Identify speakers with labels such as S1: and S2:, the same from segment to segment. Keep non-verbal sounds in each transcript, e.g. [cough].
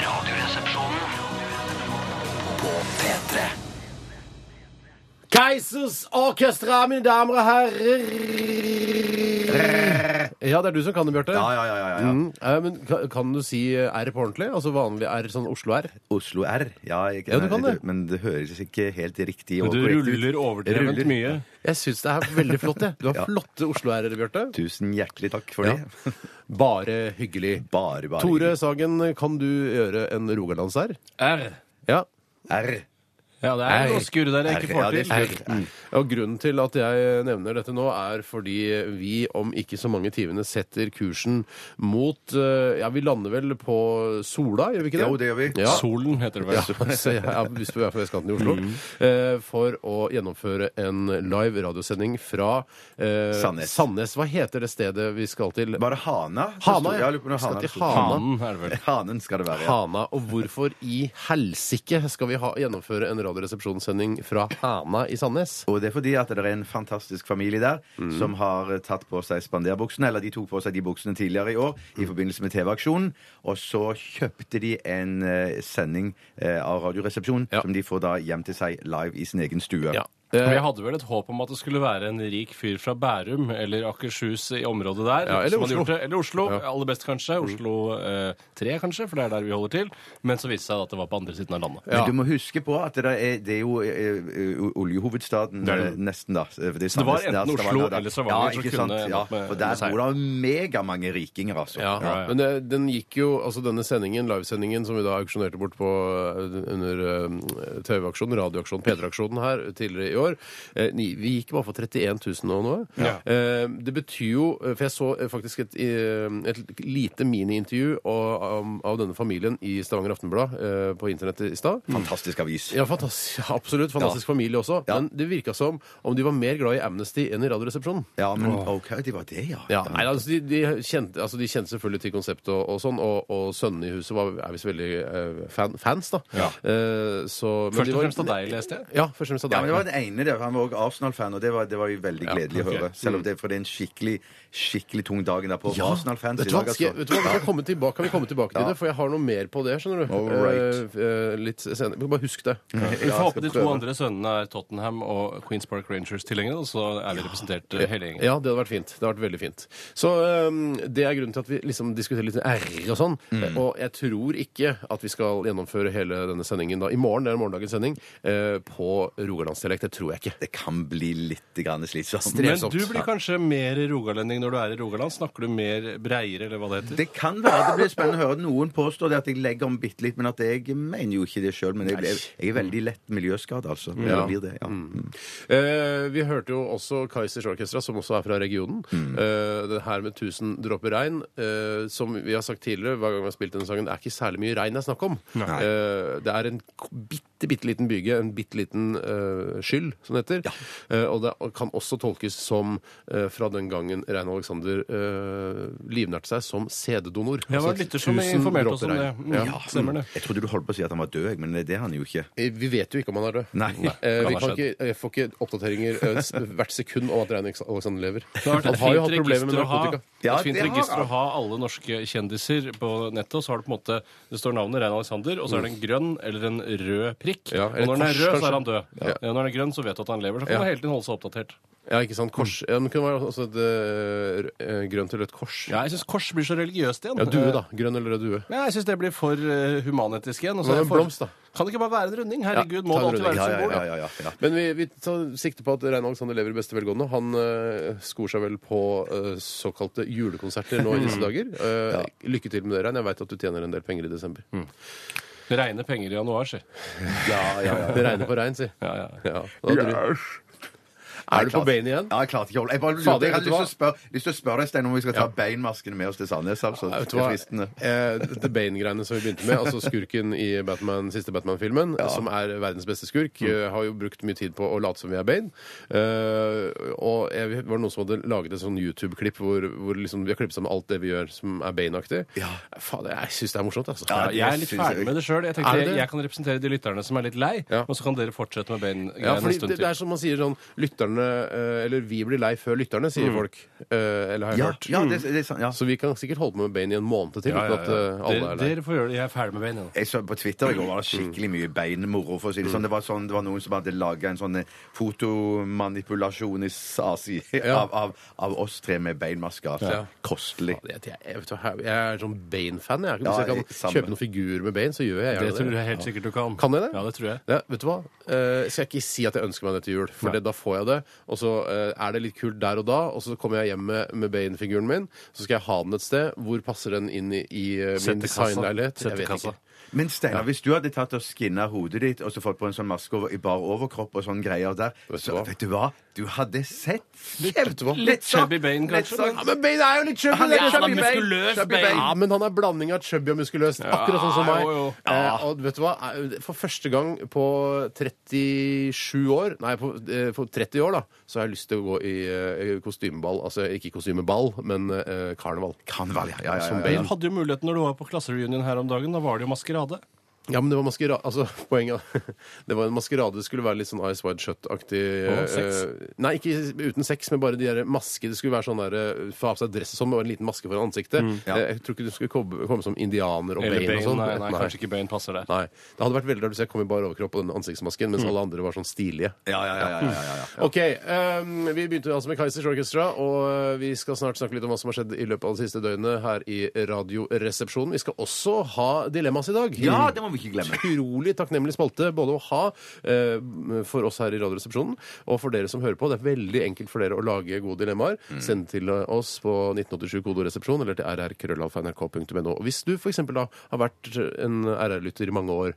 S1: Radioresepsjonen på P3.
S2: Keisers Orkestra, mine damer og herrer. Ja, det er du som kan det, Bjarte.
S3: Ja, ja, ja, ja, ja.
S2: Mm, eh, men ka- kan du si R på ordentlig? Altså vanlig R, sånn Oslo-R?
S3: Oslo R. Ja, jeg,
S2: Ja, du kan det.
S3: Men det høres ikke helt riktig og
S4: Du
S3: korrekt ut.
S4: ruller overdrevent
S3: Ruller.
S4: mye.
S2: Jeg syns det er veldig flott, jeg. Du har
S3: [laughs] Ja.
S2: flotte Oslo-R-er, Bjarte.
S3: Tusen hjertelig takk for
S2: Ja.
S3: det.
S2: [laughs] Bare hyggelig.
S3: Bare, bare.
S2: Tore Sagen, kan du gjøre en rogalands-R?
S4: R.
S2: Ja.
S3: R.
S4: Ja, det
S2: R.
S4: er noe skurre der jeg
S3: R, ja,
S4: ikke får
S3: det
S4: til.
S3: er
S2: R. mm. Og grunnen til at jeg nevner dette nå, er fordi vi om ikke så mange timene setter kursen mot eh, Ja, vi lander vel på Sola, gjør vi ikke det?
S3: Jo, det gjør vi.
S2: Ja.
S4: Solen heter det
S2: Ja, [laughs]
S4: vel. Mm.
S2: så jeg er på- hvis du er på vestkanten i Oslo. eh, for å gjennomføre en live radiosending fra eh,
S3: Sandnes.
S2: Hva heter det stedet vi skal til?
S3: Bare Hana. det
S2: Hana,
S3: står-
S2: ja.
S3: ja. jeg lurer på når
S2: Skal
S3: Hana
S2: til
S3: står.
S2: Hana.
S4: Hanen er det vel.
S3: [laughs] Hanen skal det være. ja.
S2: Hana. Og hvorfor i helsike skal vi ha, gjennomføre en radioresepsjonssending fra Hana i Sandnes?
S3: Og det er fordi at det er en fantastisk familie der
S4: Mm.
S3: som har eh, tatt på seg spanderbuksene, eller de tok på seg de buksene tidligere i år
S4: Mm.
S3: i forbindelse med TV-aksjonen, og så kjøpte de en eh, sending eh, av Radioresepsjonen
S2: Ja.
S3: som de får da hjem til seg live i sin egen stue.
S2: Ja.
S4: Og
S2: Eh,
S4: jeg hadde vel et håp om at det skulle være en rik fyr fra Bærum eller Akershus i området der.
S2: Ja, eller
S4: som hadde
S2: Oslo.
S4: gjort det. Eller Oslo.
S2: Ja. Mm.
S4: Aller best, kanskje. Oslo eh, 3, kanskje, for det er der vi holder til. Men så viste det seg at det var på andre siden av landet.
S3: Men
S2: Ja.
S3: du må huske på at det, der er, det er jo eh, eh, oljehovedstaden
S4: Det er det.
S3: eh, nesten, da. For det, er
S4: det var
S3: Sandnes, er
S4: enten
S3: Stavanger,
S4: Oslo
S3: da.
S4: eller Stavanger
S3: ja,
S4: som
S3: ikke
S4: kunne
S3: sant?
S4: endt
S3: Ja,
S4: med-
S3: og
S4: med
S3: der
S4: seier.
S3: bor det megamange rikinger, altså.
S2: Ja,
S4: Ja, ja.
S2: men eh, den gikk jo, altså denne sendingen, livesendingen som vi da auksjonerte bort på eh, under eh, TV-aksjonen, radioaksjonen, P3-aksjonen her tidligere i år, eh, ni- vi gikk bare for 31 000 og noe.
S4: Ja.
S2: Eh, Det betyr jo, eh, for jeg så eh, faktisk et, eh, et lite mini-intervju av, av- av denne familien i Stavanger Aftenblad eh, på internett i stad.
S3: Fantastisk avis.
S2: Ja, fantastisk, [laughs] absolutt. Fantastisk familie også.
S3: Ja.
S2: Men det virka som om de var mer glad i Amnesty enn i Radioresepsjonen.
S3: Ja, men OK, det var det, ja.
S2: Ja, nei, altså, de, de, kjente, altså, de kjente selvfølgelig til konseptet og, og sånn, og, og sønnene i huset var, er visst veldig eh, fan, fans, da.
S4: Ja.
S2: Eh, så, men
S4: Først
S2: de
S4: og
S2: var-
S4: fremst av deg, leste jeg.
S2: Ja, først og fremst av
S3: Ja,
S2: deg.
S3: men det var den ene der. Han var også Arsenal-fan, og det var, det var jo veldig gledelig
S4: ok.
S3: å høre. Selv om det, for det er en skikkelig skikkelig tung dag der på
S2: Ja.
S3: Arsenal-fans
S2: Vet
S3: i
S2: du hva,
S3: dag. altså.
S2: skal, vet du hva? Vi kan, komme tilbake, kan vi komme tilbake til det? For jeg har noe mer på det, skjønner du.
S3: All right.
S2: Eh, eh, litt senere. Men Bare husk det.
S4: Vi får håpe de to
S3: prøve.
S4: andre sønnene er Tottenham og Queens Park Rangers-tilhengere, og så er vi representert eh, hele gjengen.
S2: Ja, det hadde vært fint. Det hadde vært veldig fint. Så øhm, det er grunnen til at vi liksom diskuterer litt R og sånn. Og jeg tror ikke at vi skal gjennomføre hele denne sendingen da. I morgen, det er morgendagens sending, eh, på rogalandsdialekt. Det tror jeg ikke.
S3: Det kan bli litt grann slitsomt.
S2: Stress.
S4: Men
S2: Trevsomt.
S4: du blir kanskje mer rogalending når du er i Rogaland? Snakker du mer breiere, eller hva det heter?
S3: Det kan være det blir spennende å høre. Noen påstår det at jeg legger om bitte litt, men at jeg mener jo ikke det sjøl. Men jeg, ble, jeg er veldig lett miljøskadd, altså. Ja.
S2: Mm. Ja.
S3: Blir det, ja.
S2: Eh, vi hørte jo også Kaizers Orkestra, som også er fra regionen. Eh, det her med 1000 dråper regn, eh, som vi har sagt tidligere hver gang vi har spilt denne sangen, det er ikke særlig mye regn det er snakk om. Eh, det er en k- bitte, bitte liten byge, en bitte liten eh, skyld, som det heter. Eh, og det kan også tolkes som eh, fra den gangen Rein Alexander eh, livnærte seg som sæddonor.
S4: Jeg var
S2: Altså,
S4: lytter som
S2: 1000
S4: informerte oss om
S2: dråper
S4: det.
S2: regn.
S4: Mm, stemmer det.
S3: Jeg trodde du holdt på å si at han var død, jeg, men det er han jo ikke.
S2: Eh, Vi vet jo ikke om han er død.
S3: Nei. Nei,
S2: Eh,
S4: kan
S2: vi
S4: ha
S2: kan
S4: skjedd.
S2: ikke, jeg får ikke oppdateringer eh, s- hvert sekund om at Rein Alexander lever.
S4: Det har vært
S2: Han
S4: et
S2: har jo
S4: fint
S2: hatt problemer med
S4: register å ha-
S2: narkotika.
S3: Ja,
S4: et fint
S3: det har
S4: register
S3: han.
S4: å ha alle norske kjendiser på nettet. Og så har det på en måte Det står navnet Rein Alexander, og så er det en grønn eller en rød prikk.
S2: Ja,
S4: og
S2: eller
S4: når den er
S2: kors,
S4: rød,
S2: kanskje.
S4: så er han død.
S2: Ja.
S4: Ja. Når den er grønn, så vet du at han lever. Så kan
S2: Ja.
S4: man hele tiden holde seg oppdatert.
S2: Ja, ikke sant? Kors. Ja, men det kunne være også et eh, rø- eh, grønt eller rødt kors.
S4: Ja, jeg syns kors blir så religiøst igjen.
S2: Ja, due, da. Grønn eller rød due.
S4: Ja, jeg syns det blir for eh, humanetisk igjen. og så
S2: Men
S4: er jeg
S2: en
S4: for-
S2: blomst, da.
S4: Kan det ikke bare være en runding? Herregud,
S2: ta
S4: må
S2: en
S4: det alltid
S2: runding.
S4: være
S3: Ja,
S4: et
S3: ja,
S4: symbol?
S3: ja, ja, ja, ja.
S2: Men vi, vi tar sikte på at Rein Alexander lever i beste velgående. Han eh, skor seg vel på eh, såkalte julekonserter nå i
S4: Mm.
S2: disse dager. Eh, Lykke til med det, Rein. Jeg veit at du tjener en del penger i desember.
S4: Mm. Det regner penger i januar, si.
S3: Ja, ja, ja.
S2: Det regner på rein, si.
S4: Ja, ja.
S2: Ja, da dru- er du på beinet igjen?
S3: Ja, jeg klarte ikke å holde Jeg bare
S2: Fader,
S3: lurte, jeg
S2: vet du
S3: hadde lyst til å spørre, lyst til å spørre deg, Stein, om vi skal ta beinmaskene med oss til Sandnes. Altså.
S2: Ja, vet du
S3: Det
S2: hva?
S3: er fristende.
S2: Eh, Dette Bane-greiene som vi begynte med, altså skurken i Batman, siste Batman-filmen, som er verdens beste skurk, eh, har jo brukt mye tid på å late som vi er Bane. Eh, og jeg, vet- var det noen som hadde laget et sånn YouTube-klipp hvor, hvor liksom vi har klippet sammen alt det vi gjør som er Bane-aktig?
S3: Ja.
S2: Faen, jeg syns det er morsomt, altså.
S3: Ja,
S4: Jeg er litt
S3: synes
S4: ferdig
S3: jeg-
S4: med det sjøl. Jeg
S2: Er
S4: tenkte
S2: det det?
S4: jeg, jeg kan representere de lytterne som er litt lei,
S2: Ja.
S4: og så kan dere fortsette med
S2: Ja,
S4: Bane-greiene en
S2: fordi
S4: stund
S2: det, det
S4: til.
S2: er som man sier sånn Lytterne lytterne eh, Eller vi blir lei før lytterne, sier folk. Eh, eller har jeg
S3: Ja,
S2: hørt.
S3: ja, det, det er sant. Ja.
S2: Så vi kan sikkert holde på med Bane i en måned til. uten at eh, alle
S4: Dere,
S2: er lei.
S4: dere får gjøre det. Jeg er ferdig med bein. nå.
S3: Jeg så på Twitter i går var det
S2: Mm.
S3: skikkelig mye beinmoro. for å si Det sånn. Det var, sånn, det var noen som hadde laga en sånn eh, fotomanipulasjon i Asi
S2: Ja.
S3: av, av, av oss tre med beinmasker. Altså.
S2: Ja.
S3: Kostelig.
S2: Jeg, jeg, jeg, vet, hva, jeg er sånn Bane-fan. Jeg.
S3: Ja,
S2: Hvis jeg kan
S3: samme.
S2: kjøpe noen figurer med Bane, så gjør jeg
S4: Det
S2: gjerne
S4: tror
S2: det.
S4: jeg helt sikkert du kan.
S2: Kan jeg det?
S4: Ja, det tror jeg.
S2: Ja, vet du hva? Eh, skal jeg ikke si at jeg ønsker meg det til jul, for det, da får jeg det. Og så eh, er det litt kult der og da, og så kommer jeg hjem med, med Bane-figuren min. Så skal jeg ha den et sted. Hvor passer den inn i, i eh,
S4: Sett
S2: min
S4: i kassa.
S2: designleilighet?
S4: Sett i
S2: Jeg vet
S4: kassa.
S2: ikke.
S3: Men Steinar, hvis du hadde tatt og skinna hodet ditt og så fått på en sånn maske over, i bar overkropp og sånn greier der,
S2: Vet du
S3: så
S2: hva?
S3: vet du hva? Du hadde sett
S2: vet du hva?
S3: kjempe-
S4: Litt
S3: sånn-
S4: chubby Bane,
S3: litt
S4: kanskje,
S3: sånn-
S2: Ja, men Bane er jo litt chubby!
S3: Han er
S2: det
S3: jævla
S2: chubby Bane.
S4: muskuløs,
S2: Chubby
S4: Bane.
S2: Ja, men han er blanding av chubby og muskuløs. Akkurat sånn som meg.
S4: jo, jo.
S2: Eh, og vet du hva? Eh, For første gang på 37 år Nei, på, eh, på 30 år, da, så har jeg lyst til å gå i eh, kostymeball. Altså ikke kostymeball, men eh, karneval.
S3: Kan være, ja. ja, ja,
S2: Som
S3: ja, ja.
S4: Men Du hadde jo muligheten når du var på klassereunion her om dagen. Da var det jo maskerade.
S2: Ja, men det var maskerade Altså, [laughs] poenget Det var en maskerade. Det skulle være litt sånn Ice Wide Shut-aktig.
S4: Å, sex.
S2: eh, nei, ikke uten sex, men bare de der masker. Det skulle være sånn der eh, Få av seg dress og sånn, og en liten maske foran ansiktet.
S3: ja.
S2: Eh, Jeg tror ikke du skulle komme, komme som indianer og
S4: Mm, Eller
S2: Bane og
S4: Bane.
S2: sånn.
S4: Nei, nei, kanskje ikke Mm. Bane passer der.
S2: Nei. Det hadde vært veldig rart hvis jeg kom i bar overkropp og den ansiktsmasken, mens alle andre var sånn stilige.
S3: Ja, ja, ja, ja, ja, ja, ja.
S2: Ok, ehm, Vi begynte altså med Kaizers Orchestra, og eh, vi skal snart snakke litt om hva som har skjedd i løpet av det siste døgnet her i Radioresepsjonen. Vi skal også ha dilemmas i dag.
S3: Ja, det må vi ikke glemme.
S2: Utrolig takknemlig spalte både å ha eh, for oss her i Radioresepsjonen og for dere som hører på. Det er veldig enkelt for dere å lage gode dilemmaer.
S4: Mm.
S2: Send til eh, oss på 1987kodoresepsjon eller til rrkrøllalfa.nrk.no. Og Hvis du f.eks. da har vært en RR-lytter i mange år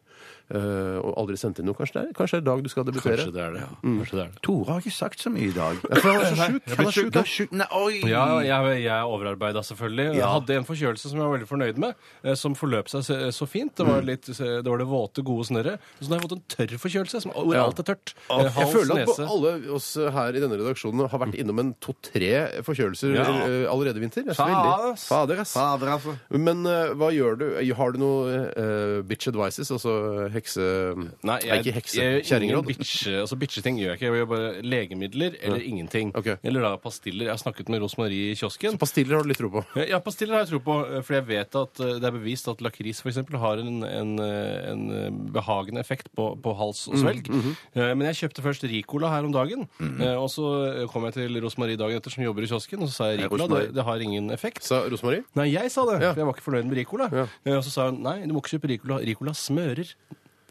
S2: eh, og aldri sendt inn noe, kanskje det er, kanskje det er dag du skal debutere?
S4: Kanskje det er det. Kanskje det er det.
S3: Tore har ikke sagt så mye i dag.
S2: Ja, for han er så sjuk.
S3: Jeg
S2: Han
S3: ble
S2: er sjuk,
S3: sjuk,
S2: da.
S3: sjuk. Nei, oi!
S4: Ja, jeg, jeg er overarbeida, selvfølgelig. Jeg hadde en forkjølelse som jeg var veldig fornøyd med, eh, som forløp seg så, så fint. Det var, litt, eh, det var det våte, gode snørret. Så nå har jeg fått en tørr forkjølelse, som, hvor
S2: Ja.
S4: alt er tørt. Eh,
S2: Jeg
S4: Hals,
S2: føler at
S4: nese. Mm.
S2: alle oss her i denne redaksjonen har vært innom en to-tre forkjølelser
S4: Ja.
S2: eh, allerede i vinter. Det er så
S4: Fader,
S2: veldig-
S4: ass.
S2: Fader, ass.
S3: Fader, altså.
S2: Men eh, hva gjør du? Har du noe eh, bitch advices, altså hekse...
S4: Nei, jeg,
S2: ikke hekse,
S4: jeg, gjør ingen
S2: kjerringråd?
S4: bitche, altså bitcheting gjør jeg ikke. Jeg gjør bare legemidler eller ingenting.
S2: Ok.
S4: Eller da pastiller. Jeg har snakket med Rosmarie i kiosken.
S2: Pastiller har du litt tro på.
S4: Ja, pastiller har jeg tro på, for jeg vet at eh, det er bevist at lakris for eksempel har en, en, eh, en eh, behagende effekt på, på hals
S2: Mm,
S4: og svelg.
S2: mhm.
S4: Eh, Men jeg kjøpte først Ricola her om dagen, eh, og så eh, kom jeg til Rosmarie dagen etter som jobber i kiosken, og så sa jeg Ricola,
S3: Rosmarie.
S4: det, det har ingen effekt.
S2: Sa Rosemarie?
S4: Nei, jeg sa det,
S2: Ja.
S4: for jeg var ikke fornøyd med Ricola.
S2: Ja.
S4: Eh, Og så sa hun, nei, du må ikke kjøpe Ricola, Ricola smører.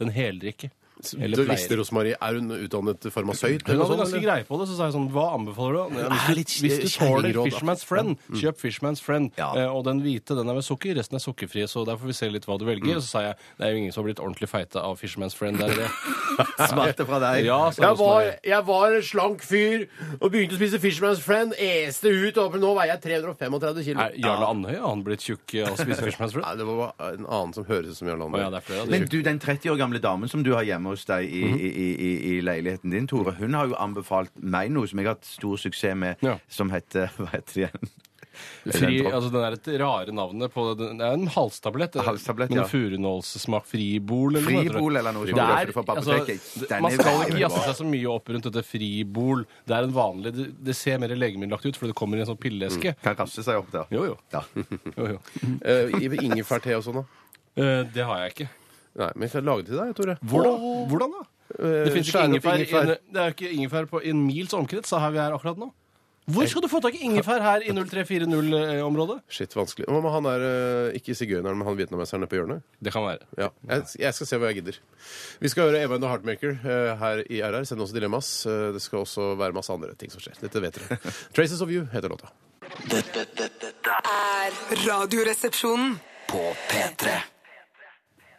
S4: Den heldrikke.
S2: Du visste Rosemarie, er hun utdannet farmasøyt?
S4: Hun
S2: eller noe sånt,
S4: hadde ganske
S2: sånn, eller?
S4: greie på det, så sa jeg sånn Hva anbefaler du? Ja,
S2: Det er litt
S4: Hvis du, hvis du tåler
S2: kjerringråd, da. Mm.
S4: Fishman's Friend, kjøp Fishman's Friend.
S3: Ja.
S4: Eh, Og den hvite, den er med sukker. Resten er sukkerfrie, så der får vi se litt hva du velger.
S2: Mm.
S4: Og så sa jeg det er jo ingen som har blitt ordentlig feite av Fishman's Friend. Det er
S2: [laughs]
S4: det.
S3: Smarte fra deg.
S4: Ja, sa sånn,
S2: Jeg var,
S4: Rosmarie.
S2: jeg var en slank fyr og begynte å spise Fishman's Friend. Este ut, og nå veier jeg 335 kilo.
S4: Er Jarle Andhøy har han blitt tjukk av å
S2: [laughs]
S4: spise Fishman's
S2: Nei,
S4: Friend?
S2: det var bare en annen som høres ut som Jarl
S4: Å
S2: André.
S4: ja, det er flere av de.
S3: Men du, den 30 år gamle damen som du har hjemme hos deg i,
S4: Mhm.
S3: i, i, i- i leiligheten din, Tore, hun har jo anbefalt meg noe som jeg har hatt stor suksess med,
S4: Ja.
S3: som heter [laughs] Hva heter det igjen?
S4: Fri, altså den er et rare navnet på den, Det er en halstablett. eh,
S3: Halstablett,
S4: Med
S3: ja.
S4: en furunålssmak. Fribol, eller noe, heter det.
S3: Fribol eller noe
S4: Det er,
S3: du får på
S4: altså,
S3: apoteket. Den
S4: man
S3: er
S4: skal
S3: veldig
S4: ikke
S3: bra.
S4: jazze seg så mye opp rundt dette fribol. Det er en vanlig, det, det ser mer legemiddelaktig ut, for det kommer i en sånn pilleeske.
S3: Kan rafse seg opp der.
S4: Jo, jo. [laughs]
S3: Ja. mm.
S4: jo, jo.
S2: Eh, Ingefærte og sånn, da?
S4: Eh, det har jeg ikke.
S2: Nei, men jeg skal lage det til deg, Tore.
S4: Hvordan da?
S2: Eh,
S4: Det finnes ikke
S2: skjære opp
S4: ingefær, i- det er jo ikke ingefær på en mils omkrets, sa her vi er akkurat nå. Hvor skal du få tak i ingefær her i 0340-området?
S2: Shit, vanskelig. Hva med han er ikke sigøyneren, men han vietnameseren nede på hjørnet?
S4: Det kan være.
S2: Ja, jeg, jeg skal se hva jeg gidder. Vi skal høre Even og Heartmaker eh, her i RR. Send oss dilemmas. Eh, det skal også være masse andre ting som skjer. Dette vet dere. 'Traces of You' heter låta.
S1: Dette, dette, dette
S5: er Radioresepsjonen.
S1: på P3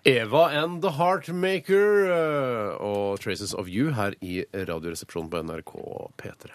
S2: Eva and The Heartmaker eh, og 'Traces of You' her i Radioresepsjonen på NRK P3.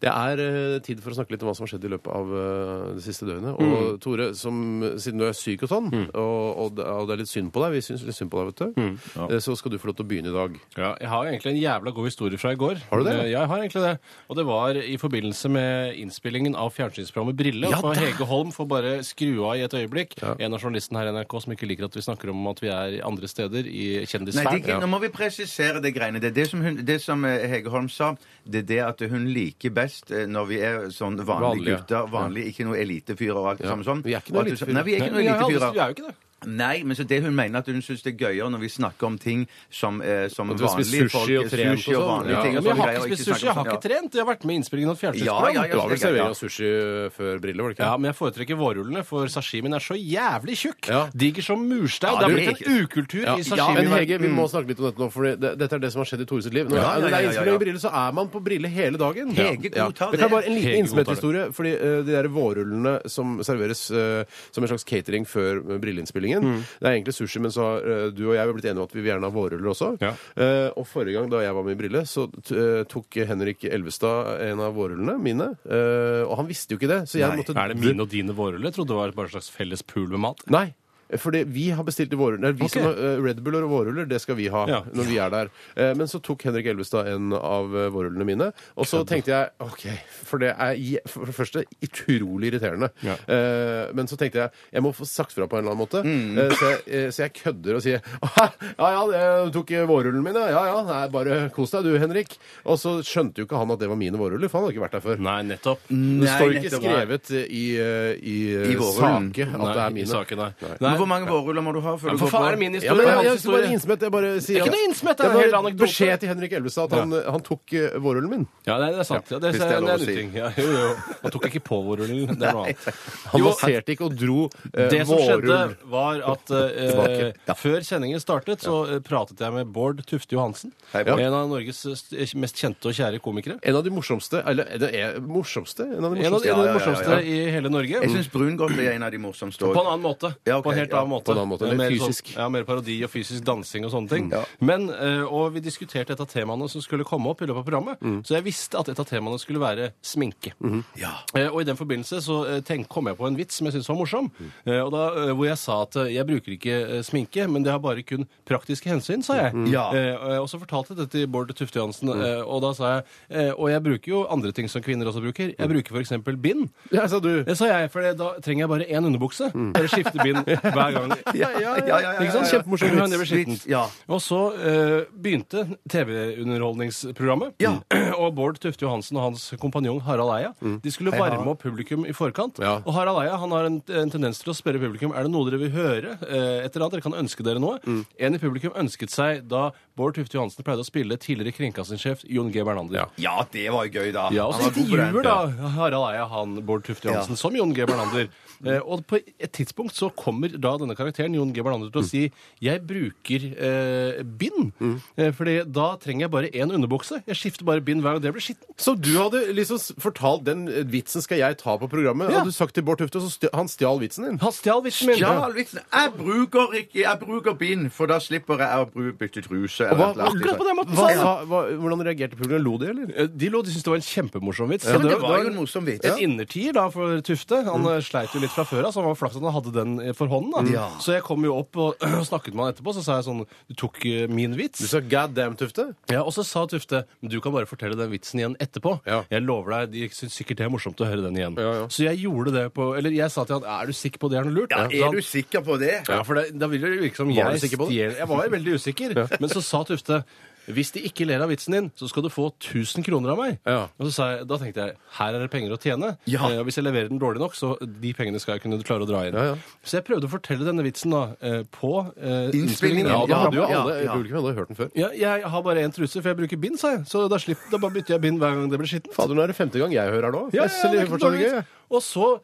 S2: Det er eh, tid for å snakke litt om hva som har skjedd i løpet av eh, det siste døgnet. Og Tore, som, siden du er syk og sånn, og, og, det- og det er litt synd på deg, vi syns litt synd på deg, vet du, eh, så skal du få lov til å begynne i dag.
S4: Ja, jeg har egentlig en jævla god historie fra i går.
S2: Har du det?
S4: Eh, Ja, jeg har egentlig det. Og det var i forbindelse med innspillingen av fjernsynsprogrammet Brille.
S2: Ja,
S4: og for
S2: det-
S4: Hege Holm får bare skru av i et øyeblikk.
S2: Ja.
S4: En av journalistene her i NRK som ikke liker at vi snakker om at vi er i andre steder i
S3: Nei,
S4: kjendissfæren.
S3: det, nå må vi presisere det greiene. Det, er det, som, hun, det som eh, Hege Holm sa, det er det at hun liker best eh, når vi er sånn vanlige,
S2: Vanlige.
S3: gutter, vanlige, ikke noe elitefyrer og alt det samme sånn.
S2: Vi er ikke noe
S3: Og at hun sa-
S2: elitefyrer.
S3: Nei, vi er ikke noe
S4: Nei, altså, vi er aldri-
S3: elitefyrer.
S4: vi er jo ikke det.
S3: Nei, men så det hun mener at hun syns det er gøyere når vi snakker om ting som, eh, som
S2: At vi har spist
S3: vanlige folk
S2: sushi og trent
S3: sushi
S2: og
S3: og
S2: sånn.
S3: vanlige
S2: Ja,
S3: ting.
S4: men
S3: og
S4: jeg
S3: sånne
S4: har
S3: greier, og
S4: ikke spist
S3: snakke
S4: sushi, jeg har
S3: om-
S4: ikke trent. Jeg har vært med i innspillingen av et
S3: Ja,
S4: fjernsynsprogram.
S3: ja, ja,
S2: Det var vel
S3: det er greit,
S2: servering
S3: ja.
S2: av sushi eh, før briller, var det ikke
S4: Ja,
S2: det?
S4: men jeg foretrekker vårrullene, for sashimien er så jævlig tjukk.
S2: Ja.
S4: Diger som murstein.
S3: Ja,
S4: det
S3: det
S4: er blitt
S3: er
S4: en ukultur i
S2: Ja, men
S4: sashimien.
S2: Hege, vi må snakke litt om dette nå, for det, dette er det som har skjedd i Tore sitt liv. Når
S3: Mm. Ja, ja, ja,
S2: det er
S3: ja,
S2: innspilling
S3: ja.
S2: i brille, så er man på brille hele dagen.
S3: Hege godtar
S2: Det kan
S3: det.
S2: bare en liten
S4: Hege
S2: innsmetthistorie, fordi eh, de der vårrullene som serveres eh, som en slags catering før eh, brilleinnspillingen,
S3: Mm.
S2: det er egentlig sushi, men så har eh, du og jeg blitt enige om at vi vil gjerne ha vårruller også.
S4: Ja.
S2: Eh, og forrige gang da jeg var med i brille, så t eh, tok Henrik Elvestad en av vårrullene mine, eh, og han visste jo ikke det, så jeg
S3: Nei.
S2: måtte...
S4: Er det mine og dine vårruller? Jeg trodde det var bare en slags felles pool med mat.
S2: Nei. Fordi vi har bestilt i vårruller. Nei, Vi
S4: Ok.
S2: som har, eh, Red Buller og vårruller, det skal vi ha
S4: Ja.
S2: når vi er der. Eh, Men så tok Henrik Elvestad en av eh, vårrullene mine. Og så tenkte jeg OK, for det er i- for det første utrolig irriterende.
S4: Ja.
S2: Eh, Men så tenkte jeg jeg må få sagt fra på en eller annen måte.
S4: Mm.
S2: Eh, Så, jeg, eh, så jeg kødder og sier [laughs] «Ah, ja ja, det- du tok vårrullene mine. Ja ja, nei, bare kos deg du, Henrik. Og så skjønte jo ikke han at det var mine vårruller, for han hadde ikke vært der før.
S4: Nei, nettopp.
S2: Det står jo ikke
S3: nettopp.
S2: skrevet eh, i, eh, i,
S3: I
S2: eh,
S3: vårrullen.
S2: sake at
S4: Nei,
S2: det er
S4: i
S2: mine.
S4: saken, nei. Nei.
S3: Men Hvor mange vårruller må du ha før
S4: Ja,
S3: du
S4: for
S3: går på?
S4: faen, er det min
S2: Ja,
S4: historie?
S2: men jeg,
S4: Hans
S2: jeg,
S4: historie.
S2: bare innsmett, jeg bare sier
S4: Det er ikke
S2: at-
S4: noe innsmett, det er
S2: Jeg bare-
S4: en hel anekdote.
S2: Beskjed til Henrik Elvestad at han, han tok eh, vårrullen min.
S4: Ja, det, det er sant. Ja, det,
S3: hvis
S4: det,
S3: det er
S4: er
S3: lov å
S4: en
S3: si.
S4: ting. Ja, jo, jo. Han tok ikke på vårrullen. Det er noe annet.
S2: Han
S4: Jo,
S2: masserte ikke og dro eh,
S4: Det som skjedde,
S2: vårrull.
S4: var at eh, før sendingen startet, så eh, pratet jeg med Bård Tufte Johansen.
S3: Hei, Bård.
S4: En av Norges eh, mest kjente og kjære komikere.
S2: En av de morsomste Eller eh, det er morsomste? En av de
S4: En av,
S2: morsomste.
S3: ja,
S4: en av de
S3: ja, ja,
S4: morsomste i hele Norge.
S3: Jeg syns Brungot er en av de morsomste
S4: På en
S3: òg.
S4: annen måte.
S3: Ja, ok,
S4: på en helt
S3: ja.
S4: annen måte.
S2: På en annen måte,
S4: Eh,
S2: mer
S4: mer
S2: fysisk.
S4: Sånn, ja, mer parodi og fysisk dansing og sånne ting.
S3: Ja.
S4: Men, eh, og vi diskuterte et av temaene som skulle komme opp i løpet av programmet, så jeg visste at et av temaene skulle være sminke.
S3: Ja.
S4: Eh, og i den forbindelse så eh, tenk, kom jeg på en vits som jeg syntes var morsom, eh, og da, eh, hvor jeg sa at eh, jeg bruker ikke eh, sminke, men det har bare kun praktiske hensyn, sa jeg.
S3: Ja.
S4: Eh, Eh, og så fortalte jeg dette til Bård Tufte Johansen, eh, og da sa jeg eh, Og jeg bruker jo andre ting som kvinner også bruker. Jeg bruker f.eks. bind.
S2: Ja, sa du.
S4: [laughs] Det sa jeg, for da trenger jeg bare én underbukse. Bare skifte bind hver gang.
S2: Ja, ja,
S3: Ja, ja, ja,
S4: Ikke sant?
S3: ja, ja.
S4: Kjempemorsom
S3: Vits,
S4: men det ble skittent.
S3: vits, ja.
S4: Og så eh, begynte TV-underholdningsprogrammet.
S3: Ja.
S4: [clears throat] Og Bård Tufte Johansen og hans kompanjong Harald Eia De skulle varme opp publikum i forkant.
S2: Ja.
S4: Og Harald Eia han har en, en tendens til å spørre publikum er det noe dere vil høre. Eh, et eller annet, Dere kan ønske dere noe. En i publikum ønsket seg da Bård Tufte Johansen pleide å spille tidligere kringkastingssjef Jon G. Bernander.
S2: Ja.
S3: ja, det var jo gøy, da.
S4: Ja, og
S3: Han
S4: så
S3: var god på den.
S4: intervjuer da Harald Eia han Bård Tufte Johansen som Jon G. Bernander. Eh, og på et tidspunkt så kommer da denne karakteren Jon G. Bernander
S2: Mm.
S4: til å si 'jeg bruker eh, bind', eh, fordi da trenger jeg bare én underbukse. Jeg skifter bare bind hver gang det blir skittent.
S2: Så du hadde liksom s- fortalt den eh, vitsen skal jeg ta på programmet,
S4: Ja.
S2: hadde du sagt til Bård Tufte, og så stj han stjal vitsen din.
S4: Han stjal vitsen min!
S3: Ja, Alvitsen, jeg bruker ikke Jeg bruker bind, for da slipper jeg å bru- bytte truse. eller
S2: Hva-
S3: et eller annet. liksom.
S4: akkurat på den måten,
S2: Hva,
S4: sa jeg.
S2: sa- hva, hvordan reagerte publikum? Lo de, eller?
S4: Eh, De lo de syntes det var en kjempemorsom vits.
S3: Ja,
S4: Så
S3: men det var jo en morsom vits.
S4: En innertier da for Tufte. Han eh, sleit jo litt fra før av, så han var flaks at han hadde den eh, for hånden. da.
S3: Ja.
S4: Så jeg kom jo opp og [clears throat] snakket med han etterpå, så sa jeg sånn Du tok eh, min vits?
S2: Du sa god damn, Tufte.
S4: Ja, Og så sa Tufte men du kan bare fortelle den vitsen igjen etterpå.
S2: Ja.
S4: Jeg lover deg, De syns sikkert det er morsomt å høre den igjen.
S2: Ja, ja.
S4: Så jeg gjorde det på Eller jeg sa til han er du sikker på det er noe lurt?
S3: Ja,
S4: Så han-
S3: er du sikker på det?
S4: ja, for det, Da vil det virke som
S2: du
S4: jeg
S2: sikker på det?
S4: stjel- Jeg var veldig usikker. Men så sa Tufte hvis de ikke ler av vitsen din, så skal du få 1000 kroner av meg.
S2: Ja.
S4: Og så sa jeg, Da tenkte jeg her er det penger å tjene.
S3: Ja.
S4: Eh, og hvis jeg leverer den dårlig nok, så de pengene skal jeg kunne klare å dra inn.
S2: Ja, ja.
S4: Så jeg prøvde å fortelle denne vitsen da eh, på eh,
S3: Innspillingen.
S4: innspillingen.
S2: Ja, da
S3: Ja,
S2: hadde jo
S3: ja,
S2: alle
S3: ja.
S2: publikum hadde hørt den før.
S4: Ja, jeg har bare én truse, for jeg bruker bind, sa jeg. Så da, slipp, da bare bytter jeg bind hver gang det blir skittent.
S2: Fader, nå er det femte gang jeg hører her nå.
S4: Ja, ja,
S2: Jeg synes det er
S4: det er ikke
S2: fortsatt
S4: dårlig.
S2: gøy, jeg.
S4: Og så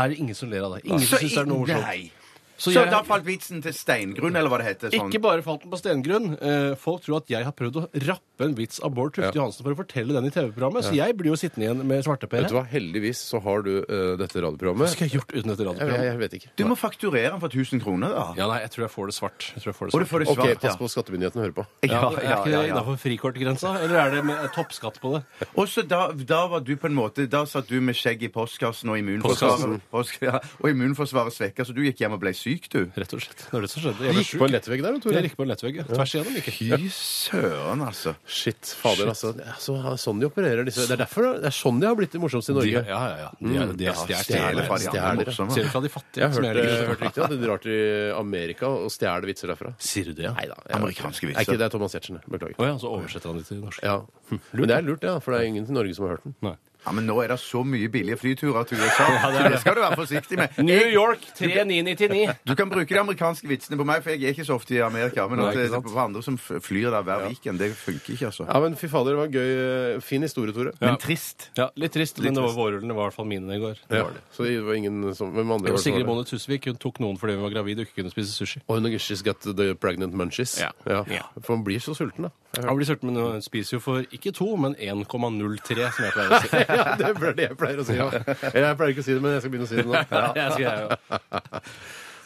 S4: er det ingen som ler av det. Ingen som syns det er noe morsomt.
S3: Nei.
S4: Så
S3: Så,
S4: jeg-
S3: da falt vitsen til steingrunn, eller hva det heter. Sånn.
S4: Ikke bare falt den på stengrunn. Eh, folk tror at jeg har prøvd å rappe en vits av Bård Tufte
S2: Ja.
S4: Johansen for å fortelle den i TV-programmet, så jeg blir jo sittende igjen med
S2: Vet du
S4: svarteper.
S2: hva, heldigvis så har du eh, dette radioprogrammet.
S4: Hva skulle jeg gjort uten dette
S2: Jeg, jeg,
S4: radioprogrammet?
S2: jeg vet ikke.
S3: Du må fakturere den for 1000 kroner, da.
S4: Ja, nei, jeg tror jeg får det svart. Jeg tror jeg får
S3: Og
S4: det
S3: du får
S4: svart.
S3: det
S2: Ok,
S3: svart,
S2: pass på skattemyndighetene hører på.
S3: ja.
S4: Ja, er ikke det innafor frikortgrensa, eller er det med eh, toppskatt på det?
S3: Og så da, da var du på en måte Da satt du med skjegg i postkassen og immunforsvaret,
S4: Postkassen.
S3: Post, ja, og immunforsvaret svekka, så du gikk hjem og ble syk, du.
S4: Rett og slett. Det var det som skjedde.
S2: Du
S4: Jeg ble
S2: gikk
S4: sjuk.
S2: på en lettvegg der, Tore.
S4: Jeg gikk på en lettvegg. ja. Tvers igjennom. Ikke.
S3: Fy søren, altså.
S2: Shit, fader, altså. Det er så, sånn de opererer disse. Det er derfor det er sånn de har blitt morsomst i
S4: De, ja,
S2: Norge.
S4: ja, ja. De er, de er
S3: Ja,
S4: stjele-
S3: stjele fra de
S2: stjeler.
S3: andre morsomme.
S4: Stjele fra de fattige.
S2: Jeg
S4: som
S2: har hørt,
S4: jeg liker.
S2: eh, hørt riktig at de drar til Amerika og stjeler vitser derfra.
S4: Sier du det?
S2: Nei
S4: ja?
S2: da.
S3: Amerikanske vitser.
S2: Er ikke det er Thomas Giertsen? Beklager.
S4: Å ja, så oversetter han det til norsk.
S2: Ja. Men det er lurt, ja, for det er ingen i Norge som har hørt den.
S4: Nei.
S3: Ja, Men nå er det så mye billige flyturer til USA,
S4: det er
S3: så
S4: det.
S3: det skal du være forsiktig med.
S4: New York 3999.
S3: Du kan bruke de amerikanske vitsene på meg, for jeg er ikke så ofte i Amerika. Men
S4: Nei,
S3: at
S4: ikke
S3: det er
S4: sant.
S3: på andre som f- flyr der hver weekend, det funker ikke, altså.
S2: Ja, men fy fader, det var en gøy. eh, Fin historie, Tore.
S3: Men trist.
S4: Ja, litt trist, men det var vårrullene var i hvert fall mine i går. Det
S2: Ja,
S4: var det.
S2: Så det var ingen som Hvem andre var
S4: Og
S2: det som
S4: Sigrid
S2: var det?
S4: Bonde Tusvik hun tok noen fordi hun var gravid og ikke kunne spise sushi.
S2: Oh, no, she's got the pregnant munchies.
S4: Ja. Ja.
S2: For man blir så sulten, da. [laughs]
S4: Jeg blir sulten, men hun spiser jo for ikke to, men 1,03, som jeg pleier [laughs] å si.
S2: ja, det er det jeg pleier å si. Ja. Eller Jeg pleier ikke å si det, men jeg skal begynne å
S4: [laughs]
S2: si det nå.
S4: Jeg skal, jeg, jo.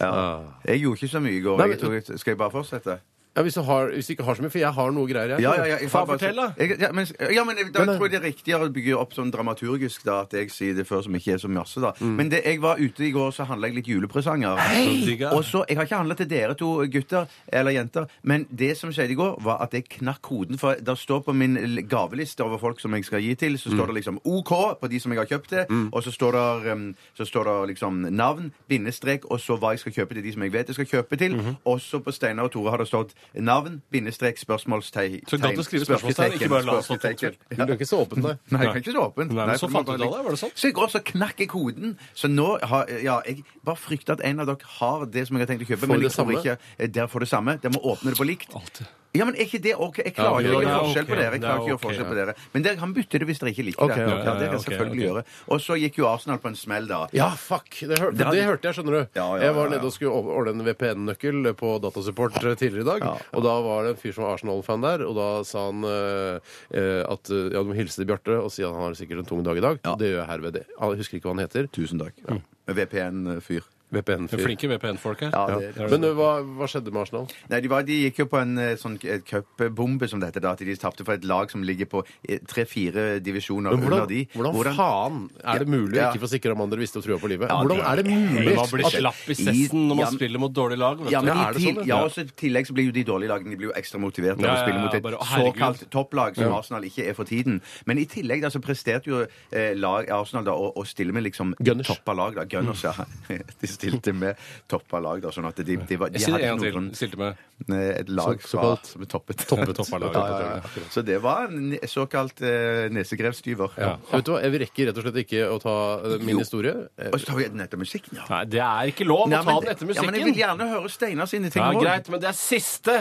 S3: Jeg gjorde ikke så mye i går.
S2: Nei,
S3: Jeg tok, skal jeg bare fortsette?
S2: Ja, hvis, du har, hvis du ikke har så mye, for jeg har noe greier, jeg.
S3: Ja, ja, ja, jeg
S4: Faen,
S3: bare-
S4: fortell, da.
S3: Jeg, ja, men, ja, men da
S2: Men,
S3: tror jeg det er riktigere å bygge opp sånn dramaturgisk da, at jeg sier det før som ikke er så masse.
S4: Mm.
S3: da. Men det, jeg var ute i går, så handla jeg litt julepresanger.
S4: Så digg, ja.
S3: Og så, Jeg har ikke handla til dere to gutter eller jenter, men det som skjedde i går, var at jeg knakk koden. For der står på min l- gaveliste over folk som jeg skal gi til, så står
S4: Mm.
S3: det liksom OK på de som jeg har kjøpt til, og så står det um, så står det liksom navn, bindestrek, og så hva jeg skal kjøpe til de som jeg vet jeg skal kjøpe til.
S4: Mhm.
S3: Også på Steinar og Tore har det stått navn, bindestrek, spørsmålstegn
S4: Så godt å skrive spørsmålstegn, ikke bare la det stå tomt, vel?
S3: Spørsmålstegn.
S2: Du er ikke så åpen, nei.
S3: Nei, jeg kan ikke stå åpent.
S4: Nei, men så
S3: for må
S4: fant du
S3: bare
S4: ut av det, var det sant?
S3: Så i går så knakk jeg koden. Så nå har Ja, jeg bare frykter at en av dere har det som jeg har tenkt å kjøpe,
S2: Får
S3: men
S2: det
S3: jeg tror
S2: samme?
S3: ikke eh, dere får det samme. Dere må åpne det på likt.
S4: Alltid.
S3: Ja, men er ikke det ok? Jeg klarer ikke
S4: Ja,
S3: å
S4: det er
S3: gjøre forskjell
S4: ok.
S3: på dere. Jeg
S4: Det
S3: klarer ikke
S4: er
S3: å
S4: ok,
S3: gjøre forskjell
S4: ja.
S3: på dere. Men dere kan bytte det hvis dere ikke liker
S2: Ok, ok,
S3: det. Ja, det
S4: ja,
S3: kan jeg
S4: ok,
S3: selvfølgelig
S4: ok.
S3: gjøre. Og så gikk jo Arsenal på en smell, da.
S2: Ja, fuck! Det, hør, det,
S3: Det hadde-
S2: hørte jeg, skjønner du.
S3: Ja, ja, ja,
S2: Jeg var
S3: ja.
S2: nede og skulle over- ordne en VPN-nøkkel på Datasupport eh, tidligere i dag. Og da var det en fyr som var Arsenal-fan der, og da sa han eh, eh, at eh, ja, du må hilse til Bjarte og si at han har sikkert en tung dag i dag. Det gjør jeg herved. Jeg husker ikke hva han heter.
S3: Tusen takk.
S2: Mm.
S3: VPN-fyr.
S4: Det er
S2: VPN-fyr.
S4: Flinke VPN-folk her.
S3: Ja,
S2: Ja.
S3: det,
S2: Men eh, hva, hva skjedde med Arsenal?
S3: Nei, de, var, de gikk jo på en eh, sånn eh, cupbombe, som det heter. da, At de tapte for et lag som ligger på eh, tre-fire divisjoner
S2: Men
S3: under
S2: hvordan,
S3: de.
S2: hvordan, faen er det mulig å
S3: Ja.
S2: ikke få sikre Amanda hvis du trua på livet?
S3: Ja,
S2: Hvordan
S3: det er-
S2: er det mulig?
S4: Man blir
S2: at-
S4: slapp i sessen når man
S3: altså, Ja, men-
S4: spiller mot dårlige lag. vet
S3: Ja,
S4: du.
S3: men
S4: Er
S3: i
S4: det
S3: til,
S4: sånn,
S3: ja,
S4: ja?
S3: også, I tillegg så blir jo de dårlige lagene de blir jo ekstra motivert av å
S4: Ja, ja,
S3: spille
S4: ja,
S3: mot et
S4: bare, å, herregud.
S3: såkalt topplag, som Arsenal ikke er for tiden. Men i tillegg da, så presterte jo eh, lag, Arsenal da, å, å stille med liksom
S2: Gunners.
S3: toppa lag. Da.
S2: [laughs]
S3: Gunners, ja. De stilte med toppa lag, da, sånn at de, de, var, de
S4: Jeg sier
S3: hadde
S4: det en
S3: ikke noe
S4: gang
S3: grunn
S4: til. Stilte med
S3: eh, et lag
S2: Så-
S3: fra,
S2: såkalt-
S3: som er toppet.
S2: Toppet toppalag.
S3: [laughs] Ja, ja, ja. Så det var en ne- såkalt eh, nesegrevstyver.
S4: Ja.
S2: Vet du hva, Jeg rekker rett og slett ikke å ta eh, min
S3: Jo.
S2: historie. Eh,
S3: Og så tar vi den etter musikken, ja.
S4: Nei, det er ikke lov å
S3: Nei,
S4: ta
S3: men-
S4: den
S3: Ja,
S4: etter
S3: men jeg
S4: musikken.
S3: vil gjerne høre Steinar sine ting
S4: Ja,
S3: også.
S4: greit, men det er siste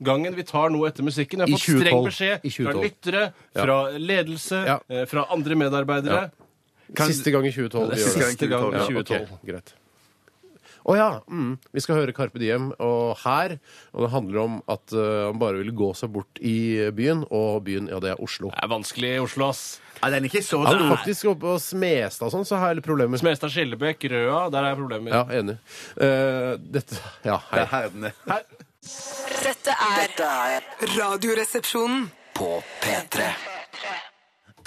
S4: gangen vi tar noe etter musikken. Jeg har
S2: I
S4: fått
S2: 2012.
S4: streng beskjed
S2: I
S4: fra
S2: 2012.
S4: lyttere,
S2: Ja.
S4: fra ledelse,
S2: Ja.
S4: eh, fra andre medarbeidere.
S2: Siste gang i 2012 vi gjør
S4: Det er
S2: det.
S4: siste gang i
S2: Ja,
S4: 2012.
S2: ok, greit. Å ja. Mm. Vi skal høre Carpe Diem og her. Og det handler om at eh, han bare ville gå seg bort i byen, og byen, ja, det er Oslo.
S3: Ah.
S4: Det er vanskelig i Oslo, ass.
S3: Ja, den er ikke så
S2: Han
S3: stor.
S2: faktisk oppe på Smestad og sånn, så har jeg litt problemer.
S4: Smestad, Skillebekk, Røa, der er problemer.
S2: Ja, enig. Eh, dette Ja, hei.
S3: Det er her den er.
S5: Dette er
S1: Dette er
S5: Radioresepsjonen.
S1: på P3.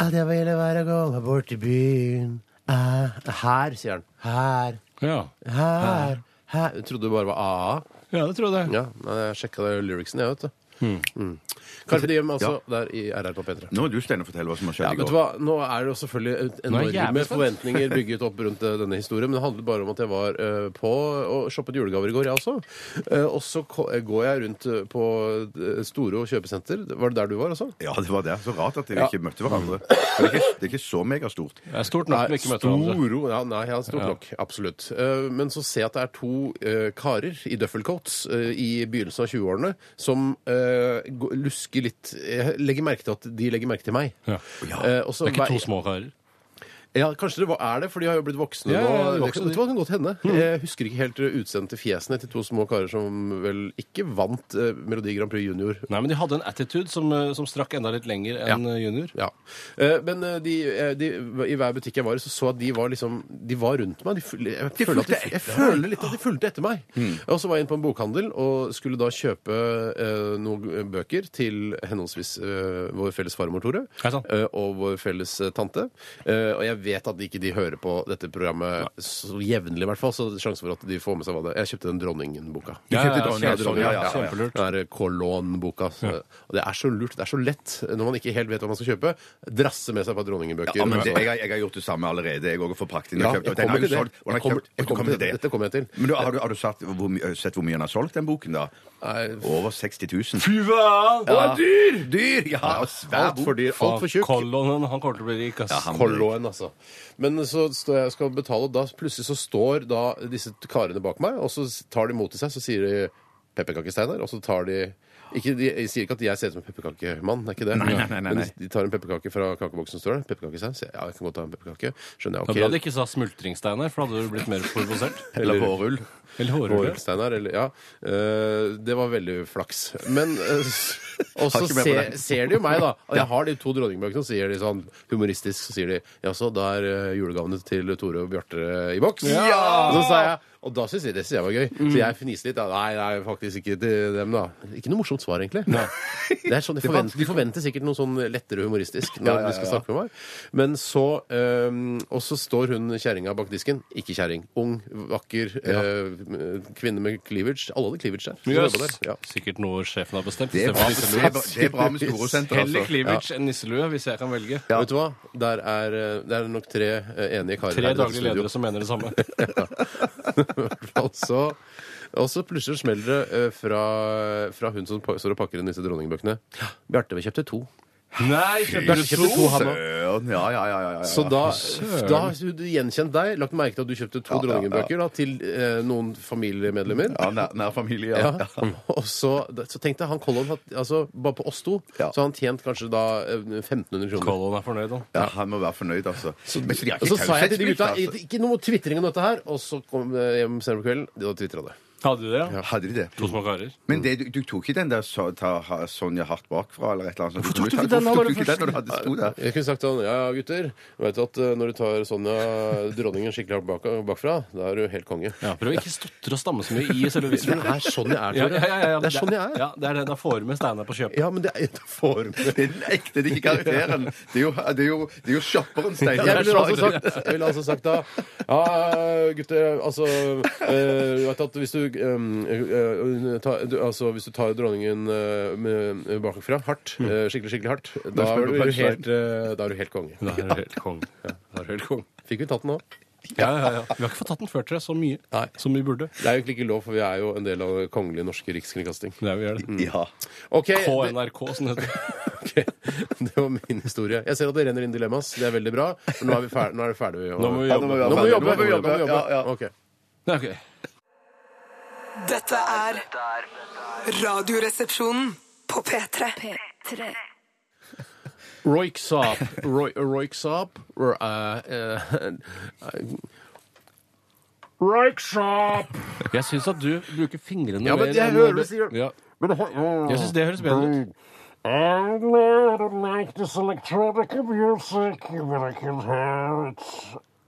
S2: At jeg ville være gå meg bort i byen. her, sier han. Her.
S4: Ja.
S2: Her. Her. Jeg trodde det bare var AA.
S4: Ja, det tror jeg. det.
S2: Ja, nei, jeg sjekka det lyricsen, jeg, vet du.
S3: Hmm.
S2: Mm. Carpe Diem, altså, der i RR på P3.
S3: Nå er du, Steinar, fortell hva som har skjedd
S2: Ja,
S3: i
S2: vet du
S3: går.
S2: hva? Nå er det jo selvfølgelig et
S4: Nå er jeg
S2: enorme
S4: jævlig spent. [laughs]
S2: forventninger bygget opp rundt eh, denne historien, men det handler bare om at jeg var eh, på og shoppet julegaver i går, jeg også. Eh, og så ko- eh, går jeg rundt eh, på eh, Storo kjøpesenter. Var det der du var, altså?
S3: Ja, det var det. Så rart at dere
S2: Ja.
S3: ikke møtte hverandre. Det er ikke, det er ikke så megastort.
S4: Det er stort nok vi ikke møter hverandre.
S2: Storo ja, Nei, ja, stort nok. Absolutt. Eh, men så ser jeg at det er to eh, karer i duffelcoats eh, i begynnelsen av 20-årene som eh, gå- lusker litt Jeg legger merke til at de legger merke til meg.
S4: Ja.
S2: Eh, og så
S4: Det er ikke
S2: vei-
S4: to små karer.
S2: Ja, kanskje det var, er det, for de har jo blitt voksne
S4: Ja,
S2: nå.
S4: ja, de
S2: Det,
S4: voksne,
S2: kan-
S4: de.
S2: vet du hva, det kan godt hende.
S4: Mm.
S2: Jeg husker ikke helt eh, utseendet til fjesene til to små karer som vel ikke vant eh, Melodi Grand Prix Junior.
S4: Nei, men de hadde en attitude som, eh, som strakk enda litt lenger enn eh, junior.
S2: Ja. Eh, Men eh, de, eh, de, i hver butikk jeg var i, så så jeg at de var liksom De var rundt meg. De, føl- jeg, føler at
S3: fulgte
S2: de, jeg føler litt at de fulgte etter meg.
S4: Mm.
S2: Og så var jeg inne på en bokhandel og skulle da kjøpe eh, noen bøker til henholdsvis eh, vår felles farmor Tore
S4: Ja, sant.
S2: eh, og vår felles eh, tante. Eh, og jeg vet at de ikke de hører på dette programmet så jevnlig, i hvert fall, så sjansen for at de får med seg hva det er. Jeg kjøpte den Dronningen-boka.
S4: Du kjøpte
S2: Ja,
S4: Dronningen,
S2: kjøpte
S4: ja, ja, kjempelurt.
S2: Den der Colon-boka. så- Og det er så lurt. Det er så lett når man ikke helt vet hva man skal kjøpe. Drasse med seg et par dronningbøker.
S3: Ja, men det,
S2: Så-
S3: jeg, har- jeg har gjort det samme allerede. Jeg går for prakten.
S2: Ja,
S3: har kjøpt-
S2: jeg
S3: og den har
S2: kommer
S3: jo
S2: til det.
S3: solgt- og den har
S2: Jeg kommer-
S3: kjøpt-
S2: jeg kommer til det. Dette kommer jeg til.
S3: Men du, har du, har du sett, hvor, mye- sett hvor mye han har solgt, den boken, da?
S2: Nei,
S3: Over 60 000.
S4: Fy faen!
S3: Ja. Dyr! Dyr! Ja, og svær
S2: Alt for
S3: bok.
S2: dyr, alt for tjukk.
S4: Kolonnen, han kommer til å bli rik, ass.
S3: han-
S2: Colon, altså. Men så står jeg og skal betale, og da plutselig så står da disse karene bak meg, og så tar de mot til seg, så sier de pepperkakesteinar, og så tar de ikke, de, jeg sier ikke at jeg ser ut som en pepperkakemann. det er ikke det.
S3: Nei, nei, nei, nei,
S2: Men
S3: nei.
S2: de, de tar en pepperkake fra kakeboksen, står det. Pepperkakestein. sier jeg, Ja, jeg kan godt ta en pepperkake. Skjønner jeg.
S4: Det
S2: ok.
S4: er bra du ikke sa smultringsteiner, for da hadde du blitt mer
S2: [laughs]
S4: provosert.
S3: Eller pårull.
S4: Eller hårrulle.
S2: Hårsteinar, eller Ja. eh, det var veldig flaks. Men
S3: [laughs]
S2: eh, Og
S3: Har
S2: så
S3: ikke mer på
S2: ser,
S3: det.
S2: [laughs] ser de jo meg,
S4: [laughs]
S2: da. Og jeg har de to dronningbøkene, og så sier de sånn humoristisk så sier de, Ja, så da er eh, julegavene til Tore og Bjarte eh, i boks?
S4: Ja!
S2: Og så sa jeg og da synes jeg det synes jeg var gøy. Så jeg fniste litt. da. Nei, nei, faktisk ikke til dem, da. Ikke noe morsomt svar, egentlig. [laughs] Det er sånn, de, forventer, de forventer sikkert noe sånn lettere humoristisk når du skal snakke med meg. Men så ehm, Og så står hun kjerringa bak disken. Ikke kjerring. Ung, vakker, eh, kvinne med cleavage. Alle hadde cleavage der. som
S4: Yes.
S2: jobbet der. Ja.
S4: Sikkert noe sjefen har bestemt.
S3: Det er bra, det er bra- det er bra med storosenter,
S4: Heller
S3: altså.
S4: cleavage enn nisselue, hvis jeg kan velge.
S2: Vet du hva? Der er, eh, det er nok tre eh, enige karer
S4: Tre
S2: her i dette [laughs]
S4: daglige ledere som mener det samme.
S2: Og så- Altså, Og så plutselig smeller det eh, fra, fra hun som pa- står og pakker inn disse dronningbøkene. Bjarte, vi kjøpte to.
S4: Nei,
S2: Bjarte kjøpte to, han også.
S3: Søren, ja, ja, ja. ja, ja.
S2: Så da, da har hun gjenkjent deg, lagt merke til at du kjøpte to dronningbøker da, til eh, noen familiemedlemmer.
S3: ja nær, nær familie, ja.
S2: Ja. [laughs] Og så, så tenkte jeg, han Colin, had- altså, bare på oss to,
S3: Ja.
S2: så har han tjent kanskje da eh, 1500 kroner.
S4: Colon er fornøyd, han.
S3: Ja, han må være fornøyd, altså. Men så de har
S2: Og
S3: ikke
S2: så sa jeg til de
S3: taushetsplikt,
S2: gutta
S3: altså.
S2: ikke noe tvitring om dette her, og så kom jeg hjem senere på kvelden, de hadde tvitra det.
S4: Hadde du det, ja?
S3: Hadde de det?
S4: To små karer.
S3: Men det, du, du tok ikke den der så, ta, ha, Sonja hardt bakfra, eller et eller annet? sånt?
S2: Hvorfor tok du ikke den?
S3: Hvorfor
S2: Han var
S3: tok
S2: den
S3: du
S2: første.
S3: ikke den når du hadde sto der?
S2: Jeg kunne sagt sånn, ja gutter, vet du at eh, når du tar Sonja dronningen skikkelig hardt bak, bakfra, da er du helt konge.
S4: Ja, prøv å ikke stotre og stamme så mye i selve vitsen.
S2: Det er sånn jeg er,
S4: Ja,
S2: Tore.
S4: ja, ja, ja,
S2: Det er sånn jeg er.
S4: Ja, det er det. Da får du med Steinar på kjøpet.
S2: Ja, men det er det får
S3: Det er den ekte, det er ikke karakteren. Det er jo, det er jo, det er jo shopperen, Steinar.
S2: Jeg ville altså sagt, jeg ville altså sagt da Ja, gutter, altså eh, Du vet at hvis du eh, eh, ta, du, Altså, hvis du tar dronningen eh, med- bakfra hardt, eh, skikkelig, skikkelig hardt, da
S3: Da
S2: er
S3: spør
S2: du
S3: du punchline.
S2: helt, eh, da er du helt konge.
S4: Da er du helt kong. Ja, da er du helt kong.
S2: Fikk vi tatt den nå?
S4: Ja, ja, ja. Vi har ikke fått tatt den før til så mye
S2: Nei.
S4: som vi burde.
S2: Det er jo egentlig ikke lov, for vi er jo en del av det kongelige norske rikskringkasting.
S4: Nei, vi gjør
S2: Mm.
S4: det.
S3: Ja.
S2: Ok, det,
S4: KNRK, som det
S2: [laughs]
S4: heter.
S2: ok, det var min historie. Jeg ser at det renner inn dilemmas. Det er veldig bra. For nå er, vi ferdig, nå er det ferdig. å-
S4: Nå må vi
S3: Ja, nå må
S4: jobbe.
S3: vi
S2: Nå må vi jobbe!
S3: Nå må vi
S2: Nå
S3: jobbe.
S2: må vi jobbe.
S3: Ja, ja.
S2: Ok.
S4: Nei, ok.
S5: Dette er Radioresepsjonen på P3.
S6: P3.
S2: Roik Saab. Roy, Roik Saab. Or, uh, uh, [laughs] Roik Saab.
S4: Jeg syns at du bruker fingrene
S2: Ja, men
S4: mer
S2: jeg
S4: enn-
S2: hører du sier-
S4: ja. Jeg syns det høres bedre ut.
S7: I'm glad I like this electronic music, but I can hear it.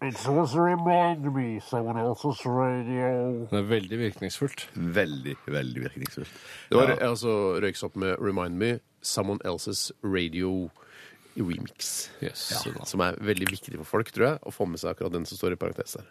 S7: It does remind me someone else's radio.
S4: Det er veldig virkningsfullt.
S3: Veldig, veldig virkningsfullt.
S2: Det var altså Røyks opp med Remind Me, Someone Else's Radio Remix.
S4: Yes.
S2: Ja. Som er veldig viktig for folk, tror jeg, å få med seg akkurat den som står i parentes der.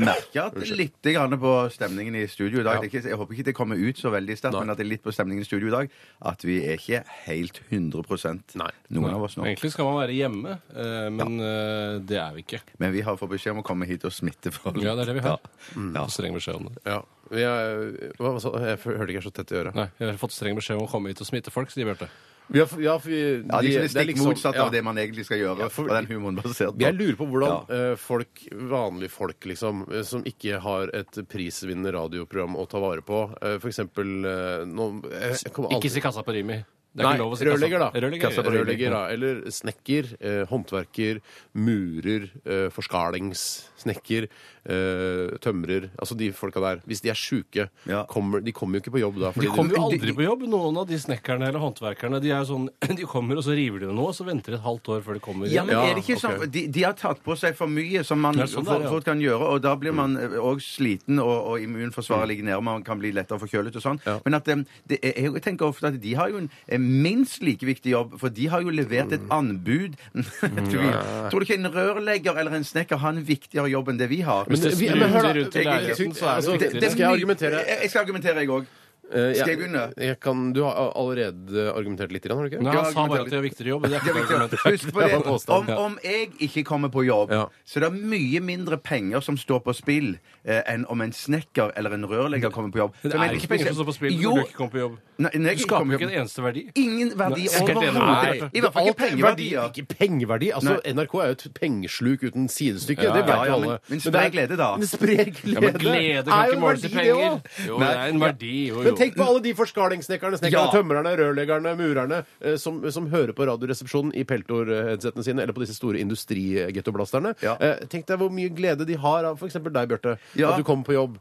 S3: merker at litt grann på stemningen i studio i dag. Det er ikke- Jeg håper ikke det kommer ut så veldig sterkt, men at det er litt på stemningen i studio i dag at vi er ikke helt 100
S2: Nei.
S3: noen av oss nå.
S4: Egentlig skal man være hjemme, eh, men eh, det er vi ikke.
S3: Men vi har fått beskjed om å komme hit og smitte folk.
S4: Ja, det er det vi har.
S2: Mm.
S3: Ja.
S4: Fått streng beskjed om det.
S2: Ja. Vi er, hva, hva sa- jeg f- hørte ikke jeg så tett i øret.
S4: Nei, jeg har fått streng beskjed om å komme hit og smitte folk, sier Bjarte.
S2: Vi har, ja, for vi,
S3: Ja, det er liksom det
S2: det er
S3: stikk
S2: liksom-
S3: motsatt
S2: ja.
S3: av det man egentlig skal gjøre,
S2: for-
S3: og den humoren basert på.
S2: Jeg lurer på hvordan eh, folk, vanlige folk, liksom, eh, som ikke har et prisvinnende radioprogram å ta vare på eh, For eksempel eh, nå, eh, jeg kommer aldri-
S4: Ikke si kassa på Rimi. Det er
S2: Nei,
S4: ikke lov å si kassa-
S2: rørlegger, da. Eh,
S4: Rørlegger,
S3: Kassa på
S4: rørlegger.
S2: Rørlegger, da. Eller snekker, eh, håndverker, murer, eh, forskalingssnekker, eh, tømrer. Altså de folka der. Hvis de er sjuke,
S3: Ja.
S2: kommer, de kommer jo ikke på jobb da. fordi
S4: De kommer jo aldri på jobb, noen av de snekkerne eller håndverkerne. De, er jo sånn, [laughs] de kommer, og så river de det nå, og så venter de et halvt år før de kommer.
S3: Ja, men
S2: Ja,
S3: er det ikke
S2: ok.
S3: sånn, de, de har tatt på seg for mye som man
S4: Det er sånn det er,
S3: fort,
S4: ja. Mm.
S3: fort kan gjøre, og da blir man òg sliten, og, og immunforsvaret ligger nede, og man kan bli lettere forkjølet og sånn. Men at, em, det, er- jeg tenker ofte at de har jo en, en minst like viktig jobb, for de har jo levert
S4: Mm.
S3: et anbud. [laughs] Tror du ikke en rørlegger eller en snekker har en viktigere jobb enn det vi har?
S2: Men, eh,
S4: det
S2: vi, men hør, da.
S4: spruter rundt i leiligheten, så er det
S2: Altså,
S4: jo
S2: det-
S4: viktigere.
S2: det- Skal jeg argumentere?
S3: Jeg, jeg skal argumentere, jeg òg.
S2: Eh,
S3: Skal jeg begynne?
S2: Jeg kan, du har allerede argumentert litt, har du ikke?
S4: Nei, han sa
S3: argumenterer
S4: bare at de har viktigere jobb. men Det er
S3: Det er
S4: ikke
S3: viktig.
S4: argumentet.
S3: Husk på
S2: Det
S3: det.
S2: var påstand,
S3: Om,
S4: ja.
S3: om jeg ikke kommer på jobb,
S2: Ja.
S3: så det er mye mindre penger som står på spill eh, enn om en snekker eller en rørlegger kommer på jobb.
S4: Det
S3: Men
S4: er ikke penger som står på spill
S3: Jo,
S4: når du ikke kommer på jobb.
S3: Nei, når jeg
S4: Du
S3: ikke
S4: skaper
S3: kommer på
S4: ikke en
S3: jobb.
S4: eneste verdi.
S3: Ingen verdi
S4: Nei, sikkert det er
S3: overhodet.
S4: det.
S3: I hvert fall ikke
S2: Alt-
S3: pengeverdier.
S2: Verdi, ikke pengeverdi. Altså,
S3: Nei.
S2: NRK er jo et pengesluk uten sidestykke.
S4: Ja,
S2: det vet
S3: ja, ja,
S2: jo alle.
S3: men- men
S2: det er-
S3: sprer glede, da.
S2: Men sprer glede.
S4: Ja, men glede
S2: Er
S4: kan
S2: jo
S4: ikke
S2: en
S4: måles
S2: verdi,
S4: i
S2: det
S4: penger.
S2: også.
S4: Jo, det er en verdi, jo, jo.
S2: Men tenk på alle de forskalingssnekkerne, snekkerne,
S3: Ja.
S2: tømrerne, rørleggerne, murerne eh, som, som hører på Radioresepsjonen i peltor-headsetene sine eller på disse store industrigettoblasterne.
S3: Ja.
S2: Eh, tenk deg hvor mye glede de har av f.eks. deg, Bjarte.
S3: Ja.
S2: At du kommer på jobb. Eh,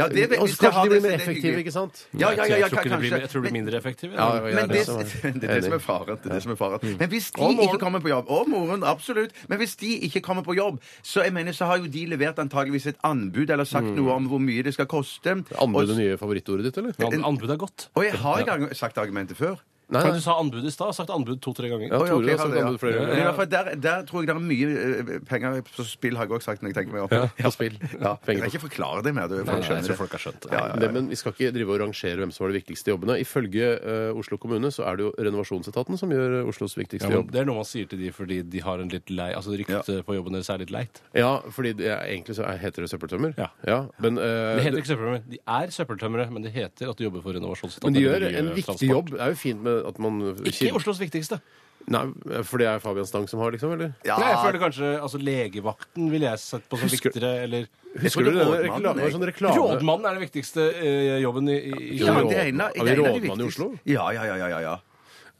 S3: Ja, det-
S2: Og
S3: hvis
S2: så
S3: jeg har
S2: kanskje de blir
S3: det,
S2: mer
S3: så er det
S2: effektive,
S3: hyggelig.
S2: ikke sant?
S3: Ja, ja, ja, ja,
S4: jeg, tror ikke det blir, jeg tror
S3: kanskje.
S4: det blir mindre effektivt.
S2: Ja, ja, ja,
S3: Men
S2: det
S3: det,
S2: som er-
S3: [laughs] det er det som er faren. Det er det som er faren. Men hvis de
S4: Mm. Og moren.
S3: ikke kommer på jobb Og moren, absolutt. Men hvis de ikke kommer på jobb, så jeg mener, så har jo de levert antageligvis et anbud eller sagt
S4: Mm.
S3: noe om hvor mye det skal koste.
S2: Anbud
S3: Og-
S2: det nye favorittordet ditt, eller?
S4: An- Anbud er godt.
S3: Og jeg har gang sagt argumentet før.
S2: Nei,
S4: Men du sa anbud i stad. Jeg har sagt anbud to-tre ganger.
S2: Ja,
S3: Oi, ok,
S2: Tore har
S3: har
S2: sagt
S3: det, ja.
S2: anbud flere
S3: Men
S2: ganger.
S3: i hvert fall der, der tror jeg det er mye eh, penger på spill, har jeg også sagt når jeg tenker meg opp. Ja,
S2: På spill.
S3: Ja. Jeg
S2: Penger på
S3: kan ikke forklare det mer. Du, folk
S4: Jeg
S3: skjønner
S4: tror
S3: det.
S4: folk har skjønt det.
S3: Ja, ja,
S2: Det, men vi skal ikke drive og rangere hvem som var de viktigste jobbene. Ifølge eh, Oslo kommune så er det jo renovasjonsetaten som gjør eh, Oslos
S4: Ja,
S2: viktigste
S4: men
S2: jobb.
S4: det er noe man sier til de fordi de har en litt lei Altså ryktet på jobben deres er litt leit.
S2: Ja, fordi det er, egentlig så er, heter det søppeltømmer.
S4: Ja.
S2: men, eh,
S4: Det heter ikke søppeltømmere. De er søppeltømmere, men det heter at de jobber for renovasjonsetaten.
S2: men de gjør
S4: eller
S2: en
S4: miljø-
S2: viktig
S4: transport.
S2: jobb. Det er jo fint med at man
S4: Ikke Oslos viktigste.
S2: Nei, eh, For det er Fabian Stang som har, liksom? eller?
S3: Ja.
S4: Nei, jeg føler kanskje altså, Legevakten ville jeg sett på som
S2: Husker-
S4: viktigere, eller
S2: Husker
S3: Jeg
S2: du
S3: tror
S2: det
S3: det er
S2: rekla-
S3: rådmannen,
S2: det var sånn reklame?
S4: Rådmannen er den viktigste eh, jobben i, i, i
S3: Ja,
S2: Har vi
S3: det er en av-
S2: rådmann- har vi
S3: en av de
S2: rådmann i
S3: viktigste.
S2: Oslo?
S3: Ja, ja, ja. ja, ja,
S2: [laughs]
S3: ja.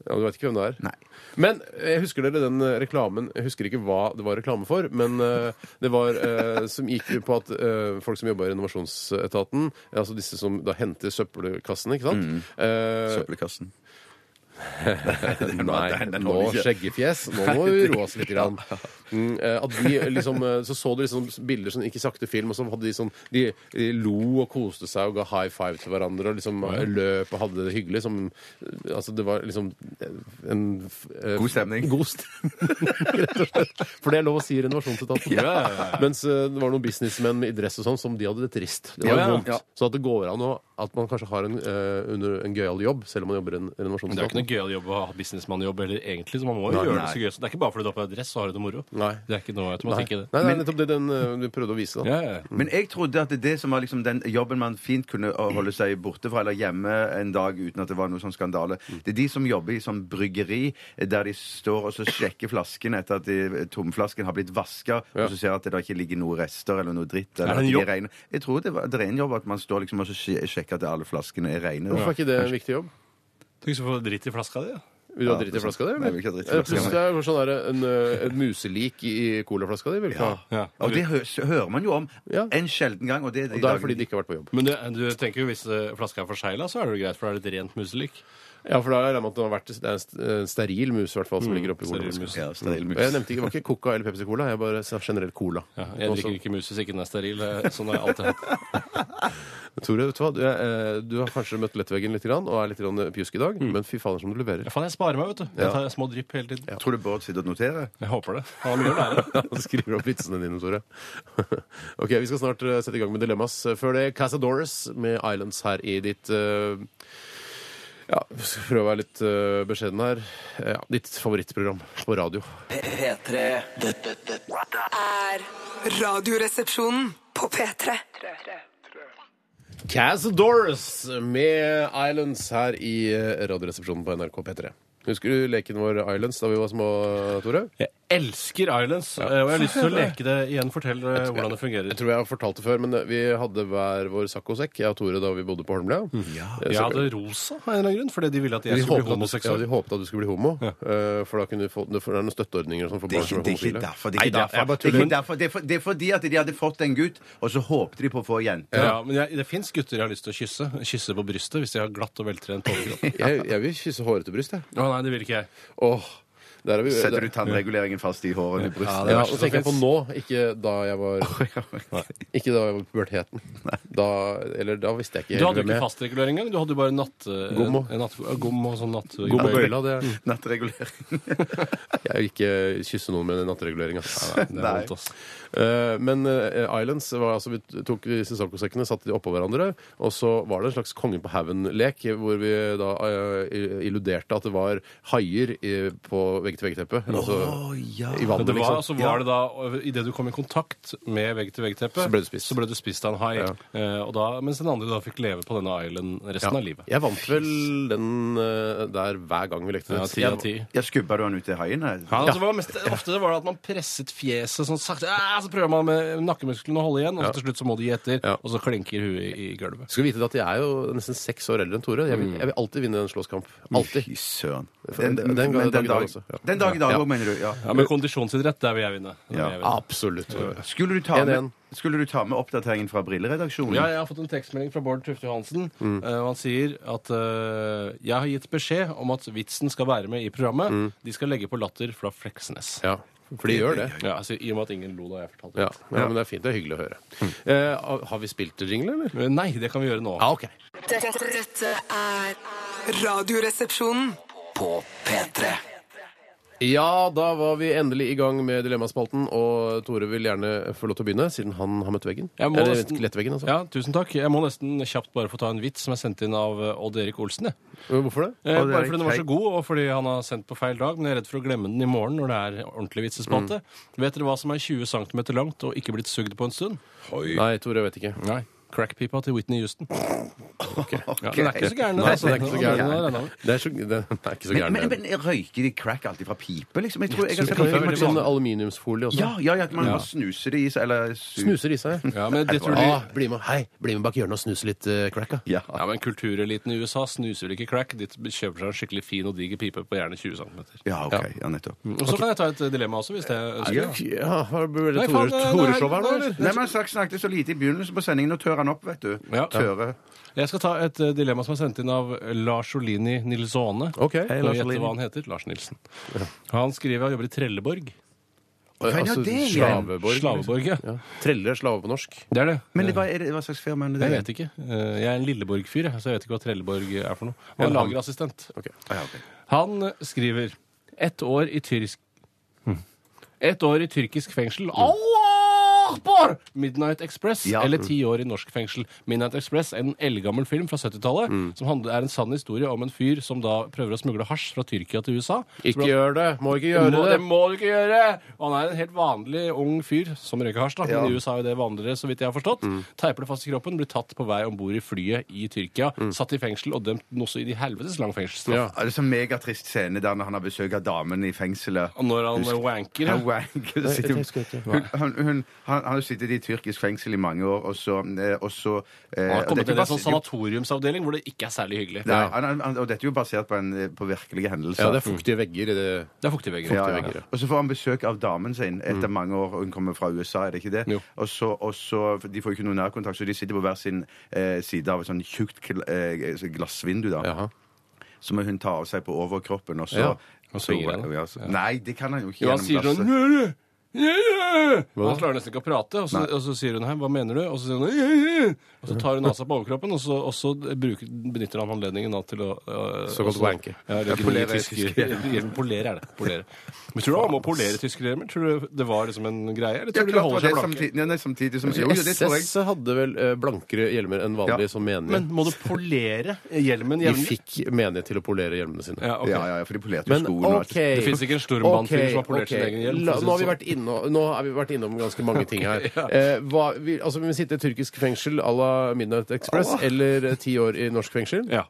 S2: Ja, Du veit ikke hvem det er?
S3: Nei.
S2: Men jeg husker dere den eh, reklamen Jeg husker ikke hva det var reklame for, men eh, det var eh, som gikk på at eh, folk som jobba i renovasjonsetaten, altså disse som da henter søppelkassene, ikke sant Eh,
S3: Søppelkassen. [laughs]
S2: Nei,
S3: den- den
S2: nå
S3: holder ikke.
S2: skjeggefjes. Nå må du roe oss litt. Grann.
S4: [laughs]
S2: Mm, eh, at de, liksom, eh, så så du liksom bilder som gikk i sakte film, og så hadde de sånn De, de lo og koste seg og ga high five til hverandre og liksom eh, løp og hadde det hyggelig. Som, eh, altså, det var liksom eh, en eh,
S3: God stemning.
S2: [laughs] God stemning, rett og slett. For det er lov å si i renovasjonsetaten. Mens eh, det var noen businessmenn i dress og sånn som de hadde det trist. Det var
S4: Ja, ja,
S2: vondt. Så at det går an å, at man kanskje har en, eh, under en gøyal jobb, selv om man jobber i en
S4: Men det er jo ikke
S2: renovasjonsetaten.
S4: noe gøyal jobb å ha businessmannjobb heller, egentlig. Så man må jo gjøre det så gøy. Så det er ikke bare fordi du har på deg dress, så har du det moro.
S2: Nei.
S4: Det er ikke noe automatikk i det.
S2: Nei, det er nettopp det den eh, du prøvde å vise. da.
S4: Ja, ja, ja.
S3: Men jeg trodde at det som var liksom den jobben man fint kunne holde seg borte fra eller hjemme en dag uten at det var noe sånn skandale,
S2: Mm.
S3: det er de som jobber i sånn bryggeri der de står og så sjekker flaskene etter at de, eh, tomflasken har blitt vaska, og så ser at det da ikke ligger noe rester eller noe dritt. Eller
S4: Er det en
S3: at de
S4: jobb?
S3: reine. Jeg tror det, var, det er en jobb at man står liksom og så sj- sjekker at alle flaskene er reine.
S2: Hvorfor er ikke det en viktig jobb?
S4: Du skal få dritt i flaska di, da.
S2: Vil du ha
S3: Ja,
S2: dritt i flaska di?
S3: Nei, jeg vil ikke ha dritt i flaska,
S2: Plutselig er det sånn der, en, eh, et muselik i colaflaska di. vil du ikke ha?
S4: Ja.
S3: Og det hø- hører man jo om
S2: Ja.
S3: en sjelden gang. Og det er de
S2: Og da er det
S3: dagene-
S2: fordi de ikke har vært på jobb.
S4: Men du, du tenker jo hvis eh, flaska er forsegla, så er det jo greit, for da er det et rent muselik.
S2: Ja, for da regner jeg med at det har vært det er en st- en steril mus i hvert fall, som ligger oppi colaflaska.
S3: ja, steril
S2: Mm. Og
S3: mus.
S2: Jeg nevnte ikke, det var ikke Coca eller Pepsi Cola, jeg bare sa generelt Cola.
S4: Ja, jeg
S2: Også-
S4: drikker ikke mus hvis ikke den er steril. eh, Sånn har jeg alltid hatt.
S2: Tore, vet du hva? Du, er, eh, du har kanskje møtt lettveggen litt grann, og er litt grann pjusk i dag, men fy fader som du leverer.
S4: Ja, faen, jeg sparer meg, vet du. Jeg tar små drypp hele tiden.
S3: Tror du Bård sitter og noterer?
S4: Jeg håper det. Han har mye å lære.
S2: [laughs] Han skriver opp vitsene dine, Tore. [laughs] ok, Vi skal snart eh, sette i gang med Dilemmas. Før det Casadores med Islands her i ditt eh, Ja, vi skal prøve å være litt eh, beskjeden her. Eh, Ja, ditt favorittprogram på radio.
S1: P3 Dette, dette
S5: er Radioresepsjonen på P3.
S2: Casadores med Islands her i eh, Radioresepsjonen på NRK P3. Husker du leken vår Islands da vi var små, Tore?
S4: Jeg elsker Islands, eh, og jeg har lyst til å leke det igjen. Fortell eh, hvordan det fungerer.
S2: Jeg tror jeg har fortalt det før, men eh, vi hadde hver vår saccosekk, jeg og Tore, da vi bodde på Holmlia. Eh,
S4: Jeg
S2: så-
S4: hadde rosa av en eller annen grunn, fordi de ville at
S2: De
S4: jeg skulle
S2: håpet,
S4: bli
S2: at, ja,
S4: homoseksuell.
S2: de håpet at du skulle bli homo, eh, for da kunne du få for det er noen støtteordninger og sånn for
S3: Det er
S2: barn som
S3: ikke,
S2: er
S3: det er ikke
S2: homofile.
S3: derfor. Det er
S2: Nei,
S3: ikke
S2: da, jeg bare
S3: derfor. Det er
S2: tuller.
S3: ikke derfor. Det er for- det er fordi at de hadde fått en gutt, og så håpte de på å få en jente.
S4: Ja, men jeg, Det fins gutter jeg har lyst til å kysse. Kysse på brystet hvis de har glatt og veltrent overkropp.
S2: Jeg, jeg vil kysse hårete bryst, jeg.
S4: Å nei, det vil ikke jeg.
S2: Åh, der er vi
S3: Setter du tannreguleringen fast i hårene i brystet?
S4: det
S2: ja, Nå
S4: verste som
S2: tenker jeg på
S4: finnes.
S2: nå, ikke da jeg
S4: [laughs]
S2: var Ikke da jeg var i puberteten. Da, eller da visste jeg ikke
S4: Du hadde jo
S2: hvem
S4: ikke
S2: jeg-
S4: fastregulør engang. Du hadde jo bare natt... eh,
S2: Gommo.
S4: en natt eh, gommo og sånn natt...
S2: God med bøyla, det
S3: Nattregulering.
S2: Jeg vil ikke kysse noen med nattregulering, ass.
S4: Det er vondt, ass.
S2: Eh, Men eh, Islands var altså Vi tok disse sandkosekkene, satte de oppå hverandre, og så var det en slags Kongen på haugen-lek, hvor vi da eh, illuderte at det var haier i- på vegg-til-vegg-teppet. Altså i
S4: Men
S2: vannet,
S4: det var,
S2: liksom.
S4: altså, var det da, Idet du kom i kontakt med vegg-til-vegg-teppet,
S2: Så ble du spist.
S4: av en hai.
S2: Ja.
S4: Eh, og da, mens den andre da fikk leve på denne island resten av livet.
S2: Jeg vant vel den eh, der hver gang vi lekte.
S4: Ja,
S2: den.
S4: ti av ti.
S3: Ja, Skubba du han ut til haiene?
S4: Ja, altså, det var mest, ofte det var det at man presset fjeset sånn sakte, «Ah!» så prøver man med nakkemusklene å holde igjen, og så til slutt så må de gi etter,
S2: Ja.
S4: og så klinker huet i, i gulvet.
S2: Skal vite at Jeg er jo nesten seks år eldre enn Tore. Jeg vil,
S4: Mm.
S2: jeg vil alltid vinne en slåsskamp. Alltid.
S3: Fy søren.
S2: Den- den- den dag i dag også, ja.
S3: den dag i dag
S2: Ja.
S3: òg, mener du? Ja.
S4: Ja, Men kondisjonsidrett, der vil jeg vinne. Der vil
S3: Ja.
S4: jeg vinne.
S2: Absolutt. Tore.
S3: Skulle du, ta med,
S2: 1-1.
S3: skulle du ta med oppdateringen fra
S2: Mm.
S3: Brilleredaksjonen?
S4: Ja, jeg har fått en tekstmelding fra Bård Tufte Johansen. eh, Og han sier at eh, jeg har gitt beskjed om at vitsen skal være med i programmet.
S2: Mm.
S4: De skal legge på latter fra Fleksnes.
S2: Ja, for de gjør det.
S4: Ja, altså, I og med at ingen lo da jeg fortalte
S2: Ja,
S4: det.
S2: ja, men det er fint. Det er hyggelig å høre.
S4: Mm.
S2: Eh, har vi spilt jingle, eller?
S4: Eh, Nei, det kan vi gjøre nå.
S2: Ja, ok.
S5: Dette, dette er Radioresepsjonen.
S1: På P3.
S2: Ja, da var vi endelig i gang med Dilemmaspalten, og Tore vil gjerne få lov til å begynne, siden han har møtt veggen.
S4: Jeg må
S2: Eller
S4: nesten-
S2: lettveggen, altså.
S4: Ja, tusen takk. Jeg må nesten kjapt bare få ta en vits som er sendt inn av eh, Odd-Erik Olsen. Jeg.
S2: Men Hvorfor det?
S4: Eh,
S3: Og det er
S4: bare fordi den var
S3: feil.
S4: så god, og fordi han har sendt på feil dag. Men jeg er redd for å glemme den i morgen når det er ordentlig vitsespalte.
S2: Mm.
S4: Vet dere hva som er 20 cm langt og ikke blitt sugd på en stund?
S2: Nei, Tore, jeg vet ikke.
S4: Nei. Crackpipa til Whitney Houston.
S3: [laughs]
S4: Ja,
S3: Ok.
S4: den er ikke så gæren, den.
S2: Nei,
S4: altså.
S2: den er ikke så
S4: Den
S2: gæren.
S4: er regnet med.
S2: Det er, så, det er ikke så
S3: Men,
S2: gæren.
S3: men,
S2: det.
S3: men røyker de crack alltid fra pipe, liksom? Jeg tror jeg har
S2: Det
S3: sett
S2: kan
S3: en
S2: jo
S3: film
S2: være
S3: med
S2: sånn
S3: sånn.
S2: aluminiumsfolie også.
S3: Ja, ja, ja, at man
S4: Ja.
S3: bare snuser det i seg, eller su-
S2: Snuser i seg.
S4: [laughs] Ja, men det tror de...
S2: Ah, bli med, hei, bli med bak hjørnet og snuse litt eh, crack, da.
S3: Ja.
S4: Ja, men Kultureliten i USA snuser vel ikke crack. De kjøper seg en skikkelig fin og diger pipe på gjerne 20 cm.
S3: Ja, ok. Ja, nettopp.
S4: Og så kan jeg ta et eh, dilemma også, hvis det ønsker.
S2: Ja,
S3: Ja.
S2: har du
S4: Nei,
S2: veldig
S4: faen, det er- det er-
S2: Tore-show her nå,
S4: det er-
S2: eller?
S3: Nei, men Saks snakket så lite i begynnelsen på sendingen. Nå tør han opp, vet du.
S4: Ja.
S3: Tøre.
S4: Jeg skal ta et eh, dilemma som er sendt inn av Lars Jolini Nilsone.
S2: Ok.
S4: Kan
S2: Hei,
S4: du
S2: Lars
S4: gjette
S2: Jolini.
S4: hva han heter? Lars Nilsen. Han skriver han jobber i Trelleborg.
S3: Kan jeg
S2: Altså,
S3: det igjen?
S2: slaveborg. liksom.
S4: Slaveborg, ja.
S2: Ja. Trelle er slave på norsk.
S4: Det er det.
S3: Men det, hva, er det, hva slags firma er det?
S4: Jeg vet ikke. Eh, Jeg er en Lilleborg-fyr, jeg, så jeg vet ikke hva Trelleborg er for noe. Han
S2: Ja,
S4: er
S2: han-
S4: lagerassistent.
S2: Ok.
S4: Han skriver ett år i tyrkisk
S2: Hmm.
S4: Ett år i tyrkisk fengsel. Allah akbar! Midnight Express.
S3: Ja.
S4: Eller ti år i norsk fengsel. Midnight Express er en eldgammel film fra 70-tallet
S2: Hmm.
S4: som handler, er en sann historie om en fyr som da prøver å smugle hasj fra Tyrkia til USA. Så
S2: Ikke
S4: blir han-
S2: gjør det! Må ikke
S4: må,
S2: gjøre
S4: det
S2: det!
S4: må du ikke gjøre! Og han er en helt vanlig ung fyr som røyker hasj, da. Men i USA er jo det vanligere, så vidt jeg har forstått.
S2: Hmm.
S4: Teiper det fast i kroppen, blir tatt på vei om bord i flyet i Tyrkia, satt i fengsel og dømt noe i de helvetes lang fengselsstraff.
S2: Hmm. Ja.
S3: Ja, det er sånn megatrist scene der når han har besøk av damen i fengselet.
S4: Og når han
S3: Husk-
S4: wanker,
S3: Han
S4: ja.
S3: wanker, og sitter-
S2: jeg husker ikke.
S3: Hun- hun- hun- Han han har jo sittet i tyrkisk fengsel i mange år, og så, eh, og så eh,
S4: Han har
S3: og dette
S4: kommet
S3: er
S4: til en
S3: bas-
S4: sånn sanatoriumsavdeling hvor det ikke er særlig hyggelig.
S3: Nei, han- han- han- og dette er jo basert på, en, eh, på virkelige hendelser.
S2: Ja, det er fuktige vegger i det
S4: Det er fuktige vegger.
S3: Ja,
S2: fuktige
S3: ja.
S2: vegger, ja.
S3: Og så får han besøk av damen sin etter mange år, og hun kommer fra USA, er det ikke det?
S4: Mm. Jo.
S3: Og så, og så for De får jo ikke noen nærkontakt, så de sitter på hver sin eh, side av et sånn tjukt gl- eh, glassvindu, da.
S2: Jaha.
S3: Så må hun ta av seg på overkroppen, og så
S2: Ja.
S4: Og
S3: så-
S4: svinger han.
S3: ja, så- Nei, det kan han jo ikke.
S4: Jo, han
S3: gjennom
S4: sier sånn
S3: glasset.
S4: «Njø, njø, njø».
S2: Hva?
S4: Han klarer nesten ikke å prate, og så, og så sier hun her, hva mener du? Og så sier hun «Njø, njø». Og så tar hun av seg på overkroppen, og så, og så bruker, benytter han anledningen da til å øh,
S2: Såkalt
S4: også-
S2: wanke.
S4: Ja, eller
S3: polere
S4: polere [laughs] tysker. Polere er det. Polere. Men tror du han må polere tyskere? men Tror du det var liksom en greie? Eller
S3: Ja,
S4: tror du de
S3: klart, og
S4: holder
S3: det
S4: seg
S3: er
S4: blanke?
S3: samtidig, ja, nei, samtidig som Jo, jo, det tror jeg.
S2: SS hadde vel eh, blankere hjelmer enn vanlig
S3: Ja.
S2: som menige.
S4: Men må du polere hjelmen
S2: De
S4: jevnlig?
S2: fikk menige til å polere hjelmene sine.
S4: Ja, ok.
S3: Ja, ja, ja, for de polerte jo
S2: Men
S3: skoene. og alt.
S2: OK
S4: Det finnes ikke en stormannfyr som har polert sin egen hjelm,
S2: La,
S4: for å si det
S2: nå har vi
S4: sånn.
S2: vært inne nå, nå har vi vært innom ganske mange ting
S4: [laughs]
S2: her. Eh, hva, vi, altså, vi må sitte i tyrkisk fengsel à la Midnight Express eller eh, ti år i norsk fengsel.
S4: Ja.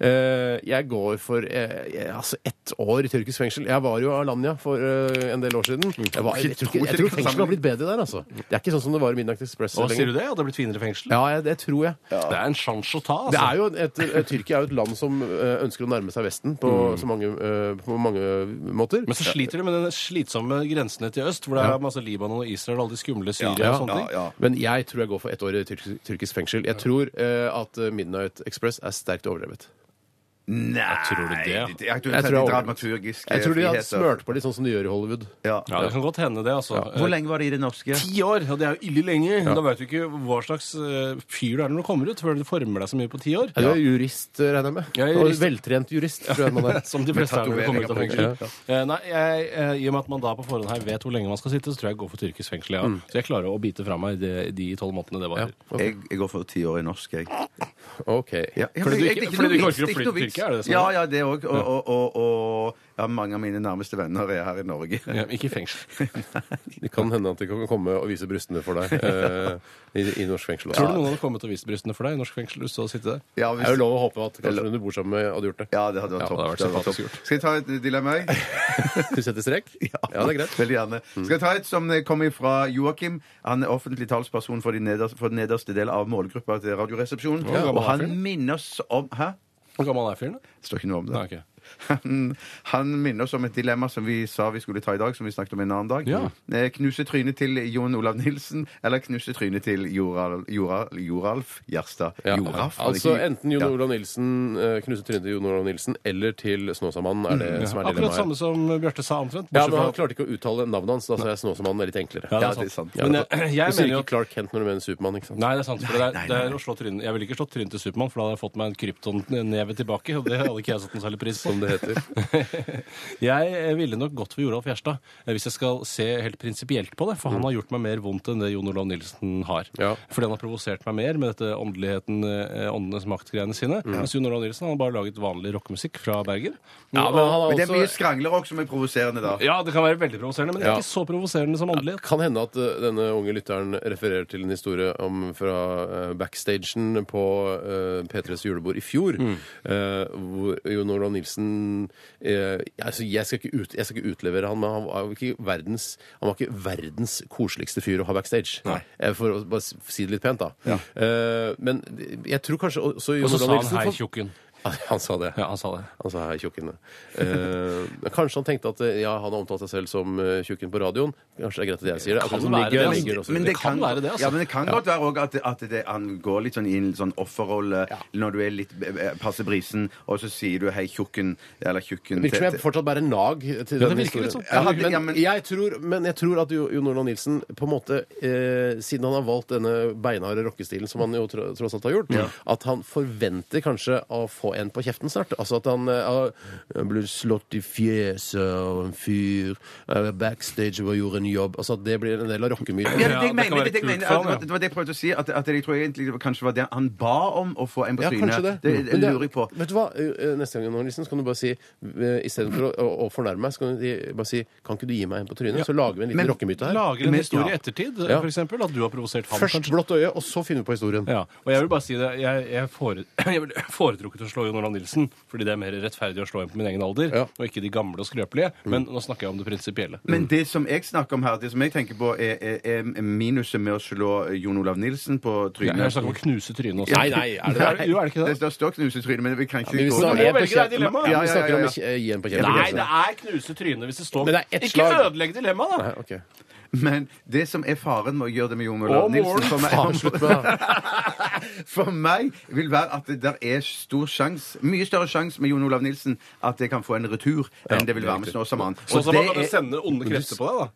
S2: Eh, jeg går for eh, jeg- altså ett år i tyrkisk fengsel. Jeg var jo Alanya for eh, en del år siden.
S4: Mm.
S2: Jeg, var, jeg, tror, ikke- jeg tror fengselet har blitt bedre der, altså. Det er ikke sånn som det var i Midnight Express.
S4: Og sier
S2: lenger.
S4: du det? Ja, det er blitt finere fengsel?
S2: Ja, jeg, det tror jeg.
S4: Det er en sjanse å ta, altså.
S2: Det er jo et, et, Tyrkia er jo et land som eh, ønsker å nærme seg Vesten på, så mange, eh, på mange måter.
S4: Men så sliter de med den slitsomme grensene til øst, hvor det er masse Libanon og Israel og alle de skumle Syria og sånne ting.
S3: ja.
S2: Men jeg tror jeg går for ett år i tyrkisk, tyrkisk fengsel. Jeg tror eh, at Midnight Express er sterkt overdrevet.
S3: Nei
S4: tror det, ja.
S3: det- Jeg
S2: Jeg
S3: tror det er
S2: tror
S3: litt
S2: jeg-
S3: dramaturgisk.
S2: Jeg tror de har
S3: friheter.
S2: smørt på litt sånn som de gjør i Hollywood.
S3: Ja.
S4: Ja, det kan godt hende, det, altså.
S3: Hvor
S4: Eh,
S3: lenge var det i det norske?
S4: Ti år, og det er jo ille lenge. Da veit du ikke hva slags eh, fyr du er når du kommer ut, før du former deg så mye på ti år. [laughs]
S2: Er du jurist, eh, regner jeg med?
S4: Jeg er
S2: Og
S4: jurist.
S2: Veltrent jurist, tror jeg man er.
S4: [laughs] Som de fleste er når de kommer ut av
S3: tatoveringer
S4: fengsel. Eh, Nei, jeg, eh, I og med at man da på forhånd her vet hvor lenge man skal sitte, så tror jeg jeg går for tyrkisk fengsel.
S3: Mm.
S4: Ja. Så jeg klarer å bite fra meg de, de tolv månedene det varer.
S3: Jeg, jeg går for ti år i norsk, jeg.
S2: OK.
S3: Ja, ja,
S4: Fordi
S3: men
S4: du
S3: jeg-
S4: ikke-
S3: jeg-
S4: fordi du
S3: noe
S4: ikke orker å
S3: vits, noe
S4: flytte til
S3: vits.
S4: Tyrkia, er det det som
S3: Ja,
S4: er?
S3: ja, det òg. Og, og, og, og ja, mange av mine nærmeste venner er her i Norge.
S4: Ja, ikke i fengsel.
S2: Det kan hende at de kan komme og vise brystene for deg eh, i, i norsk fengsel.
S4: Tror du
S2: Også.
S4: noen hadde kommet og vist brystene for deg i norsk fengsel? hvis Du så sitte der?
S3: [laughs] Ja,
S2: Det er jo lov å håpe at kanskje hun du bor sammen med, hadde gjort det.
S3: ja det hadde vært
S4: Ja,
S3: topp.
S4: det hadde vært
S3: Det hadde vært
S4: sympatisk
S3: topp. Skal jeg ta et dilemma?
S4: [laughs]
S3: jeg? [laughs]
S2: Du setter strek? Ja, det er greit.
S3: Veldig gjerne.
S4: Mm.
S3: Skal jeg ta et som eh, kommer fra Joakim. Han er offentlig talsperson for, de nederste, for den nederste del av målgruppa til Radioresepsjonen.
S4: gammel
S3: og
S4: er
S3: han
S4: fyren?
S3: minner oss om Hæ?
S4: Hvor gammel er fyren? da?
S3: Det står ikke noe om det.
S4: Nei, ok.
S3: Han, han minner oss om et dilemma som vi sa vi skulle ta i dag, som vi snakket om en annen dag.
S4: Ja.
S3: Eh, Knuse trynet til Jon Olav Nilsen, eller knuse trynet til Joral, Joral, Joralf Gjerstad.
S2: Ja.
S3: Joralf? var det
S2: altså
S3: ikke?
S2: enten Jon
S3: Ja.
S2: Olav Nilsen, eh, knuse trynet til Jon Olav Nilsen, eller til Snåsamannen, er det
S3: Mm,
S2: som er
S4: Akkurat
S2: dilemmaet. her.
S4: samme som Bjarte sa
S2: Ja,
S4: omtrent. bortsett
S2: men
S4: fra
S2: han
S4: at-
S2: klarte ikke å uttale navnet hans, da sa jeg Snåsamannen er litt enklere.
S4: Ja,
S3: Ja, det er sant.
S4: Men jeg, jeg
S2: du sier
S4: mener
S2: ikke
S4: jo at
S2: Clark Kent når du mener Supermann, ikke sant?
S4: Nei, det er sant. For det er,
S3: nei,
S4: det
S3: nei.
S4: er å slå trynet. Jeg ville ikke slått trynet til Supermann, for da hadde jeg fått meg en kryptonneve tilbake. Og det hadde ikke jeg satt noe særlig pris på.
S2: Som det heter.
S4: [laughs] Jeg eh, ville nok gått for Joralf Gjerstad, eh, hvis jeg skal se helt prinsipielt på det. For han har gjort meg mer vondt enn det Jon Olav Nilsen har.
S2: Ja.
S4: Fordi han har provosert meg mer med dette åndeligheten, eh, åndenes makt-greiene sine. Mens Jon Olav Nilsen han har bare laget vanlig rockemusikk fra Bergen.
S2: Ja, men han har
S3: Men det er mye
S2: også...
S3: skrangler også som er provoserende, da.
S4: Ja, det kan være veldig provoserende, men det
S2: Ja.
S4: er ikke så provoserende som åndelighet.
S2: Kan hende at eh, denne unge lytteren refererer til en historie om fra eh, backstagen på eh, P3s julebord i fjor,
S4: Mm.
S2: eh, hvor Jon Olav Nilsen eh, altså jeg, skal ikke ut, jeg skal ikke utlevere han, men han var, jo ikke verdens, han var ikke verdens koseligste fyr å ha backstage. Eh, For å bare s- si det litt pent, da. Eh, men jeg tror kanskje også Jon
S4: Og så
S2: Olav
S4: sa han
S2: Nilsen
S4: 'hei,
S2: [laughs] får-
S4: tjukken'.
S2: Han sa det.
S4: Ja, han sa det.
S2: Han sa hei, tjukken. Altså Eh, kanskje han tenkte at eh, ja, han har omtalt seg selv som eh, tjukken på radioen. Kanskje det er greit at jeg sier det.
S4: Kan
S2: Akkurat som
S4: være
S2: ligger,
S4: det, altså.
S2: ligger og så
S4: Men
S2: videre.
S4: det kan være det, altså.
S3: Ja, men det kan godt være også at, at det, han går litt sånn i en sånn offerrolle når du er litt eh, passe brisen, og så sier du 'hei, tjukken' eller 'tjukken'
S2: Virker som jeg fortsatt bærer nag til
S4: det
S2: den
S4: virker
S2: historien.
S4: litt sånn.
S2: Ja,
S3: Ja, det-
S2: men,
S3: ja, men-
S2: jeg tror, men jeg tror at Jo- Jon Olav Nilsen, på en måte, eh, siden han har valgt denne beinharde rockestilen, som han jo tro, tross alt har gjort, at han forventer kanskje å få en på kjeften snart. Altså at han eh, har- han blir slått i fjeset av en fyr, eh, backstage og gjorde en jobb Altså at det blir en del av rockemyten.
S3: Ja,
S4: Ja,
S3: det, jeg
S4: det
S3: mener,
S4: kan være
S3: det, jeg
S4: kult
S3: mener,
S4: for han,
S3: at-
S4: ja.
S3: at det var det jeg prøvde å si. At, at jeg tror egentlig det var- kanskje var det han ba om å få en på
S2: Ja,
S3: trynet.
S2: kanskje det.
S3: det,
S2: Men
S3: det lurer jeg på.
S2: Vet du hva? Eh, Neste gang du har lysten, så kan du bare si eh, Istedenfor å, å, å fornærme meg, så kan du si- bare si Kan ikke du gi meg en på trynet? Så lager vi en
S3: Men
S2: liten rockemyte her.
S4: Lager en
S3: Men-
S4: historie i
S3: ja.
S4: ettertid,
S2: Ja.
S4: for eksempel, At du har provosert han,
S2: Først
S4: kanskje.
S2: blått øye, og så finner vi på historien.
S4: Ja, og jeg vil bare si det, jeg, jeg, fore, [clears throat] jeg ville foretrukket å slå Jon Olav Nilsen, fordi det er mer rettferdig å slå en på min egen alder,
S2: Ja.
S4: og ikke de gamle og skrøpelige. Men nå snakker jeg om det prinsipielle.
S3: Men det som jeg snakker om her, det som jeg tenker på, er, er, er minuset med å slå Jon Olav Nilsen på
S4: Jeg,
S3: trynet.
S4: snakker om å knuse trynet også.
S2: Nei, nei, er det det?
S4: Er det- [laughs] Jo, er det ikke det?
S3: Det det står knusetryne, men vi kan ikke
S2: Men Vi
S3: gå-
S4: snakker-
S2: snakker,
S4: må velge deg
S2: dilemma,
S4: dilemma,
S3: ja.
S2: Vi snakker
S3: Ja, ja,
S2: om
S3: ja,
S2: å eh, gi en på kjeften.
S4: Nei, det er knuse trynet hvis det står
S2: Men det er ett
S4: Ikke
S2: slag.
S4: ødelegg dilemmaet, da!
S2: Nei, ok.
S3: Men det som er faren med å gjøre det med Jon Olav
S4: Å,
S3: Nilsen for
S2: Faen,
S3: meg,
S2: slutt med det.
S3: [laughs] for meg vil være at det der er stor sjans, mye større sjanse med Jon Olav Nilsen at jeg kan få en retur enn det vil være med Snåsamannen.
S4: Sånn som man kan sende onde krefter på deg, da.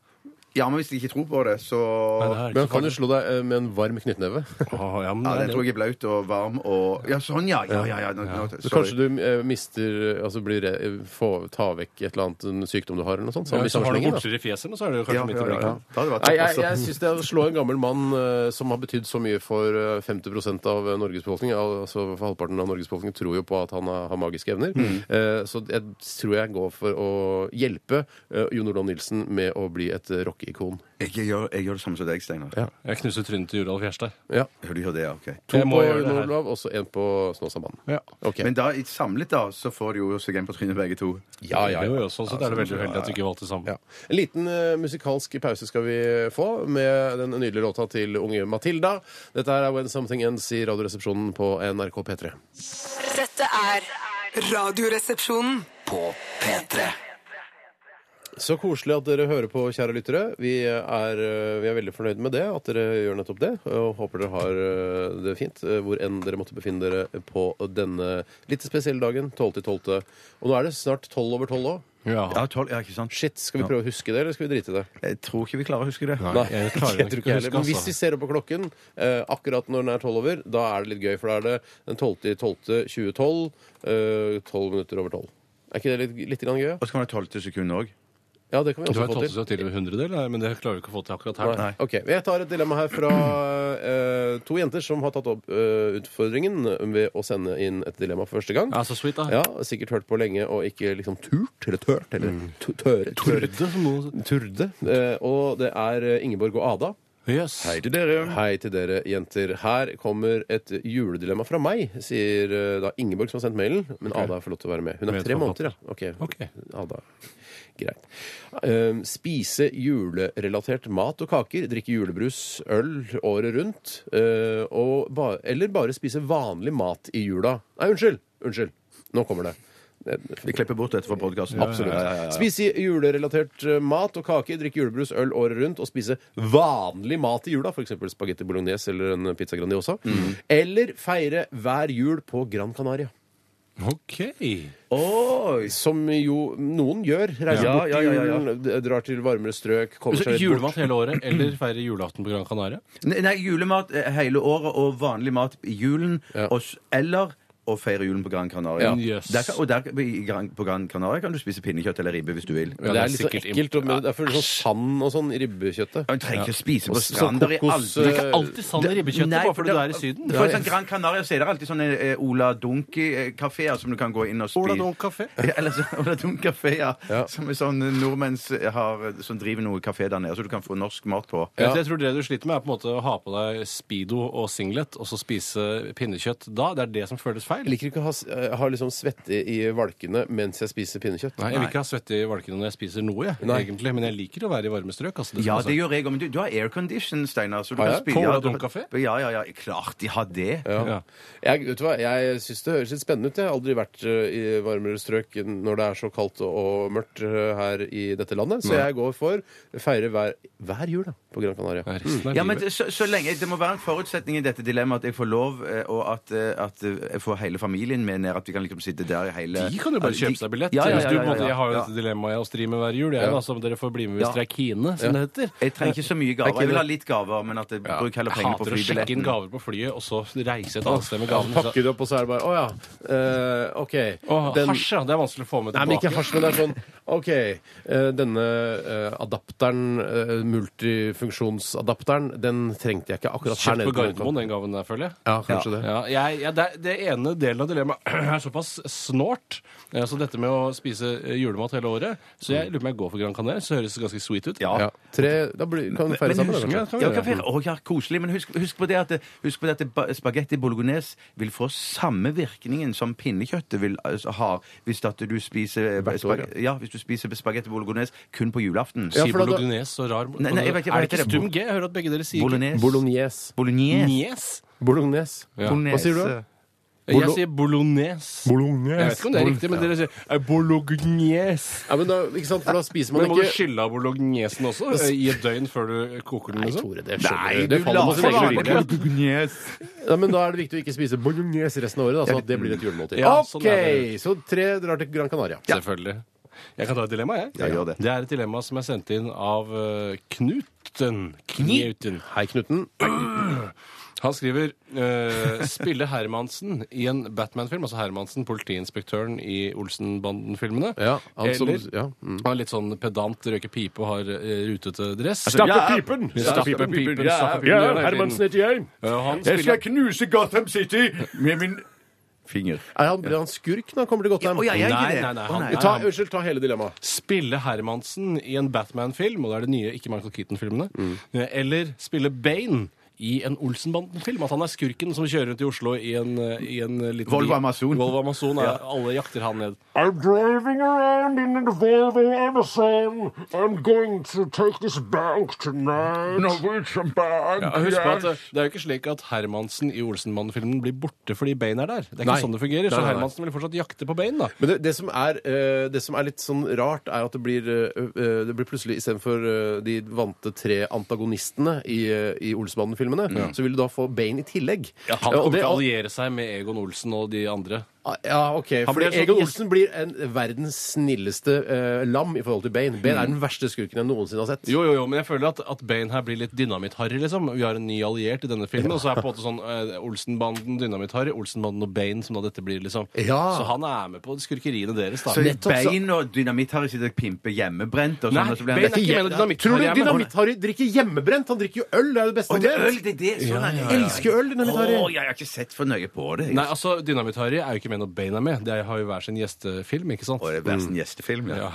S3: Ja, men hvis de ikke tror på det, så
S4: Nei, det
S2: Men kan du slå deg eh, med en varm
S3: [laughs]
S2: knyttneve?
S4: Å, ja, men
S3: Ja,
S4: det er
S3: den tror jeg er blaut og varm og Ja, sånn, ja! Ja, ja, ja. Nå, nå,
S2: Så
S3: sorry.
S2: kanskje du eh, mister eh, Altså blir, re- få, ta vekk et eller annet en sykdom du har, eller noe sånt?
S4: Ja,
S2: samme
S4: hvis du har noe
S2: slangen, da.
S4: bortser i fjeset, nå, så er det jo
S3: Ja,
S4: kanskje midt
S3: ja,
S4: i
S3: ja.
S4: blinken.
S3: Da hadde det vært altså.
S2: Nei, jeg,
S3: såpass.
S2: jeg synes det er å slå en gammel mann eh, som har betydd så mye for eh, 50 av eh, Norges befolkning, al- altså for halvparten av Norges befolkning tror jo på at han har, har magiske evner,
S3: Mm.
S2: Eh, så jeg tror jeg går for å hjelpe eh, Jon Olav Nilsen med å bli et eh, rockeikon.
S3: Jeg gjør, jeg gjør det samme som deg, Steinar.
S2: Ja.
S4: Jeg knuser trynet til Jurald Fjerstad.
S2: Ja.
S3: Hører Du gjør det, ja, ok.
S2: To
S4: Jeg må
S2: på
S4: gjøre det
S2: Jon
S4: her.
S2: Olav, og så en på Snåsamannen.
S4: Ja.
S2: Ok.
S3: Men da, i- samlet, da, så får du jo seg en på trynet, begge to.
S2: ja, ja,
S4: Jo,
S2: ja.
S4: jo, sånn sett er det veldig uheldig at du ikke valgte sammen.
S2: Ja. En liten eh, musikalsk pause skal vi få med den nydelige låta til unge Matilda. Dette her er When Something Ends i Radioresepsjonen på NRK P3.
S5: Dette er Radioresepsjonen.
S1: På P3.
S2: Så koselig at dere hører på, kjære lyttere. Vi er, eh, vi er veldig fornøyd med det, at dere gjør nettopp det. Og håper dere har eh, det fint, eh, hvor enn dere måtte befinne dere på denne litt spesielle dagen. 12.12. Og nå er det snart 12 over 12 òg.
S4: Ja.
S3: Ja, tolv, ja, ikke sant?
S2: Shit, skal vi prøve å huske det, eller skal vi drite i det?
S3: Jeg tror ikke vi klarer å huske det.
S4: Nei,
S2: jeg
S4: jeg klarer nok
S2: tror ikke
S4: ikke å
S2: heller.
S4: huske,
S2: Men hvis
S4: altså.
S2: vi ser opp på klokken eh, akkurat når den er 12 over, da er det litt gøy, for da er det den 12.12.2012, eh, 12 minutter over 12. Er ikke det litt, litt grann gøy? ja?
S3: Og så kan det være tolvte sekund òg.
S2: Ja, det kan vi
S4: Du
S2: også
S4: har
S2: få
S4: tatt
S2: til.
S4: oss til en hundredel, nei, men det klarer vi ikke å få til akkurat her.
S2: Nei. Ok, Jeg tar et dilemma her fra eh, to jenter som har tatt opp eh, utfordringen ved å sende inn et dilemma for første gang.
S4: Ja, så sweet, da.
S2: Ja, Sikkert hørt på lenge og ikke liksom turt eller tørt eller tu- tøre. tøre-
S4: Turde, som noe-
S2: Turde. Eh, og det er eh, Ingeborg og Ada.
S4: Yes.
S3: Hei til dere.
S2: Hei til dere jenter. Her kommer et juledilemma fra meg, sier eh, da Ingeborg som har sendt mailen. Men Ada får lov til å være med. Hun er
S4: Med
S2: tre måneder,
S4: forfatter.
S2: ja. Ok.
S4: Ok.
S2: Ada. Greit. Eh, spise julerelatert mat og kaker, drikke julebrus, øl året rundt, eh, og ba eller bare spise vanlig mat i jula. Nei, unnskyld! Unnskyld. Nå kommer det. Eh,
S3: Vi klipper bort dette fra podkasten.
S2: Absolutt. Spise julerelatert eh, mat og kake, drikke julebrus, øl året rundt, og spise vanlig mat i jula, f.eks. spagetti bolognese eller en pizza grandiosa. Eller feire hver jul på Gran Canaria.
S4: OK.
S3: Oi!
S2: Som jo noen gjør. Reiser
S3: Ja,
S2: bort
S3: ja, ja, ja, ja.
S2: i julen, d- drar til varmere strøk, kommer
S4: Så
S2: seg litt
S4: Altså, Julemat
S2: bort.
S4: hele året eller feire julaften på Gran Canaria?
S3: Nei, nei, julemat eh, hele året og vanlig mat i julen.
S2: Ja.
S3: Og, s- eller å feire julen på Gran Canaria.
S4: Ja. Yes.
S3: Der kan, og der, kan- i Gran, på Gran Canaria kan du spise pinnekjøtt eller ribbe hvis du vil.
S2: Det er litt så
S4: sikkert
S2: ekkelt. og- men Det er for sånn sand og sånn i ribbekjøttet.
S3: Man trenger ikke å spise på
S2: så
S3: stranda.
S4: sånn
S3: Det er
S2: kokos,
S3: aldri-
S2: eh,
S4: Alltid sand i sånn ribbekjøttet,
S3: Nei,
S4: bare fordi
S3: det-
S4: du er i Syden.
S3: For sånn Gran Canaria så er det alltid sånne eh, Ola Dunki-kafeer som du kan gå inn og spise.
S4: Ola Dunk kafé.
S3: [laughs] Ja, eller så, Ola Dunk-kafeer,
S2: Ja.
S3: som er sånn eh, nordmenn s- har, eh, som driver noe kafé der nede, så du kan få norsk mat på.
S4: Ja. Jeg tror det du sliter med, er på en måte å ha på deg speedo og singlet, og så spise pinnekjøtt da. Det er det som føles feil.
S2: Jeg liker ikke å ha, s- eh, ha liksom svette i valkene mens jeg spiser pinnekjøtt.
S4: Nei, Jeg vil ikke ha svette i valkene når jeg spiser noe, jeg,
S2: Nei.
S4: egentlig. Men jeg liker å være i varme strøk. Altså, det
S3: Ja,
S4: skal
S3: det
S4: jeg si.
S3: gjør jeg òg. Men du, du har aircondition, Steinar. Så du
S2: Har
S3: kan
S2: jeg?
S3: spille
S4: På Ola
S3: ja, du-
S4: Dunk kafé?
S3: Ja, ja, ja. Klart de har det.
S2: Ja.
S4: Ja.
S2: Jeg, vet du hva, jeg syns det høres litt spennende ut. Jeg har aldri vært eh, i varmere strøk når det er så kaldt og, og mørkt eh, her i dette landet, så jeg går for feire hver, hver jul da, på Gran Canaria.
S4: Resten av
S3: Ja, men det-
S4: livet.
S3: så, så lenge, Det må være en forutsetning i dette dilemmaet at jeg får lov, eh, og at, eh, at eh, jeg får hele familien med ned. At vi kan liksom sitte der i hele
S4: De kan jo bare
S3: at
S4: kjøpe seg billett.
S3: Ja, ja,
S4: Hvis
S3: ja,
S4: du,
S3: ja,
S4: på en måte,
S3: ja,
S4: jeg har jo
S3: ja.
S4: et dilemma jeg å stri med hver jul, jeg,
S2: Ja.
S4: da, så dere får bli med hvis
S3: Ja.
S4: dere er kine, som det heter.
S3: Jeg trenger ikke så mye gaver. Jeg vil ha litt gaver, men at jeg bruk heller
S4: Jeg
S3: penger på
S4: hater å sjekke inn
S3: flybilletten.
S4: gaver på flyet, og så reise et annet sted med
S2: Ja, så
S4: gavene.
S2: pakker du opp, og så er det bare Å ja. eh, OK.
S4: Åh,
S2: Den-
S4: Hasj, ja. Det er vanskelig å få med
S2: Nei, men ikke
S4: tilbake.
S2: hasj, men det er sånn OK, eh, denne eh, adapteren, eh, multifunksjonsadapteren, den trengte jeg ikke akkurat her
S4: Kjøpt
S2: nede.
S4: på Gardermoen, den gaven der, føler jeg.
S2: Ja, kanskje det.
S4: Ja, jeg, jeg, det, det ene delen av dilemmaet [clears throat] er såpass snålt, eh, så dette med å spise eh, julemat hele året Så jeg lurer på om jeg går for Gran Canaria, så høres det ganske sweet ut.
S3: Mm. Ja.
S2: Ja. Tre, da blir, kan vi feire
S3: Men
S2: sammen. da,
S3: husk,
S2: kanskje?
S4: kan vi
S3: ja,
S4: gjøre.
S3: kan feire. Å, ja, koselig. Men husk, husk på det at, husk på det at ba- spagetti bolognese vil få samme virkningen som pinnekjøttet vil altså, ha hvis at du spiser
S2: Hvert år,
S3: spag- ja, hvis du spiser spagetti bolognese kun på julaften.
S2: Ja,
S4: Sier
S2: for da-
S4: bolognese og rar
S3: Nei, nei, jeg vet ikke hva
S4: Er det
S3: heter
S4: ikke
S3: det?
S4: stum G? Jeg hører at begge dere sier
S3: Bolognese.
S2: Bolognese.
S3: Bolognese.
S4: Bolognese.
S2: Bolognese.
S3: Bolognese.
S2: Hva sier du? da?
S4: Eh, Jeg sier bolognese. Jeg vet ikke om det er riktig, men dere sier eh, bolognese.
S2: Ja, men da, ikke sant, for da spiser man
S4: Men må du
S2: ikke
S4: skylle av bolognesen også eh, i et døgn før du koker den?
S2: Nei,
S4: Liksom?
S2: Tore, det
S3: Nei,
S2: skjønner du.
S3: du
S2: Det faller
S3: la
S2: på sine
S3: for
S2: egne
S3: vanlig
S2: urimeligheter.
S3: bolognese.
S2: Ja, men da er det viktig å ikke spise bolognese resten av året, da, sånn at det blir et julemåltid.
S4: Ja, sånn
S2: OK,
S4: er
S2: så tre drar til Gran Canaria.
S4: Selvfølgelig. Jeg kan ta et dilemma, jeg.
S3: Ja, gjør det.
S4: er et dilemma som er sendt inn av eh, Knuten. Knuten.
S2: Hei, Knuten.
S4: Han skriver eh, spille Hermansen i en Batman-film, altså Hermansen, politiinspektøren i Olsenbanden-filmene.
S2: Ja, han som-
S4: Eller
S2: ja,
S4: han er litt sånn pedant, røyker pipe og har eh, rutete dress.
S3: Ja.
S2: pipen!
S4: Stappe pipen, stappe pipen, gjør det hele tiden.
S2: heter jeg.
S4: Eh, han spiller
S3: knuse Gotham City med min finger.
S2: Er han, er han skurk når han kommer til Gotham?
S3: Å, ja, jeg er ikke
S4: Nei,
S3: det.
S4: nei, nei,
S3: Å,
S4: han-
S2: Ta, unnskyld, ta hele dilemmaet.
S4: Spille Hermansen i en Batman-film, og det er det nye, ikke Michael Keaton-filmene. Eh, Eller spille Bane i en Olsenbanden-film. At han er skurken som kjører rundt i Oslo i en, eh, i en eh, liten
S3: Volvo
S4: bil.
S3: Amazon.
S4: Volvo Amazon, ja. Alle jakter han ned.
S7: I'm driving around in a Volvo Amazon. I'm going to take this bank tonight. Norwegian bank.
S4: Ja, husk på at eh, Det er jo ikke slik at Hermansen i Olsenbanden-filmen blir borte fordi Bane er der. Det er ikke
S2: Nei.
S4: sånn det fungerer,
S2: Nei,
S4: så
S2: nei, nei.
S4: Hermansen vil fortsatt jakte på Bane. da.
S2: Men det, det, som er, eh, det som er litt sånn rart, er at det blir, eh, eh, det blir plutselig istedenfor eh, de vante tre antagonistene i, eh, i Olsmannen-filmene, så vil du da få Bane i tillegg.
S4: Han
S2: Ja, og
S4: kommer
S2: det-
S4: til å alliere seg med Egon Olsen og de andre.
S2: Ja, ok. For
S4: blir en sånn
S2: Egon
S4: gjest-
S2: Olsen blir en verdens snilleste eh, lam i forhold til Bane. Bane er den verste skurken jeg noensinne har sett.
S4: Jo, jo, jo, men jeg føler at, at Bane her blir litt dynamitt-harry, liksom. Vi har en ny alliert i denne filmen, og så er på en måte sånn eh, Olsenbanden, dynamitt-harry, Olsenbanden og Bane som da dette blir, liksom.
S2: Ja.
S4: Så han er med på skurkeriene deres, da.
S3: Så
S2: Nettopp, så-
S3: bein og dynamitt har ikke dere pimpe hjemmebrent og
S4: Nei,
S3: sånn? og så blir han-
S4: bein er ikke med noe dynamitt.
S2: Tror du
S4: Harry er med.
S2: Dynamitt-Harry drikker hjemmebrent? Han drikker jo øl, det er jo det beste
S3: Å,
S2: han
S3: det er
S2: vet.
S3: øl, det er det! Sånn er det.
S2: Jeg elsker øl, Dynamitt-Harry.
S3: Å, jeg har ikke sett for nøye på det.
S4: Nei, altså, Dynamitt-Harry er jo ikke med når Bane er med. De har jo hver sin gjestefilm, ikke sant?
S3: Å, det er verst en gjestefilm, ja.
S4: Ja.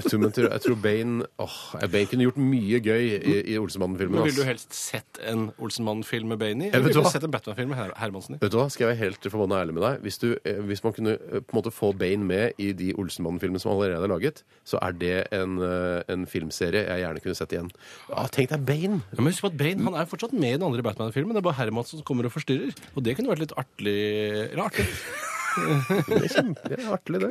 S2: Jeg tror, men, jeg tror- jeg tror Bane åh, Bane kunne gjort mye gøy i, i Olsmannen-filmen.
S4: Men ville
S2: ass.
S4: du helst sett en Olsenmann-film med Bane i?
S2: vet
S4: Eller
S2: du
S4: ville
S2: hva?
S4: du sett en Batman-film med Her Hermansen i?
S2: Vet du hva, Skal jeg være helt forbanna ærlig med deg? Hvis, du, eh, hvis man kunne eh, på en måte få Bane med i de Olsenmannen-filmene som allerede er laget, så er det en, eh, en filmserie jeg gjerne kunne sett igjen. Ja, tenk deg Bane!
S4: Ja, men husk på at Bane han er jo fortsatt med i den andre Batman-filmen. Det er bare Hermansen som kommer og forstyrrer. Og det kunne vært litt artig Eller artig.
S2: [laughs] Det er kjempe det er artig, det.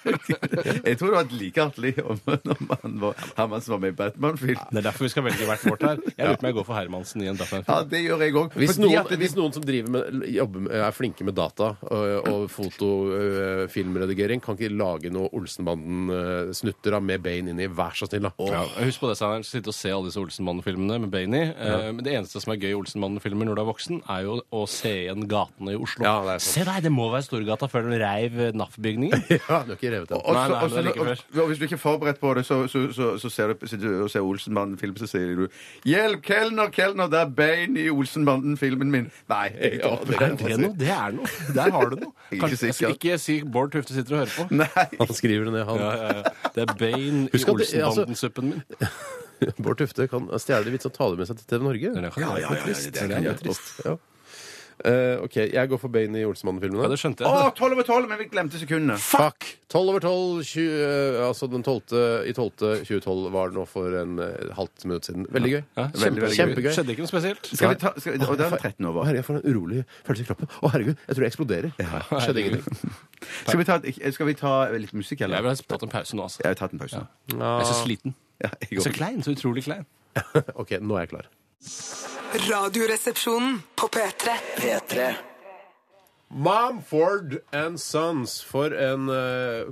S3: [laughs] Jeg tror det var like artig [laughs] om, om han var, han var som var med i Batman-film.
S4: Det er derfor vi skal velge hvert vårt her. Jeg lurer på om jeg går for Hermansen i en Batman-film.
S3: Ja, det gjør jeg òg.
S2: Hvis noen, hvis noen som driver med, jobber med, er flinke med data og, og fotofilmredigering, kan ikke lage noe Olsenbanden-snutter av med Bane inni, vær så snill, da.
S4: Ja, Husk på det, Steinar. Sitte og se alle disse Olsenmannen-filmene med Bainey. Eh, men det eneste som er gøy i Olsenmannen-filmer når du er voksen, er jo å se igjen gatene i Oslo.
S2: Ja, det er sant.
S4: se deg, det må være Storgata før den reiv eh, [laughs] NAF-bygningen.
S2: Ja, du har ikke revet den.
S3: Og
S4: Nei,
S3: så-
S4: nei,
S3: og
S4: men
S3: så-
S4: likevel.
S3: og- og hvis du ikke er forberedt på det, så, så, så, så ser du, sitter du og ser Olsenbanden-film, så sier du 'Hjelp, kelner, kelner, det er bein i Olsenbanden-filmen min'. Nei. jeg
S2: Ja,
S3: orker
S2: det
S4: Er det noe? Det er noe. Der har du noe.
S3: Jeg er ikke
S4: Kanskje,
S3: sikker.
S4: altså, ikke si Bård Tufte sitter og hører på.
S3: Nei.
S2: Han skriver det ned, han.
S4: Ja, ja, ja. Det er Bane i
S2: Husk at det- altså-
S4: Olsenbanden-suppen min.
S2: [laughs] Bård Tufte kan stjele det vits og ta det med seg til TV Norge.
S4: Det er det jeg kan gjøre.
S3: ja, det kan jeg
S2: Det er
S3: gjøre.
S2: trist. Ja. Eh, OK, jeg går for Bane i Olsenmannen-filmene.
S4: Ja, det skjønte jeg.
S3: Å, tolv over tolv, men vi glemte sekundene.
S2: Fuck! 12 over 12, 20, eh, altså den 12. i 12. 2012 var det nå for en eh, halvt minutt siden. Veldig gøy.
S4: Ja,
S2: Kjempe,
S4: kjempegøy.
S2: kjempegøy.
S4: Skjedde ikke noe spesielt.
S3: Skal vi ta skal, vi- Og da er det 13
S2: Å,
S3: over.
S2: herregud, jeg får en urolig følelse i kroppen. Å, herregud, jeg tror jeg eksploderer. Skjedde ingenting.
S3: Skal vi ta, skal vi ta eh, litt musikk,
S4: Jeg
S3: eller?
S4: vil ha tatt en pause nå, altså.
S3: Jeg har tatt en pause.
S4: Jeg er så sliten.
S3: Ja, jeg
S4: Så
S3: går.
S4: klein. Så utrolig klein.
S2: [laughs] OK, nå er jeg klar.
S5: Radioresepsjonen på P3.
S1: P3.
S2: Momford and Sons. For en eh,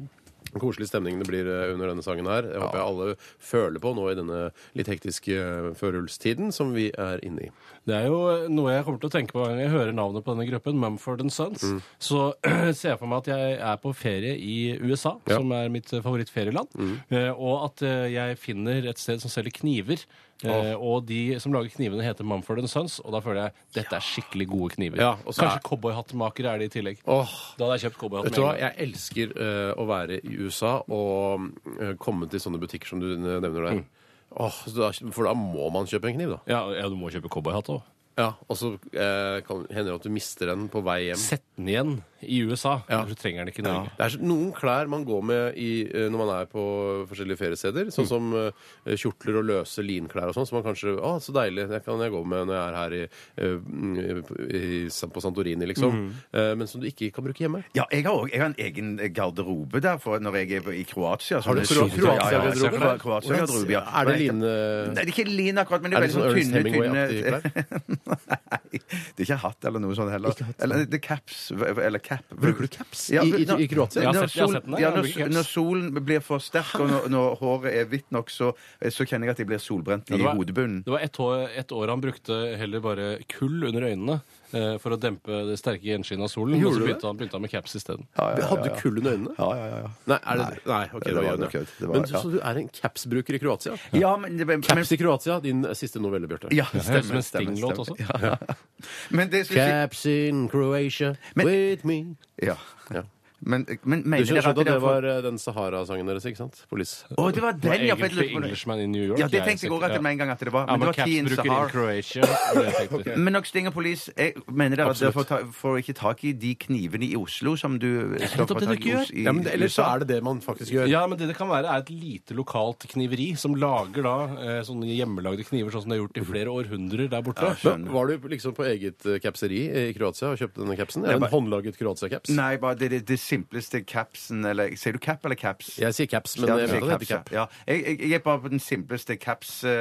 S2: koselig stemning det blir eh, under denne sangen her. Jeg håper jeg alle føler på nå i denne litt hektiske eh, førjulstiden som vi er inne i.
S4: Det er jo noe jeg kommer til å tenke på hver gang jeg hører navnet på denne gruppen, Mumford Sons.
S2: Mm.
S4: Så [clears throat] ser jeg for meg at jeg er på ferie i USA,
S2: Ja. Mm.
S4: som er mitt eh, favorittferieland, eh, og at eh, jeg finner et sted som selger kniver. eh, Og de som lager knivene, heter Mumford Sons, og da føler jeg dette er skikkelig gode kniver.
S2: Ja, og så er-
S4: Kanskje cowboyhattmakere er det i tillegg.
S2: Åh,
S4: Da hadde jeg kjøpt cowboyhatt
S2: Vet du hva,
S4: en gang.
S2: Jeg elsker eh, å være i USA og eh, komme til sånne butikker som du nevner der. Åh, så da, for da må man kjøpe en kniv, da.
S4: Ja, ja, du må kjøpe cowboyhatt òg.
S2: Ja, Og så eh, kan- hender det at du mister den på vei hjem.
S4: Sett den igjen i USA,
S2: Ja.
S4: for du trenger den ikke i Norge.
S2: Det er så- noen klær man går med i, eh, når man er på forskjellige feriesteder. Sånn
S3: Mm.
S2: som eh, kjortler og løse linklær og sånn, som man kanskje Å, så deilig, det kan jeg gå med når jeg er her i, eh, i, på Santorini, liksom.
S3: Mm.
S2: Eh, Men som du ikke kan bruke hjemme.
S3: Ja, jeg har òg jeg har en egen eh, garderobe der for når jeg er på- i Kroatia.
S2: Har du
S3: sånne-
S2: Kroatia-
S3: Ja, ja, ja, ja,
S2: Kroatia-garderobe?
S3: Kroatia- Kroatia-garderobe, ja.
S2: Er det line-
S3: Nei, det er ikke line akkurat, men det er,
S2: Er det
S3: veldig
S2: sånn
S3: sånn
S2: Ernest
S3: tynne, tynne [laughs]
S2: Hemingway-aktige klær?
S3: Nei, det er ikke hatt eller noe sånt heller. Eller det er caps, eller cap.
S2: Bruker du caps
S3: Ja,
S2: i, i,
S3: når-
S2: i Kroatia?
S4: Ja. Jeg
S3: Når
S4: har sett- jeg har
S3: sol-
S4: sett den der,
S3: ja,
S4: jeg
S3: når
S4: bruker
S3: s-
S4: caps.
S3: når solen blir for sterk, og når, når håret er hvitt nok, så, så kjenner jeg at jeg blir solbrent i
S4: det var-
S3: hodebunnen.
S4: Det var ett år, ett år han brukte heller bare kull under øynene eh, for å dempe det sterke gjenskinnet av solen.
S2: Gjorde
S4: og så
S2: du det?
S4: begynte han, begynte han med caps isteden.
S2: [laughs] Hadde du kull under øynene?
S3: Ja, ja, ja, ja.
S2: Nei, er det,
S3: Nei.
S2: nei, ok,
S3: Det
S2: det var
S3: var
S2: Jørgen,
S3: nok
S2: ja.
S3: kødd. Det var-
S2: Men så,
S3: ja.
S2: så du er en caps-bruker i Kroatia?
S3: Ja, men, men, men
S2: Caps i Kroatia, din siste novelle, Bjarte.
S3: ja,
S4: Det høres ut som en Sting-låt også.
S3: Ja. Men det skulle jeg
S2: Caps in Croatia
S3: Men-
S2: with me
S3: si Ja.
S2: Ja.
S3: Men, men
S2: Du
S3: mener dere
S2: skjønte
S3: at
S2: at det
S3: dere har fått-
S2: var eh, den Sahara-sangen deres, ikke sant? Police.
S3: Å, det var
S4: Det var
S3: den, ja! for jeg
S4: egentlig
S3: lurte på det.
S4: Englishman in New York.
S3: Ja, det tenkte jeg òg at det med en gang at det var. Men det var Teen
S4: Capsbruker in
S3: Sahar.
S4: Croatia. var det jeg [laughs] tenkte.
S3: Men nok Stinger Police, jeg mener dere at dere
S4: Absolutt.
S3: får, ta, får ikke tak i de knivene i Oslo som du står
S4: nettopp
S3: for
S4: det
S3: tak
S4: du
S3: i
S4: ikke
S3: Os- i
S2: Ja, men det- Eller så
S3: USA.
S2: er det det man faktisk gjør.
S4: Ja, men det det kan være er et lite lokalt kniveri som lager da eh, sånne hjemmelagde kniver sånn som det er gjort i flere århundrer der borte.
S2: Men var du liksom på eget eh, capseri i Kroatia og kjøpte denne capsen? Er det en håndlaget Kroatia-caps?
S3: Nei, bare det, det, det simpleste capsen eller Sier du cap eller caps?
S2: Jeg sier caps, men
S3: Ja, du
S2: jeg vet
S3: sier
S2: at det heter
S3: caps,
S2: cap.
S3: ja. Ja. Jeg, jeg, jeg er bare på den simpleste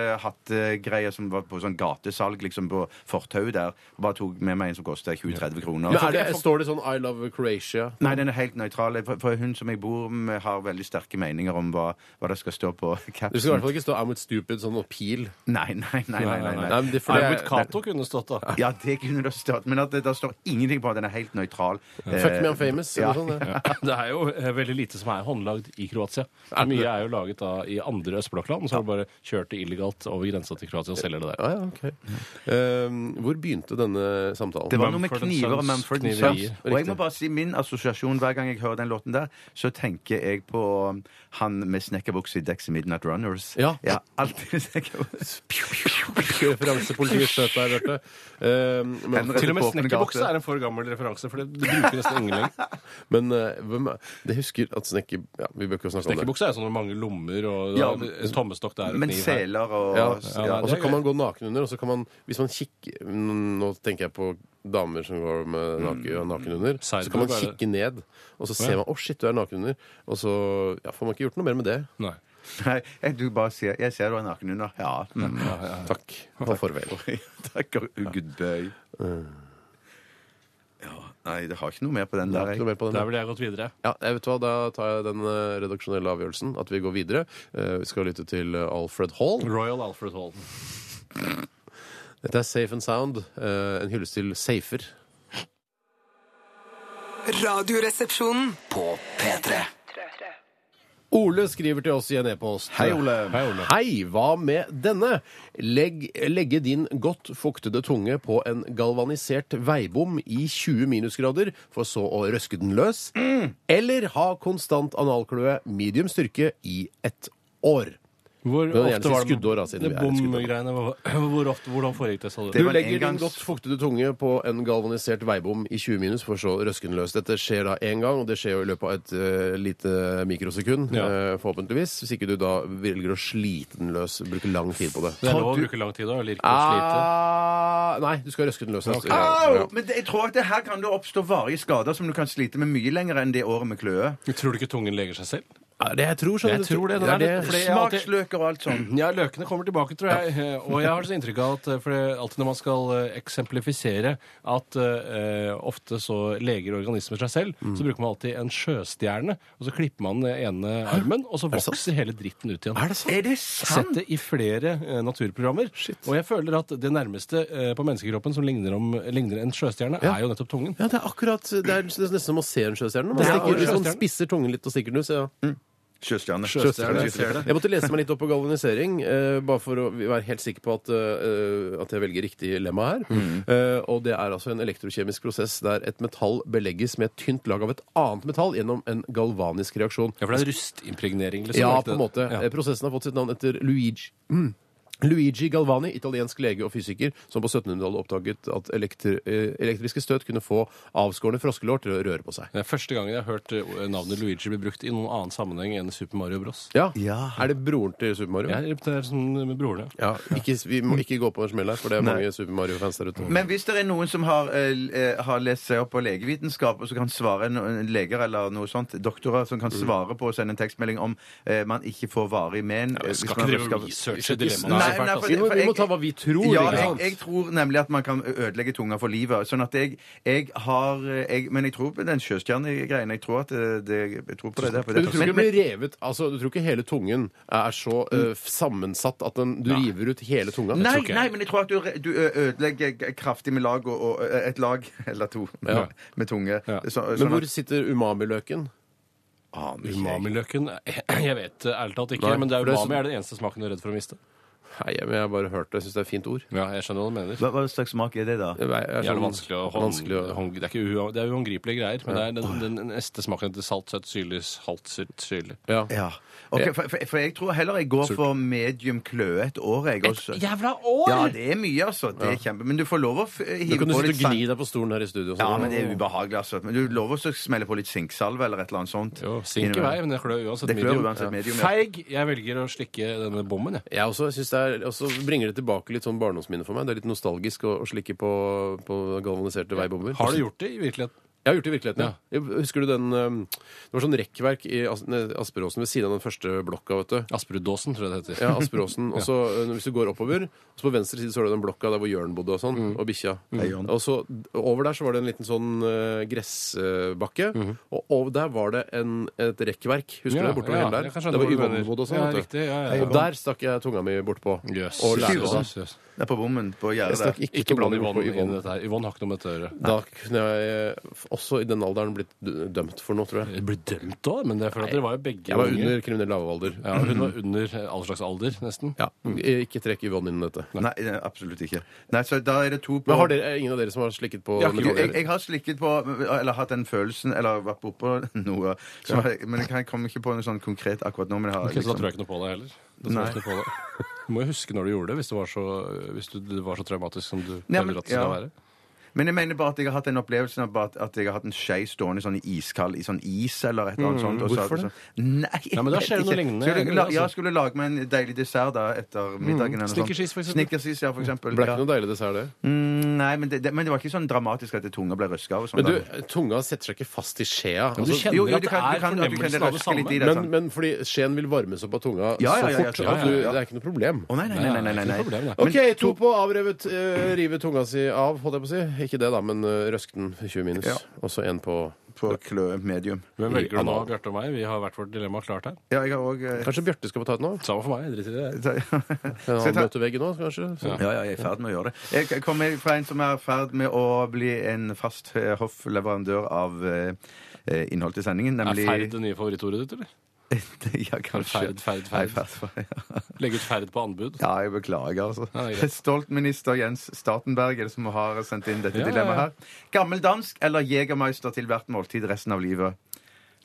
S3: caps-hatt-greia som var på sånn gatesalg liksom på fortauet der. Bare tok med meg en som kosta 20-30 kroner.
S2: Men er det, står det sånn 'I love Croatia'?
S3: Nei, den er helt nøytral. For, for hun som jeg bor med, har veldig sterke meninger om hva, hva det skal stå på
S2: Du skal i hvert
S3: capsen.
S2: fall ikke stå 'I'm with stupid' sånn og pil.
S3: Nei, nei, nei. nei, nei,
S2: Nei,
S3: nei.
S2: men det er fordi
S4: Albert
S2: jeg-
S4: Cato kunne stått da.
S3: Ja, det kunne det stått. Men at det, der står ingenting på. Den er helt nøytral.
S2: Fuck me, I'm famous.
S3: Ja.
S2: Eller sånn, det.
S4: Det er jo eh, veldig lite som er håndlagd i Kroatia. Mye er jo laget da i andre østblokkland, så har du bare kjørt det illegalt over grensa til Kroatia og selger det der.
S2: Ah, Ja, ja, ok. Um, hvor begynte denne samtalen?
S3: Det var noe med
S4: Mumford and
S3: kniver og
S4: Sons
S3: Mumford and Sons.
S4: kniverier.
S3: Og jeg må bare si min assosiasjon hver gang jeg hører den låten der, så tenker jeg på um, han med snekkerbukse i Dexy Midnight Runners.
S2: Ja.
S3: alltid [laughs] snekkerbukse.
S2: Referansepolitiet skjøt deg, Bjarte. Um, men
S3: Henrik.
S4: Til og med
S3: På åpen
S4: snekkerbukse
S3: gate.
S4: er en for gammel referanse, for det det bruker nesten ingen lenger. [laughs]
S2: men eh, hvem er Det husker at snekker... Ja, vi bør ikke snakke om det.
S4: Snekkerbukse er jo sånn med mange lommer og
S3: Ja,
S4: en tommestokk der og
S3: Men
S4: kniv her.
S3: seler og
S2: Ja,
S4: ja,
S2: Og så
S4: det er
S2: kan man gå naken under, og så kan man Hvis man kikker mm, Nå tenker jeg på damer som går med naken, naken under. Så kan man
S4: Cyborg, er det?
S2: kikke ned, og så ser man 'Å, shit, du er naken under', og så ja, får man ikke gjort noe mer med det.
S4: Nei.
S3: [laughs] Nei, jeg- du bare sier 'Jeg ser du er naken under'. Ja. Mm. [laughs]
S2: Takk og farvel.
S3: Takk og gudbøy. Ja, nei, det har ikke noe mer på den
S2: Det
S3: der.
S2: er ikke noe
S3: Jeg.
S2: mer på den.
S4: Der ville jeg gått videre.
S2: Ja, jeg vet hva, Da tar jeg den eh, redaksjonelle avgjørelsen at vi går videre. Eh, Vi skal lytte til eh, Alfred Hall.
S4: Royal Alfred Hall.
S2: Dette er Safe and Sound. eh, En hyllest til safer.
S5: Radioresepsjonen.
S1: På P3.
S2: Ole skriver til oss i en e-post.
S3: Hei, Ole.
S4: Hei, Ole.
S2: Hei, hva med denne? Legg, legge din godt fuktede tunge på en galvanisert veibom i 20 minusgrader, for så å røske den løs. Eller ha konstant analkløe medium styrke i ett år.
S4: Hvor
S2: Men gjerne si
S4: ofte var det,
S2: skuddår, da, siden
S4: det
S2: vi er i
S4: bomgreiene? hvor- [laughs] Hvor ofte, hvordan foregikk det? sa du?
S3: Det
S2: Du
S3: var en
S2: legger din
S3: engangs-
S2: godt fuktede tunge på en galvanisert veibom i 20 minus for så å røske den løs. Dette skjer da én gang, og det skjer jo i løpet av et eh, lite mikrosekund,
S4: Ja.
S2: eh, forhåpentligvis. Hvis ikke du da velger å slite den løs, bruke lang tid på det.
S4: Det er lov å bruke lang tid da, eller ikke slite.
S2: Ah, nei, du skal røske den løs. neste gang.
S3: Au! Men det, jeg tror at det her kan det oppstå varige skader som du kan slite med mye lenger enn det året med kløe.
S4: Tror du ikke tungen leger seg selv?
S2: Ja, det jeg tror, skjønner
S4: Jeg tror det. det,
S2: Ja,
S4: er litt- fordi jeg har alltid-
S3: Smaksløker og alt sånn.
S4: Ja, løkene kommer tilbake, tror jeg. Eh, Og jeg har så inntrykk av at eh, for det, er alltid når man skal eh, eksemplifisere at eh, ofte så leger organismer seg selv,
S2: Mm.
S4: så bruker man alltid en sjøstjerne, og så klipper man den ene armen, og så vokser hele dritten ut igjen.
S2: Er det sant?
S3: Er det
S4: Jeg har Sett
S3: sant?
S4: det i flere eh, naturprogrammer. Og jeg føler at det nærmeste eh, på menneskekroppen som ligner, om, ligner en sjøstjerne, er jo nettopp tungen.
S2: Ja, det er akkurat Det er nesten som å se en sjøstjerne. Man
S4: Det er
S2: stikker-
S4: akkurat
S2: Hvis man
S4: sjøstjernen. Mm.
S2: spisser tungen litt og stikker den ut, så ja.
S3: Sjøstjerne.
S2: Sjøstjerne.
S3: Sjøstjerne.
S2: Jeg måtte lese meg litt opp på galvanisering, eh, bare for å være helt sikker på at, eh, at jeg velger riktig lemma her.
S4: Mm.
S2: Eh, og det er altså en elektrokjemisk prosess der et metall belegges med et tynt lag av et annet metall gjennom en galvanisk reaksjon.
S4: Ja, for det er rustimpregnering, liksom.
S2: Ja,
S4: er det
S2: på en
S4: ikke
S2: måte.
S4: det? Ja.
S2: Eh, Prosessen har fått sitt navn etter Luigi. Mm. Luigi Galvani, italiensk lege og fysiker, som på 1700-tallet oppdaget at elektr eh, elektriske støt kunne få avskårne froskelår til å røre på seg.
S4: Det er første gangen jeg har hørt eh, navnet Luigi bli brukt i noen annen sammenheng enn Super Mario Bros.
S2: Ja.
S3: Ja.
S2: Er det broren til Super Mario?
S4: Jeg repeterer som med broren, ja.
S2: Ja, ikke, vi må ikke gå på en smell her, for det er mange Super Mario-fans der ute.
S3: Men hvis det er noen som har, eh, l- eh, har lest seg opp på legevitenskap, og så kan svare no- en leger eller noe sånt, doktorer som
S2: Mm.
S3: kan svare på og sende en tekstmelding om eh, man ikke får varig men eh, hvis
S4: skal
S3: man-
S4: ikke drive og researche dilemmaet.
S3: Nei,
S4: så fælt, altså.
S2: Vi må, vi må ta hva vi tror.
S3: Ja,
S2: ikke
S3: jeg,
S2: sant?
S3: jeg tror nemlig at man kan ødelegge tunga for livet. Sånn at jeg, jeg har eh, jeg, Men jeg tror på den sjøstjernegreien. Jeg tror at eh, det, jeg tror på det der. På det.
S2: Men du tror ikke det blir revet Altså, du tror ikke hele tungen er så eh, sammensatt at den, du river ut hele tunga? Jeg
S3: Nei,
S2: tror ikke.
S3: nei, men jeg tror at du, re- du ø- ødelegger g- kraftig med lag og, og ø, et lag, [laughs] eller to,
S2: Ja.
S3: med tunge.
S4: Ja.
S3: Så, sånn
S2: Men hvor sitter umami-løken?
S3: at,
S4: Umamiløken Jeg vet eh, [clears throat] ærlig talt ikke,
S2: Nei,
S4: men det
S2: for
S4: er
S2: det er
S4: umami
S2: så-
S4: er den eneste smaken du er redd for å miste.
S2: Nei, jeg, jeg har bare hørt det. Jeg syns det er et fint ord.
S4: Ja, jeg skjønner hva du mener.
S3: hva, hva slags smak er det, da?
S2: Det er,
S4: Det er
S2: sånn-
S4: vanskelig å hånd,
S2: vanskelig å-
S4: hånd, Det er ikke u- det er uhåndgripelige greier, men det er den, den, den neste smaken til salt, søtt, syrlig, salt, søtt, syrlig.
S2: Ja.
S3: Ja. Ok, for, for, for jeg tror heller jeg går for medium kløet år, jeg også.
S4: Jævla år!
S3: Ja, det er mye, altså. Det er kjempe... Men du får lov å f-
S2: Du
S3: hive
S2: kunne
S3: på
S2: sitte
S3: litt
S2: og
S3: salt.
S2: gni deg på stolen her i studio. og
S3: Ja,
S2: sånn.
S3: men det er ubehagelig, altså. Men du lover å smelle på litt sinksalve eller et eller annet sånt?
S4: Jo, sink i vei, men det klør uansett
S3: Det klør
S4: medium.
S3: uansett medium, ja.
S4: Feig! Jeg velger å slikke denne bommen, jeg.
S2: Jeg også synes det er, også bringer det tilbake litt sånn barndomsminne for meg. Det er litt nostalgisk å, å slikke på, på galvaniserte veibomber.
S4: Har du gjort det i virkeligheten?
S2: Jeg har gjort det i virkeligheten, ja. Jeg- Husker du den um, Det var sånn rekkverk i As- ne- Asperåsen ved siden av den første blokka, vet du.
S4: Asperuddåsen, tror jeg det heter.
S2: Ja, Asperåsen. Og så eh, hvis du går oppover, så på venstre side så var det den blokka der hvor Jørn bodde og sånn,
S4: Mm.
S2: og bikkja.
S3: Jørn.
S2: Og så over der så var det en liten sånn eh, gressbakke, og over der var det en, et rekkverk. Husker du
S4: Mm. Ja,
S2: det? Bortover
S4: ja,
S2: hele der.
S4: jeg kan skjønne
S2: Det var
S4: hva du mener.
S2: Yvonne bodde og sånn.
S4: Ja,
S2: vet du.
S4: riktig, ja, ja, ja.
S2: Og der stakk jeg tunga mi bortpå.
S4: Jøss.
S2: Og lærte
S4: Jøss,
S2: det.
S4: jøss, jøss.
S3: Det er på bommen på
S2: Jeg
S3: gjerdet.
S2: stakk
S3: der.
S2: ikke,
S4: Ikke bland
S2: blander bort på
S4: Yvonne inn i
S2: Yvonne.
S4: dette her. Yvonne har ikke noe med dette å gjøre.
S2: Da kunne jeg eh, også i den alderen blitt d- dømt for noe, tror jeg.
S4: Dere ble dømt da, men det er for at dere var jo begge
S2: Jeg var
S4: unge.
S2: under kriminell lavalder.
S4: ja, Hun var under eh, all slags alder, nesten.
S2: Ja. Ikke trekk Yvonne inn i dette.
S3: Nei, nei, absolutt ikke. Nei, så da er det to på
S2: Men har dere, er ingen av dere som har slikket på
S4: Jeg har ikke
S3: Jo,
S2: noe?
S3: jeg, jeg har slikket på, eller hatt den følelsen, eller vært bortpå [laughs] noe som jeg, Men jeg kan- kommer ikke på noe sånn konkret akkurat nå. Men jeg har
S4: Ok, så da
S3: liksom
S4: tror jeg ikke noe på deg heller. Da tror jeg ikke noe på
S3: [laughs]
S4: deg. Du må jo huske når du gjorde det, hvis det var så, hvis du, det var så traumatisk som du
S3: Ja, men-
S4: føler at det skal
S3: ja.
S4: være.
S3: Men jeg mener bare at jeg har hatt den opplevelsen av bare at- at jeg har hatt en skje stående sånn iskald i sånn is eller et eller
S4: Mm,
S3: annet sånt. og så-
S2: hvorfor det?
S3: så- Nei, jeg
S4: Nei, men da
S3: vet
S4: skjer det noe
S3: ikke.
S4: lignende.
S3: Skulle jeg, la,
S4: Altså. Mm,
S3: jeg skulle lage meg en deilig dessert da etter middagen. eller noe sånt.
S4: Snickersis, for eksempel. Mm.
S3: Snickersis, ja, for eksempel.
S2: Ble ikke
S3: Ja.
S2: noe deilig dessert, det.
S3: Mm, Nei, men det, det, men det var ikke sånn dramatisk at det tunga ble røska av. og sånn
S2: Men du,
S3: da.
S2: tunga setter seg ikke fast i skjea.
S4: Men du
S2: Altså,
S4: kjenner
S3: jo, jo,
S4: at
S3: du
S4: det
S3: kan- du
S4: er
S3: kan- du kan
S4: fornemmelsen av det
S3: røske litt
S4: samme.
S3: i det.
S2: men, men fordi skjeen vil varmes opp av tunga
S3: Ja, ja, ja,
S2: så
S3: jeg
S2: fort
S3: tror-
S2: at du,
S3: ja, ja.
S2: det er ikke noe problem.
S3: Å nei, nei, nei. nei, nei, nei.
S4: Nei, ikke noe problem, nei.
S2: OK, to på avrevet eh, rive tunga si av, holdt jeg på å si. Ikke det, da, men eh, røsk den 20 minus.
S3: Ja.
S2: Og så en på
S3: På kløe medium.
S4: Hvem
S2: I
S4: velger du nå,
S2: analen.
S4: Bjarte og meg? Vi har hvert vårt dilemma klart her.
S3: Ja, jeg har eh, òg [laughs]
S2: Kanskje Bjarte skal få ta et nå?
S4: Samme for meg. jeg driter i det.
S2: En
S3: Skal jeg
S2: annen
S3: ta-
S2: møtevegg nå, kanskje? Så.
S3: Ja, ja, jeg er i ferd med å gjøre det. Jeg kommer fra en som er i ferd med å bli en fast eh, hoffleverandør av eh, eh, innhold til sendingen,
S4: Er
S3: nemlig
S4: ferd det nye favorittordet ditt, eller?
S3: [laughs] ja, kanskje.
S4: Ferd, ferd, ferd.
S3: Nei, ferd, ja.
S4: Legge ut ferd på anbud?
S3: [laughs] ja, jeg beklager, altså.
S4: Ja, det er greit.
S3: Stolt minister Jens Statenberg er det som har sendt inn dette
S4: Ja, ja, ja.
S3: dilemmaet her. Gammeldansk eller Jegermeister til hvert måltid resten av livet?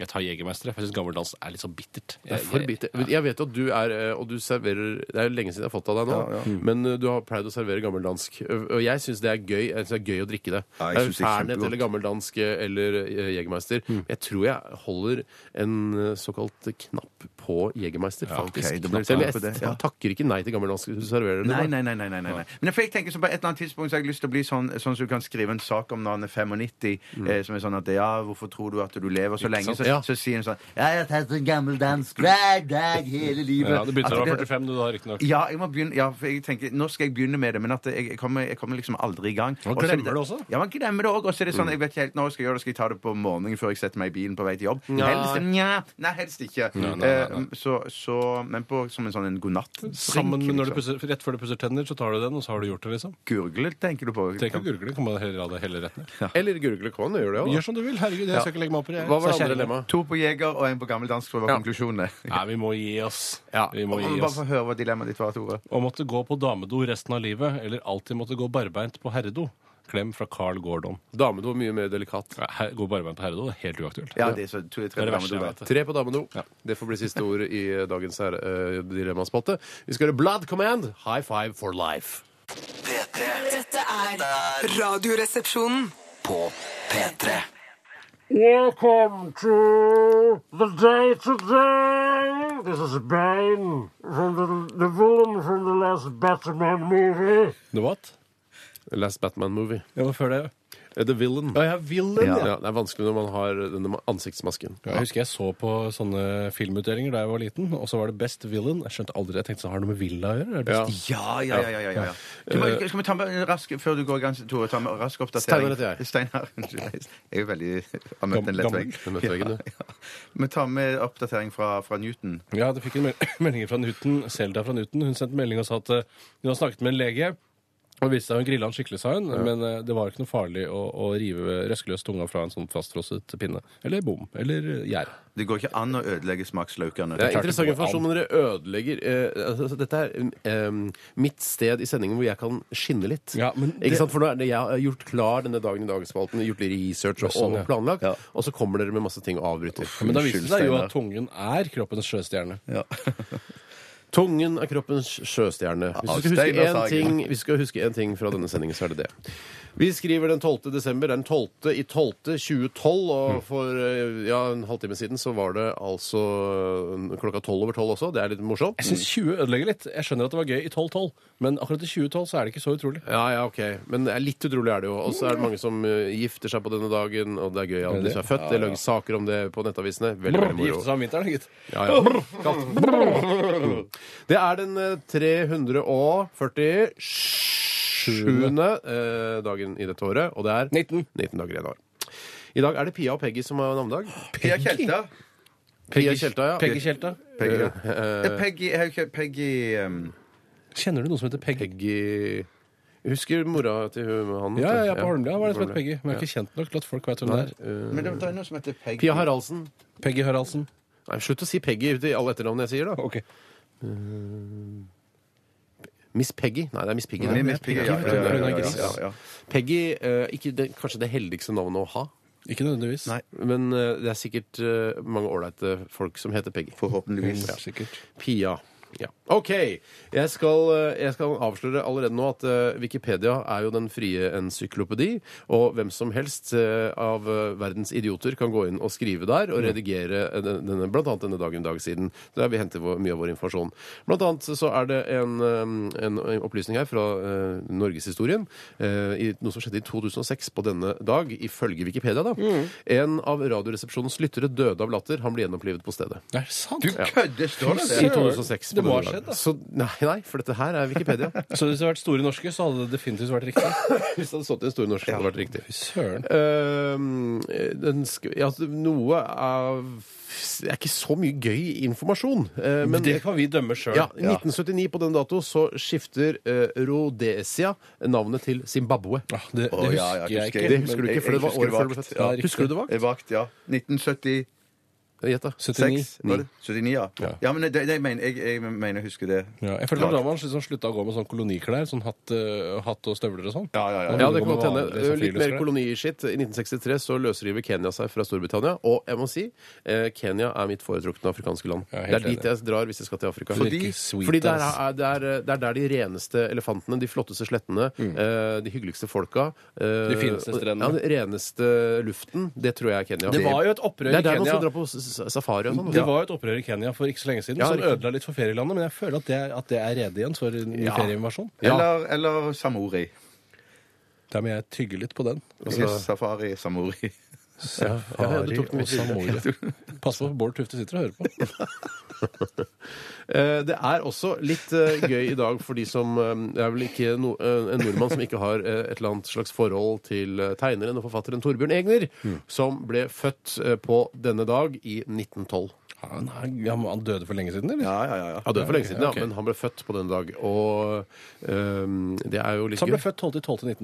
S4: Jeg tar Jegermeister, for jeg syns gammeldans er litt så bittert.
S2: Det er for bitter. Jeg vet jo at du er eh, Og du serverer Det er jo lenge siden jeg har fått av deg nå,
S3: Ja, ja.
S2: men eh, du har pleid å servere gammeldansk. Ø- Og jeg syns det er gøy Jeg synes det er gøy å drikke det.
S3: Ja, jeg
S2: Det er
S3: synes det er
S2: Fernet
S3: kjempegodt.
S2: eller gammeldansk eh, eller eh, Jegermeister. Jeg tror jeg holder en eh, såkalt knapp på Jegermeister, faktisk.
S3: ok, du må
S2: Selv
S3: ta på
S2: jeg
S3: det, ja.
S2: takker ikke nei til gammeldansk hvis du serverer det.
S3: Nei,
S2: da.
S3: nei, nei. nei, nei, nei. Men jeg, for jeg tenker så på et eller annet tidspunkt så har jeg lyst til å bli sånn, sånn som du kan skrive en sak om når han er 95, eh, som er sånn at ja, hvorfor tror du at du lever så lenge? Så,
S2: Ja.
S3: så sier han sånn Jeg har tatt en gammel dansk hver dag hele livet.
S4: Ja, Du begynte da du
S3: At
S4: var
S3: altså, det-
S4: 45, du da, riktignok.
S3: Ja, jeg må begynne, ja, for jeg tenker, nå skal jeg begynne med det, men at jeg, jeg, kommer, jeg kommer liksom aldri i gang.
S4: Man
S3: Og så er
S4: glemmer det også.
S3: Ja, man glemmer det også. Og så er det sånn, jeg vet ikke helt når jeg skal gjøre det, skal jeg ta det på morgenen før jeg setter meg i bilen på vei til jobb? Helst, nja, nei, helst ikke. Eh, Så, så, men på som en sånn en godnatt-drink.
S4: Sammen med når du
S3: liksom.
S4: pusser, Rett før du pusser tenner, så tar du den, og så har du gjort det, liksom.
S3: Gurgle, tenker du på?
S4: Trenger ikke å gurgle, kan man heller ha det hele rett ned.
S2: Eller Gurgle Kwan gjør det
S4: Gjør
S2: òg, da.
S4: som du vil. Herregud, jeg skal ikke legge meg opp i det.
S2: Hva var det
S4: Så
S2: andre
S4: kjære.
S2: dilemmaet?
S3: To på jeger og en på gammel dansk, tror jeg var konklusjonene.
S4: Nei, vi må gi oss.
S2: Ja.
S4: Vi må gi
S3: Bare
S4: oss.
S3: for å høre hva dilemmaet ditt var, Tore.
S4: Å måtte gå på damedo resten av livet, eller alltid måtte gå barbeint på herredo. Klem fra Carl Gordon.
S2: Damedo er mye mer delikat.
S4: Ja, her- Gå barbeint på herredo, det er helt uaktuelt.
S3: Ja, det er så to,
S4: Det
S3: tre
S4: er det
S3: damer
S4: verste
S3: du
S4: jeg
S3: vet.
S4: vet.
S2: Tre på damedo. Det får bli siste ord i eh, dagens her, eh, dilemmaspalte. Vi skal høre Blood Command, High Five for Life.
S1: P3
S5: Dette er Radioresepsjonen.
S1: på P3
S7: Welcome to the day today. This is Bane from the, the villain from the last Batman movie.
S4: The what?
S2: Last Batman Movie.
S4: Ja, men før det
S2: Eh, The Villain.
S4: Ja, ja, Villain,
S3: Ja.
S4: ja.
S2: Ja, det er vanskelig når man har denne ma- ansiktsmasken.
S4: Ja, Jeg husker jeg så på sånne filmutdelinger da jeg var liten, og så var det Best Villain. Jeg skjønte aldri, jeg tenkte sånn, har det noe med villa å gjøre? Er det
S2: Ja.
S4: best?
S3: Ja, ja, ja. ja, ja, ja. Du må, skal vi ta med en rask før du går i gang, Tore? Ta med en rask
S2: Steinar
S3: oppdatering.
S2: heter jeg.
S3: Steinar. unnskyld. Jeg er jo veldig Har møtt en lett
S4: Gammel.
S3: vegg.
S2: Du møtte veggen, du.
S3: Ja, ja. Men ta med oppdatering fra, fra Newton.
S4: Ja. det fikk en mel- [laughs] melding fra Newton, Selda fra Newton. Hun sendte melding og sa at eh, hun har snakket med en lege. Og det viste seg hun grilla han skikkelig, sa hun, men eh, det var ikke noe farlig å, å rive røskeløs tunga fra en sånn fastfrosset pinne. Eller bom. Eller eh, gjær.
S3: Det går ikke an å ødelegge smaksløkene.
S2: Det er
S4: klart
S2: interessant
S4: det går an.
S2: informasjon, men dere ødelegger eh, altså, Dette er eh, mitt sted i sendingen hvor jeg kan skinne litt.
S4: Ja, men det-
S2: Ikke sant? For nå er det, Jeg har gjort klar denne dagen i dag-spalten, gjort litt research og,
S4: Sånn, ja.
S2: og planlagt,
S3: Ja.
S2: og så kommer dere med masse ting og avbryter.
S4: Men da viste det seg jo
S3: Steinar.
S4: at tungen er kroppens sjøstjerne.
S3: Ja.
S2: Tungen er kroppens sjøstjerne.
S4: Ah,
S2: Hvis vi skal
S3: Stein og
S2: huske én
S3: Sagen.
S2: ting, hvis vi skal huske en ting fra denne sendingen, så er det det. Vi skriver den 12. desember. Det er Den 12. i 12. 2012,
S4: Mm.
S2: og for eh, ja, en halvtime siden så var det altså eh, klokka tolv over tolv også. Det er litt morsomt.
S4: Jeg syns 20 ødelegger litt. Jeg skjønner at det var gøy i 12-12, men akkurat i 2012 så er det ikke så utrolig.
S2: Ja, ja, ok. Men det er litt utrolig er det jo. Og så er det mange som eh, gifter seg på denne dagen, og det er gøy at de som er født. Det er lages saker om det på nettavisene. Veldig, veldig moro.
S4: Gifte seg om vinteren, gitt.
S2: Ja, ja. Katt. Det er den eh, 347. eh, dagen i dette året, og det er
S4: 19.
S2: 19 dager igjen av året. I dag er det Pia og Peggy som har navnedag.
S3: Pia Kjelta.
S2: Pia Kjelta, ja.
S4: Peggy Kjelta.
S3: Peggy. Ja, Peggy, er jo ikke- Peggy um,
S4: Kjenner du noen som heter Peggy?
S2: Peggy Jeg Husker mora til hun, han?
S4: Ja, ja, ja, på Holmlia var det som
S2: Holmlia.
S4: het Peggy. Men jeg er ikke kjent nok til at folk vet hvem det er. Eh,
S3: Men det det er noe som heter Peggy.
S2: Pia Haraldsen.
S4: Peggy Haraldsen.
S2: Nei, slutt å si Peggy i alle etternavnene jeg sier, da.
S4: Ok.
S2: Miss Peggy. Nei, det er Miss Piggy.
S3: Nei,
S2: det.
S3: Miss Piggy, ja, ja, ja, ja, ja, ja.
S2: Peggy eh, ikke det, kanskje det heldigste navnet å ha.
S4: Ikke nødvendigvis.
S3: Nei.
S2: Men eh, det er sikkert eh, mange ålreite folk som heter Peggy.
S3: Forhåpentligvis.
S4: Ja, Mm, sikkert.
S2: Pia. Ja. OK. Jeg skal, eh, jeg skal avsløre allerede nå at eh, Wikipedia er jo den frie encyklopedi, og hvem som helst eh, av eh, verdens idioter kan gå inn og skrive der og redigere eh, den- denne, blant annet denne dagen dag siden. Der vi henter vår, mye av vår informasjon. Blant annet så er det en, eh, en opplysning her fra eh, norgeshistorien, eh, i noe som skjedde i 2006 på denne dag, ifølge Wikipedia, da. En av Radioresepsjonens lyttere døde av latter. Han ble gjenopplivet på stedet.
S4: Det er sant.
S3: Du kødder! Står det
S2: I
S3: det?
S2: 2006.
S4: Det
S2: på
S4: må ha
S2: denne
S4: skjedd,
S2: dagen.
S4: da.
S2: Så, nei, nei, for dette her er Wikipedia. [laughs]
S4: Så hvis det hadde vært Store norske, så hadde det definitivt vært riktig.
S2: Hvis det hadde stått i en stor norsk, hadde det vært riktig.
S4: Fy søren.
S2: Eh, den sk ja, altså, noe av Det er ikke så mye gøy informasjon. eh, men
S4: det kan vi dømme sjøl.
S2: ja, I 1979 på den dato så skifter eh, Rhodesia navnet til Zimbabwe.
S4: Ah, det, det
S3: Å,
S4: husker
S3: ja, ja,
S4: jeg
S3: husker
S4: ikke.
S2: Det husker du
S3: men
S2: ikke, for det
S3: jeg-
S2: var
S3: jeg
S2: året før du ble
S3: husker
S2: født.
S4: vakt. Ja,
S2: Husker du det
S3: Jeg
S2: vakt?
S3: Vakt, ja. 1970.
S2: Gjett, da.
S4: 79.
S3: Seks, var det? 79, ja. ja. men det, det, jeg, mener, jeg, jeg mener jeg husker det.
S4: Ja, jeg følte at da var han liksom slutta å gå med sånn koloniklær. Sånn hatt, eh, hatt og støvler og sånn.
S3: Ja, ja, ja.
S2: Ja, det kan godt hende.
S4: Vanlig sånn
S2: Litt mer
S4: friluftsklær.
S2: koloniskitt. I 1963 så løsriver Kenya seg fra Storbritannia. Og jeg må si, eh, Kenya er mitt foretrukne afrikanske land. det
S4: Ja, helt
S2: er dit jeg drar hvis jeg skal til Afrika.
S4: Det virker sweet,
S2: fordi der
S4: ass.
S2: er, det er, eh, det er der de reneste elefantene, de flotteste slettene, eh, de hyggeligste folka eh,
S4: Mm. De fineste strendene.
S2: Ja, den reneste luften. Det tror jeg er Kenya.
S4: Det var jo et opprør
S2: Det
S4: i
S2: er der man
S4: Kenya.
S2: skal dra på s- s- safari og sånn.
S4: Det var jo et opprør i Kenya for ikke så lenge siden
S2: Ja,
S4: som
S2: riktig.
S4: ødela litt for ferielandet, men jeg føler at det, er- at det er rede igjen for en
S2: Ja.
S4: ferieinvasjon.
S2: Ja.
S3: Eller, eller Samori.
S4: Der må jeg tygge litt på den.
S3: Altså, Safari, Samori.
S4: Ja,
S2: ja, du tok den videre.
S4: Pass på, Bård Tufte sitter og hører på.
S2: Eh, Det er også litt eh, gøy i dag for de som eh, Det er vel ikke no, eh, en nordmann som ikke har eh, et eller annet slags forhold til eh, tegneren og forfatteren Torbjørn Egner, som ble født eh, på denne dag i 1912.
S4: Han, er- han- han døde for lenge siden, eller?
S3: Ja, ja, ja. ja.
S2: Han døde for lenge siden,
S4: ok.
S2: ja, men han ble født på denne dag. Og eh, det er jo litt
S4: Så han
S2: gøy.
S4: ble født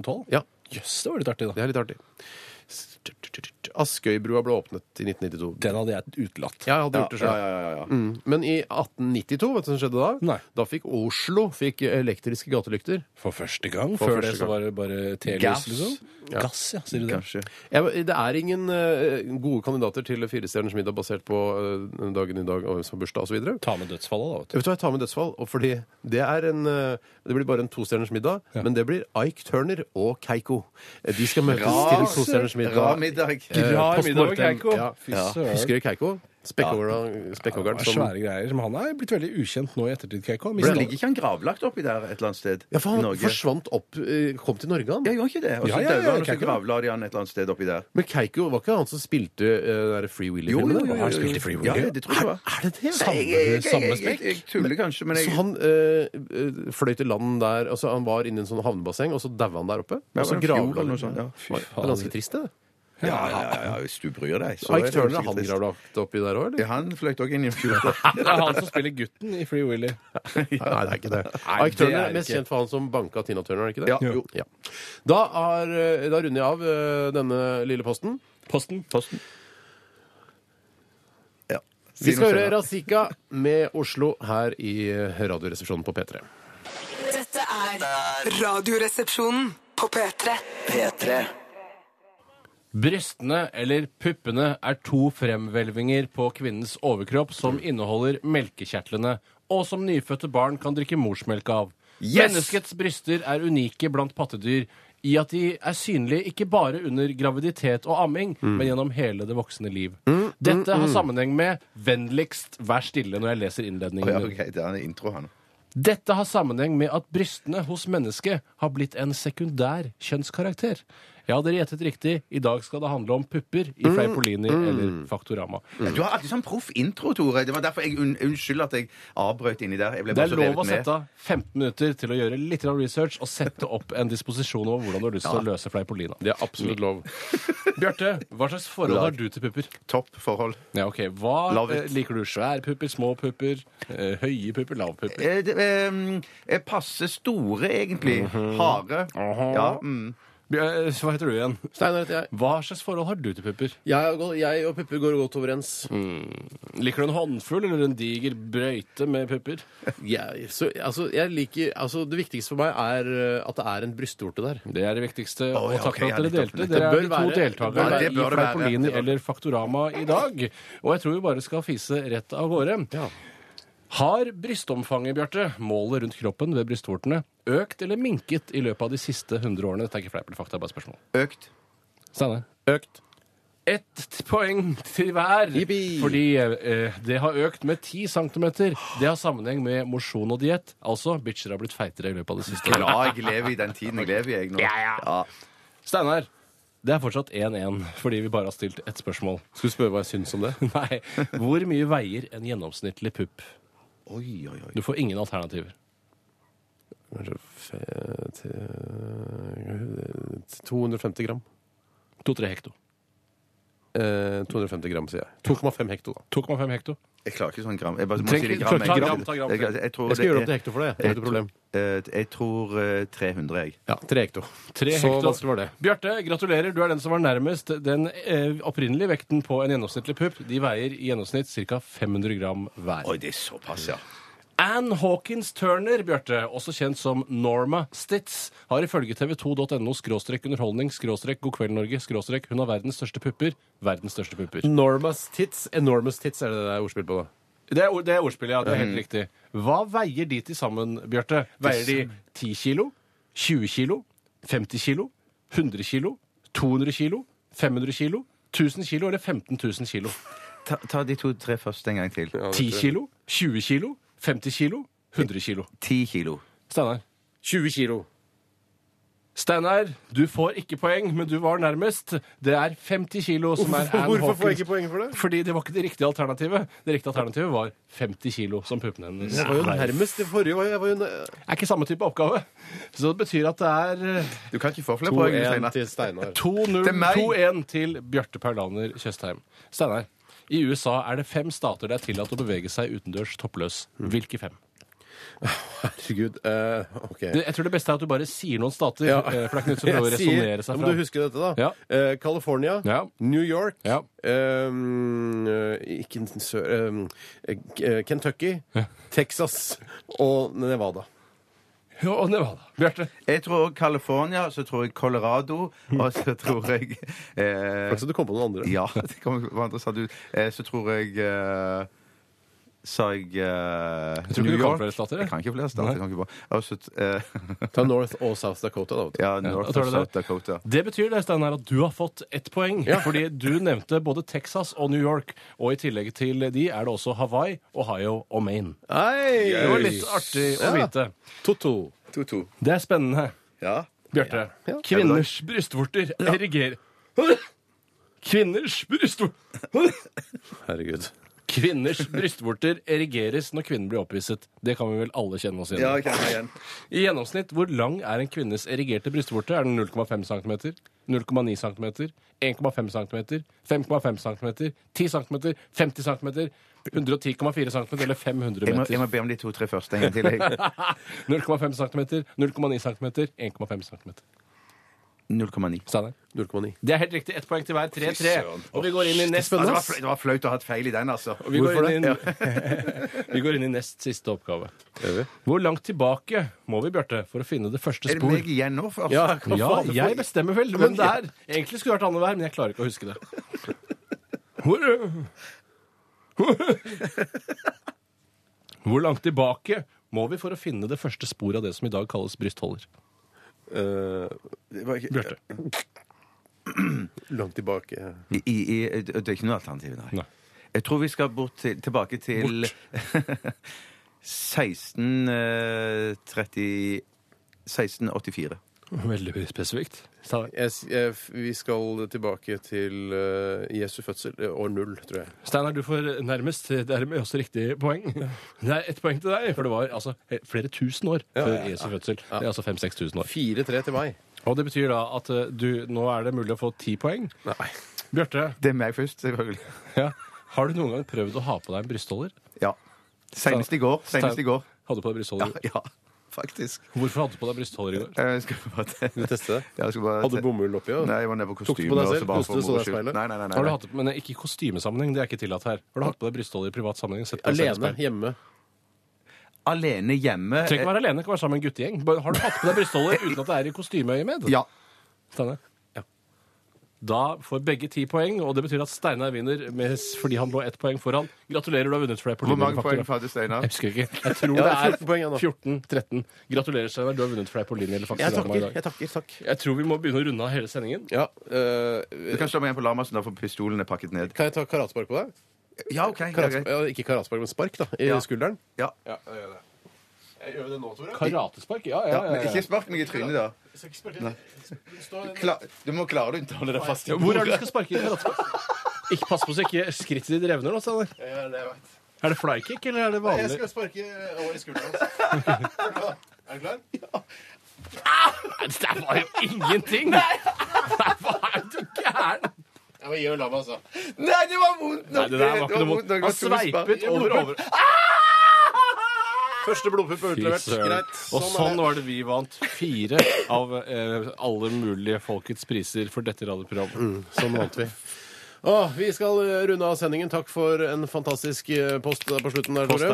S4: 12.12.1912?
S2: Ja,
S4: Jøss, det var litt artig, da.
S2: det er litt artig. Askøybrua ble åpnet i 1992.
S4: Den hadde jeg utelatt.
S2: Jeg hadde gjort det
S3: Ja,
S2: selv.
S3: ja, ja, ja.
S2: Mm. Men i 1892, vet du hva som skjedde da?
S4: Nei.
S2: Da fikk Oslo fikk eh, elektriske gatelykter.
S4: For første gang?
S2: For
S4: Før
S2: første
S4: det så
S2: gang.
S4: var det bare telys,
S3: Gass.
S4: liksom?
S2: Ja.
S4: Gass, ja, sier du det?
S3: Kanskje.
S2: Jeg, det er ingen eh, gode kandidater til Firestjerners middag basert på eh, dagen i dag og hvem som har bursdag osv. Vet
S4: Ta med dødsfallet, da, vet
S2: du
S4: du.
S2: hva, jeg tar med dødsfall, og fordi det er en eh, Det blir bare en tostjerners middag, men det blir Ike Turner og Keiko. Eh, De skal møtes til tostjerners middag.
S3: Rar middag.
S2: Eh,
S4: Rar
S2: post
S4: middag,
S2: mortem.
S4: Keiko.
S2: Ja.
S4: Fy søren.
S2: Husker du Keiko? Spekkhoggeren. spekkhoggeren
S4: Det er
S2: som-
S4: svære greier. Men han er blitt veldig ukjent nå i ettertid, Keiko. Han
S3: Men
S4: mistet-
S3: ligger ikke han gravlagt oppi der et eller annet sted?
S2: ja, for
S3: i
S2: han
S3: Norge?
S2: forsvant opp eh, Kom til Norge, han.
S3: Ja, gjorde ikke det. Og så
S4: Ja, ja, ja,
S3: døde han, og så
S4: Keiko.
S3: gravla de han et eller annet sted oppi der.
S2: Men Keiko var ikke han som spilte eh, der Free Willy-filmen?
S3: Jo, jo, jo, jo,
S2: Han
S3: jo.
S2: spilte Free
S3: Ja,
S2: Willy?
S3: det tror jeg det var.
S2: er, er det det?
S3: Jeg, jeg, jeg, jeg, jeg, jeg tuller kanskje, men
S2: Så
S3: jeg
S2: han eh, eh, fløy til land der altså Han var inne i en sånn havnebasseng, og så daua han der oppe.
S3: Ja,
S2: Og så
S3: var det en fjord
S2: gravla
S3: eller
S2: han.
S3: noe sånt, ja.
S2: Det var- det var ganske trist, det.
S3: Ja, ja, ja, ja, hvis du bryr deg. så
S2: Ike
S3: er det jo
S2: Turner,
S3: sikkert
S2: han
S3: trist.
S2: gravlagt oppi der òg, eller?
S3: Ja, han fløyt òg inn i en fjord.
S4: Det er han som spiller gutten i Free
S3: [laughs]
S4: Willy.
S2: Nei, det er ikke det.
S4: Nei,
S2: Ike Turner
S4: det er
S2: er mest
S4: ikke.
S2: kjent for han som banka Tina Turner, er det ikke det?
S3: Ja. Jo.
S2: Ja. Da, er, eh, da runder jeg av eh, denne lille posten.
S4: Posten.
S3: Posten. Ja.
S2: Vi skal høre
S3: Sier noe senere.
S2: Razika med Oslo her i eh, Radioresepsjonen på P3.
S5: Dette er Radioresepsjonen på P3.
S1: P3.
S4: Brystene eller puppene er to fremhvelvinger på kvinnens overkropp som inneholder melkekjertlene, og som nyfødte barn kan drikke morsmelk av.
S3: Yes!
S4: Menneskets bryster er unike blant pattedyr i at de er synlige ikke bare under graviditet og amming,
S3: Mm.
S4: men gjennom hele det voksne liv. Dette har sammenheng med 'vennligst vær stille' når jeg leser innledningen.
S3: Å, ja,
S4: din.
S3: ok, det er en intro, han.
S4: Dette har sammenheng med at brystene hos mennesket har blitt en sekundær kjønnskarakter. Ja, dere gjettet riktig. I dag skal det handle om pupper i Fleipolini eller Faktorama.
S3: Du har alltid sånn proff intro, Tore. Det var derfor jeg un unnskyld at jeg avbrøt inni der. Jeg ble
S4: Altså, Det
S3: bare
S4: er
S3: så
S4: lov å
S3: revet med.
S4: sette av 15 minutter til å gjøre litt grann research og sette opp en disposisjon over hvordan du har lyst til å løse Fleipolina.
S2: Det er absolutt lov.
S4: [laughs] Bjarte, hva slags forhold har du til pupper?
S3: Topp forhold.
S4: Ja, ok. Hva
S3: Love
S4: eh,
S3: it.
S4: Liker du svære pupper, små pupper, eh, høye pupper, lav pupper?
S3: Eh, det, ehm, eh, passe store, egentlig. Harde. Ja, mm.
S4: Bjør- eh, Hva heter du igjen?
S2: Steinar heter jeg.
S4: Hva slags forhold har du til pupper?
S2: Jeg og, jeg og pupper går godt overens.
S4: Liker du en håndfull eller en diger brøyte med pupper?
S2: Jeg, så, altså, jeg liker, altså, det viktigste for meg er eh, at det er en brystvorte der.
S4: Det er det viktigste.
S3: Å, ja,
S4: og takk
S3: ok,
S4: for at
S3: ja,
S4: dere
S3: nettopp,
S4: delte.
S3: nettopp.
S4: Dere
S2: Det
S4: er de
S2: bør
S4: to
S2: være-
S3: Ja,
S4: deltakerne
S3: det
S4: i
S3: bør det være.
S4: Fleipolini
S3: Det bør-
S4: eller Faktorama i dag. Og jeg tror vi bare skal fise rett av gårde. Har brystomfanget, Bjarte, målet rundt kroppen ved brystvortene, økt eller minket i løpet av de siste 100 årene? Dette er ikke fleip eller fakta, bare et spørsmål.
S3: Økt.
S4: Steinar?
S2: Økt.
S4: Ett poeng til hver.
S2: Jippi!
S4: Fordi eh, det har økt med 10 centimeter. Det har sammenheng med mosjon og diett. Altså, bitcher har blitt feitere i løpet av det siste året.
S3: Ja, jeg lever i den tiden jeg lever i, jeg nå. Ja.
S4: Steinar, det er fortsatt 1-1 fordi vi bare har stilt ett spørsmål. [laughs]
S2: Skal du spørre hva jeg syns om det?
S4: Nei, Hvor mye veier en gjennomsnittlig pupp?
S3: Oi, oi, oi.
S4: Du får ingen alternativer.
S2: Kanskje fe- til- 250 gram.
S4: 2-3 hekto.
S2: Eh, 250 gram, sier jeg. 2,5 hekto, da.
S4: 2,5 hekto.
S3: Jeg klarer ikke sånn gram. Jeg bare må
S4: Trenger
S3: si det
S4: ikke-
S3: gram.
S4: ta gram, ta gram.
S3: Jeg, jeg, jeg tror
S2: Jeg skal gjøre det
S3: er-
S2: opp til hekto for deg. jeg. Det er ikke noe problem.
S3: Eh, Jeg tror eh, 300, jeg.
S2: Ja, 3 hekto.
S4: Tre
S2: Så
S4: hekto.
S2: vanskelig var det.
S4: Bjarte, gratulerer. Du er den som var nærmest. Den eh, opprinnelige vekten på en gjennomsnittlig pupp De veier i gjennomsnitt ca. 500 gram hver.
S3: Oi, det er såpass, ja.
S4: Ann Hawkins Turner, Bjarte, også kjent som Norma Stitz, har ifølge tv2.no skråstrek underholdning skråstrek God kveld Norge skråstrek hun har verdens største pupper. Verdens største pupper.
S2: Enormous tits. Enormous tits er det det er ordspill på, Mm. da.
S4: Det er, det er ordspillet, ja. Det er helt riktig. Hva veier de til sammen, Bjarte? Veier de 10 kilo? 20 kilo? 50 kilo? 100 kilo? 200 kilo? 500 kilo? 1000 kilo eller 15 000 kilo?
S3: Ta, ta de to-tre første en gang til.
S4: 10 kilo? 20 kilo? 50 kilo? 100 kilo?
S3: 10 kilo.
S4: Steinar.
S2: 20 kilo.
S4: Steinar, du får ikke poeng, men du var nærmest. Det er 50 kilo som er Ann
S2: Hvorfor får jeg
S4: Hawkins.
S2: ikke poeng for det?
S4: Fordi det var ikke det riktige alternativet. Det riktige alternativet var 50 kilo, som puppene hennes.
S2: Jeg var jo nærmest det forrige. var- Jeg var jo næ-
S4: er ikke samme type oppgave. Så det betyr at det er eh,
S3: Du kan ikke få flere poeng.
S2: 2-1
S3: Steinar.
S2: til Steinar.
S4: 2-0,
S3: Til meg.
S4: 2-1 til Bjarte Perlaner Tjøstheim. Steinar, i USA er det fem stater det er tillatt å bevege seg utendørs toppløs.
S2: Mm.
S4: Hvilke fem?
S2: Herregud. eh, OK.
S4: Det- Jeg tror det beste er at du bare sier noen stater.
S2: Ja.
S4: eh, For det er ikke noe som prøver
S2: [laughs]
S4: å
S2: Jeg sier-
S4: resonnere seg
S2: Ja, Men du
S4: fra.
S2: husker dette, da.
S4: Ja.
S2: Eh, California.
S4: Ja.
S2: New York.
S4: Ja.
S2: ehm, eh, ikke sør... ehm, eh, Kentucky. Texas og Nevada.
S4: Jo, og Nevada. Bjarte.
S3: Jeg tror California, så tror jeg Colorado, og så tror jeg eh,
S2: Altså, du kom på noen andre.
S3: Ja, det kom, hva andre sa du? Eh, så tror jeg eh, sa jeg eh,
S4: tror ikke
S3: New
S4: du kan
S3: York.
S4: flere stater,
S3: Jeg
S4: jeg.
S3: kan ikke flere stater. Jeg kan ikke bare. Og så, eh, [laughs]
S2: Ta North og South Dakota, da. vet du.
S3: ja,
S4: Ja,
S3: North
S4: tror
S3: og
S4: du det?
S3: South Dakota.
S4: Det betyr det, Steinar, at du har fått ett poeng. Fordi du nevnte både Texas og New York. Og i tillegg til de er det også Hawaii, Ohio og Maine.
S2: Hei!
S4: Det var litt artig å
S2: Ja.
S4: vite.
S2: Toto.
S3: 2-2.
S4: Det er spennende.
S3: Ja.
S4: Bjarte.
S2: Ja.
S4: Kvinners brystvorter erigerer [laughs] Kvinners brystvorter
S2: Herregud.
S4: Kvinners brystvorter erigeres når kvinnen blir opphisset. Det kan vi vel alle kjenne oss igjen
S3: ja,
S4: i.
S3: jeg kjenner meg igjen.
S4: I gjennomsnitt, hvor lang er en kvinnes erigerte brystvorte? Er den 0,5 cm? 0,9 cm? 1,5 cm? 5,5 cm? 10 cm? 50 cm? 110,4 cm eller 500
S3: Jeg må, jeg
S4: meter?
S3: må be om de to-tre første en gang til. jeg.
S4: [laughs] 0,5 cm, 0,9 cm, 1,5 cm.
S3: 0,9.
S4: Steinar.
S2: 0,9.
S4: Det er helt riktig. Ett poeng til hver. 3-3.
S3: søren.
S4: Og vi går inn i nest Altså,
S3: Ja, det, var flaut, det var flaut å ha hatt feil i den, altså.
S4: vi går,
S3: Hvorfor
S4: inn,
S3: det?
S4: i- [laughs] vi går inn i nest siste oppgave.
S2: Gjør vi?
S4: Hvor langt tilbake må vi, Bjarte, for å finne det første
S3: Er det meg
S4: spor?
S3: igjen nå? For,
S2: Ja, hva
S4: Ja,
S2: faen?
S4: jeg bestemmer vel hvem det er. Egentlig skulle det vært annenhver, men jeg klarer ikke
S2: [laughs]
S4: å huske det. Hvor, Hvor langt tilbake må vi for å finne det første sporet av det som i dag kalles brystholder?
S2: Eh,
S3: det var ikke- [clears throat]
S4: Bjarte.
S2: langt tilbake.
S3: I, i, i- det er ikke noe alternativ, nei.
S4: Nei.
S3: Jeg tror vi skal bort til, tilbake til [laughs] 1630 1684.
S4: Veldig spesifikt. Steinar.
S2: Jeg, s- jeg, f- vi skal tilbake til eh, Jesu fødsel, eh, år null, tror jeg.
S4: Steinar, du får nærmest dermed også riktig poeng. Det er ett poeng til deg, for det var altså flere tusen år før
S2: ja, ja.
S4: Jesu fødsel. Det er altså 5-6 tusen år.
S2: 4-3 til meg.
S4: Og det betyr da at eh, du, nå er det mulig å få ti poeng.
S2: Nei.
S4: Bjarte,
S3: Det er meg først, selvfølgelig.
S4: [laughs] ja. har du noen gang prøvd å ha på deg en brystholder?
S3: Ja. Senest i går. Senest i går.
S4: Hadde du på deg
S3: Ja,
S4: brystholder?
S3: ja faktisk.
S4: Hvorfor hadde du på deg brystholder i går?
S3: Jeg skal bare te- [laughs]
S2: Vil du teste det?
S3: Ja, jeg skal bare
S2: Hadde du
S3: te-
S2: bomull oppi? Ja?
S3: Nei, jeg var nede på
S2: Tok du
S3: kostyme.
S2: på deg
S3: og
S2: selv?
S3: bare
S2: Koste
S3: for
S2: du så deg
S3: moro
S2: i
S3: skyld.
S2: speilet?
S3: Nei, nei, nei. nei,
S4: Har du
S3: nei.
S4: hatt, men ikke i kostymesammenheng, det er ikke tillatt her. Har du hatt på deg brystholder i privat sammenheng? sett på deg selv i
S2: Alene
S4: speil?
S2: hjemme.
S3: Alene hjemme
S4: Du trenger ikke være alene, du kan være sammen med en guttegjeng. Bare Har du hatt på deg brystholder uten at det er i kostymeøyemed?
S3: Ja.
S4: Steinar? Da får begge ti poeng, og det betyr at Steinar vinner med, fordi han lå ett poeng foran. Gratulerer, du har vunnet flere på
S3: Hvor
S4: linje
S3: mange
S4: med
S3: poeng
S4: faktor.
S3: hadde Steinar?
S4: Jeg husker ikke. Jeg tror
S2: Ja,
S4: det er
S2: 14 poeng, ja, nå.
S4: 14-13. Gratulerer, Steinar. Du har vunnet flere på linje eller faktor.
S2: Jeg
S4: i
S2: takker.
S4: dag.
S2: jeg takker, takk.
S4: Jeg tror vi må begynne å runde av hele sendingen.
S2: Ja, eh,
S3: Du kan slå meg igjen på Lamassen, da, for pistolen er pakket ned.
S2: kan jeg ta karatespark på deg?
S3: Ja, OK. Ja,
S2: Karate,
S3: greit.
S2: ja, ikke karatespark, men spark da, i
S3: Ja.
S2: skulderen.
S3: Ja.
S2: Gjør vi det nå, Tore?
S4: Karatespark? Ja, ja,
S3: Ja,
S4: ja.
S3: men ikke spark meg i trynet, da. Kla du må klare å unnholde deg fast i
S4: Hvor er det du skal sparke i karatespark? [laughs] Ikke pass på så ikke skrittet ditt revner nå, Steinar. Er det flykick, eller er det vanlig?
S2: sparke eh, over i skulderen. Er du klar?
S4: Nei, Det der var jo ingenting! Nei, Hva er du gæren?
S2: Ja, men gjør la meg, altså.
S3: Nei, det var vondt
S4: Nei,
S3: nok!
S4: det der var ikke noe vondt.
S3: nok.
S4: Han
S3: Det var to spark.
S4: sveipet over
S2: Ah!
S4: over.
S2: Første blodpupp er
S4: Fy
S2: utlevert.
S4: søren.
S2: Greit.
S4: Og sånn
S2: er det.
S4: var det vi vant fire av eh, alle mulige folkets priser for dette radioprogrammet.
S2: Sånn vant vi. Åh, vi skal eh, runde av sendingen. Takk for en fantastisk eh, post der på slutten. Der, Tore.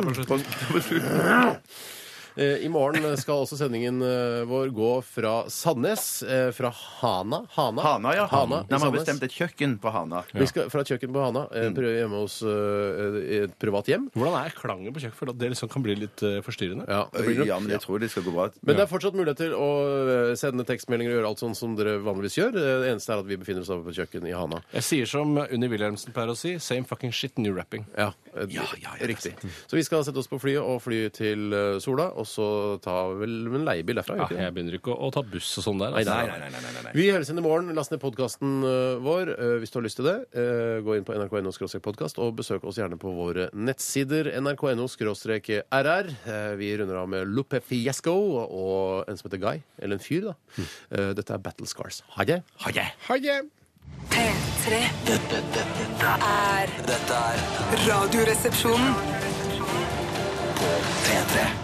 S2: Eh, I morgen skal også sendingen eh, vår gå fra Sandnes. eh, Fra Hana. Hana,
S3: Hana, ja.
S2: Hana i
S3: Nei, man har
S2: Sandnes.
S3: bestemt et kjøkken på Hana.
S2: Vi skal fra et kjøkken på Hana, eh, prøve hjemme hos eh, i et privat hjem.
S4: Hvordan er klangen på kjøkkenet? For at det liksom kan bli litt eh, forstyrrende.
S2: Ja, det blir nok-
S3: Ja, men jeg tror det skal gå bra.
S2: Men det er fortsatt mulighet til å eh, sende tekstmeldinger og gjøre alt sånn som dere vanligvis gjør. Eh, Det eneste er at vi befinner oss over på kjøkkenet i Hana.
S4: Jeg sier som Unni Wilhelmsen pleier å si, same fucking shit, new rapping.
S2: Ja, eh, riktig. Så vi skal sette oss på flyet og fly til eh, Sola, og så ta vel en leiebil derfra. gjør vi ikke det?
S4: jeg begynner ikke å, å ta buss og sånn der. Altså.
S3: Nei, nei, nei, nei, nei, nei.
S2: Vi høres inn i morgen. Last ned podkasten vår eh, hvis du har lyst til det. Eh, Gå inn på nrk.no podkast, og besøk oss gjerne på våre nettsider nrk.no rr. Eh, Vi runder av med Lupe Fiasco og en som heter Guy. Eller en fyr, da. Eh, Dette er Battle Scars. Ha det.
S3: Hmm. Ha det!
S2: Ha det.
S5: P3
S1: Dette, dette, dette,
S5: er
S1: dette er
S5: Radioresepsjonen.
S1: P3.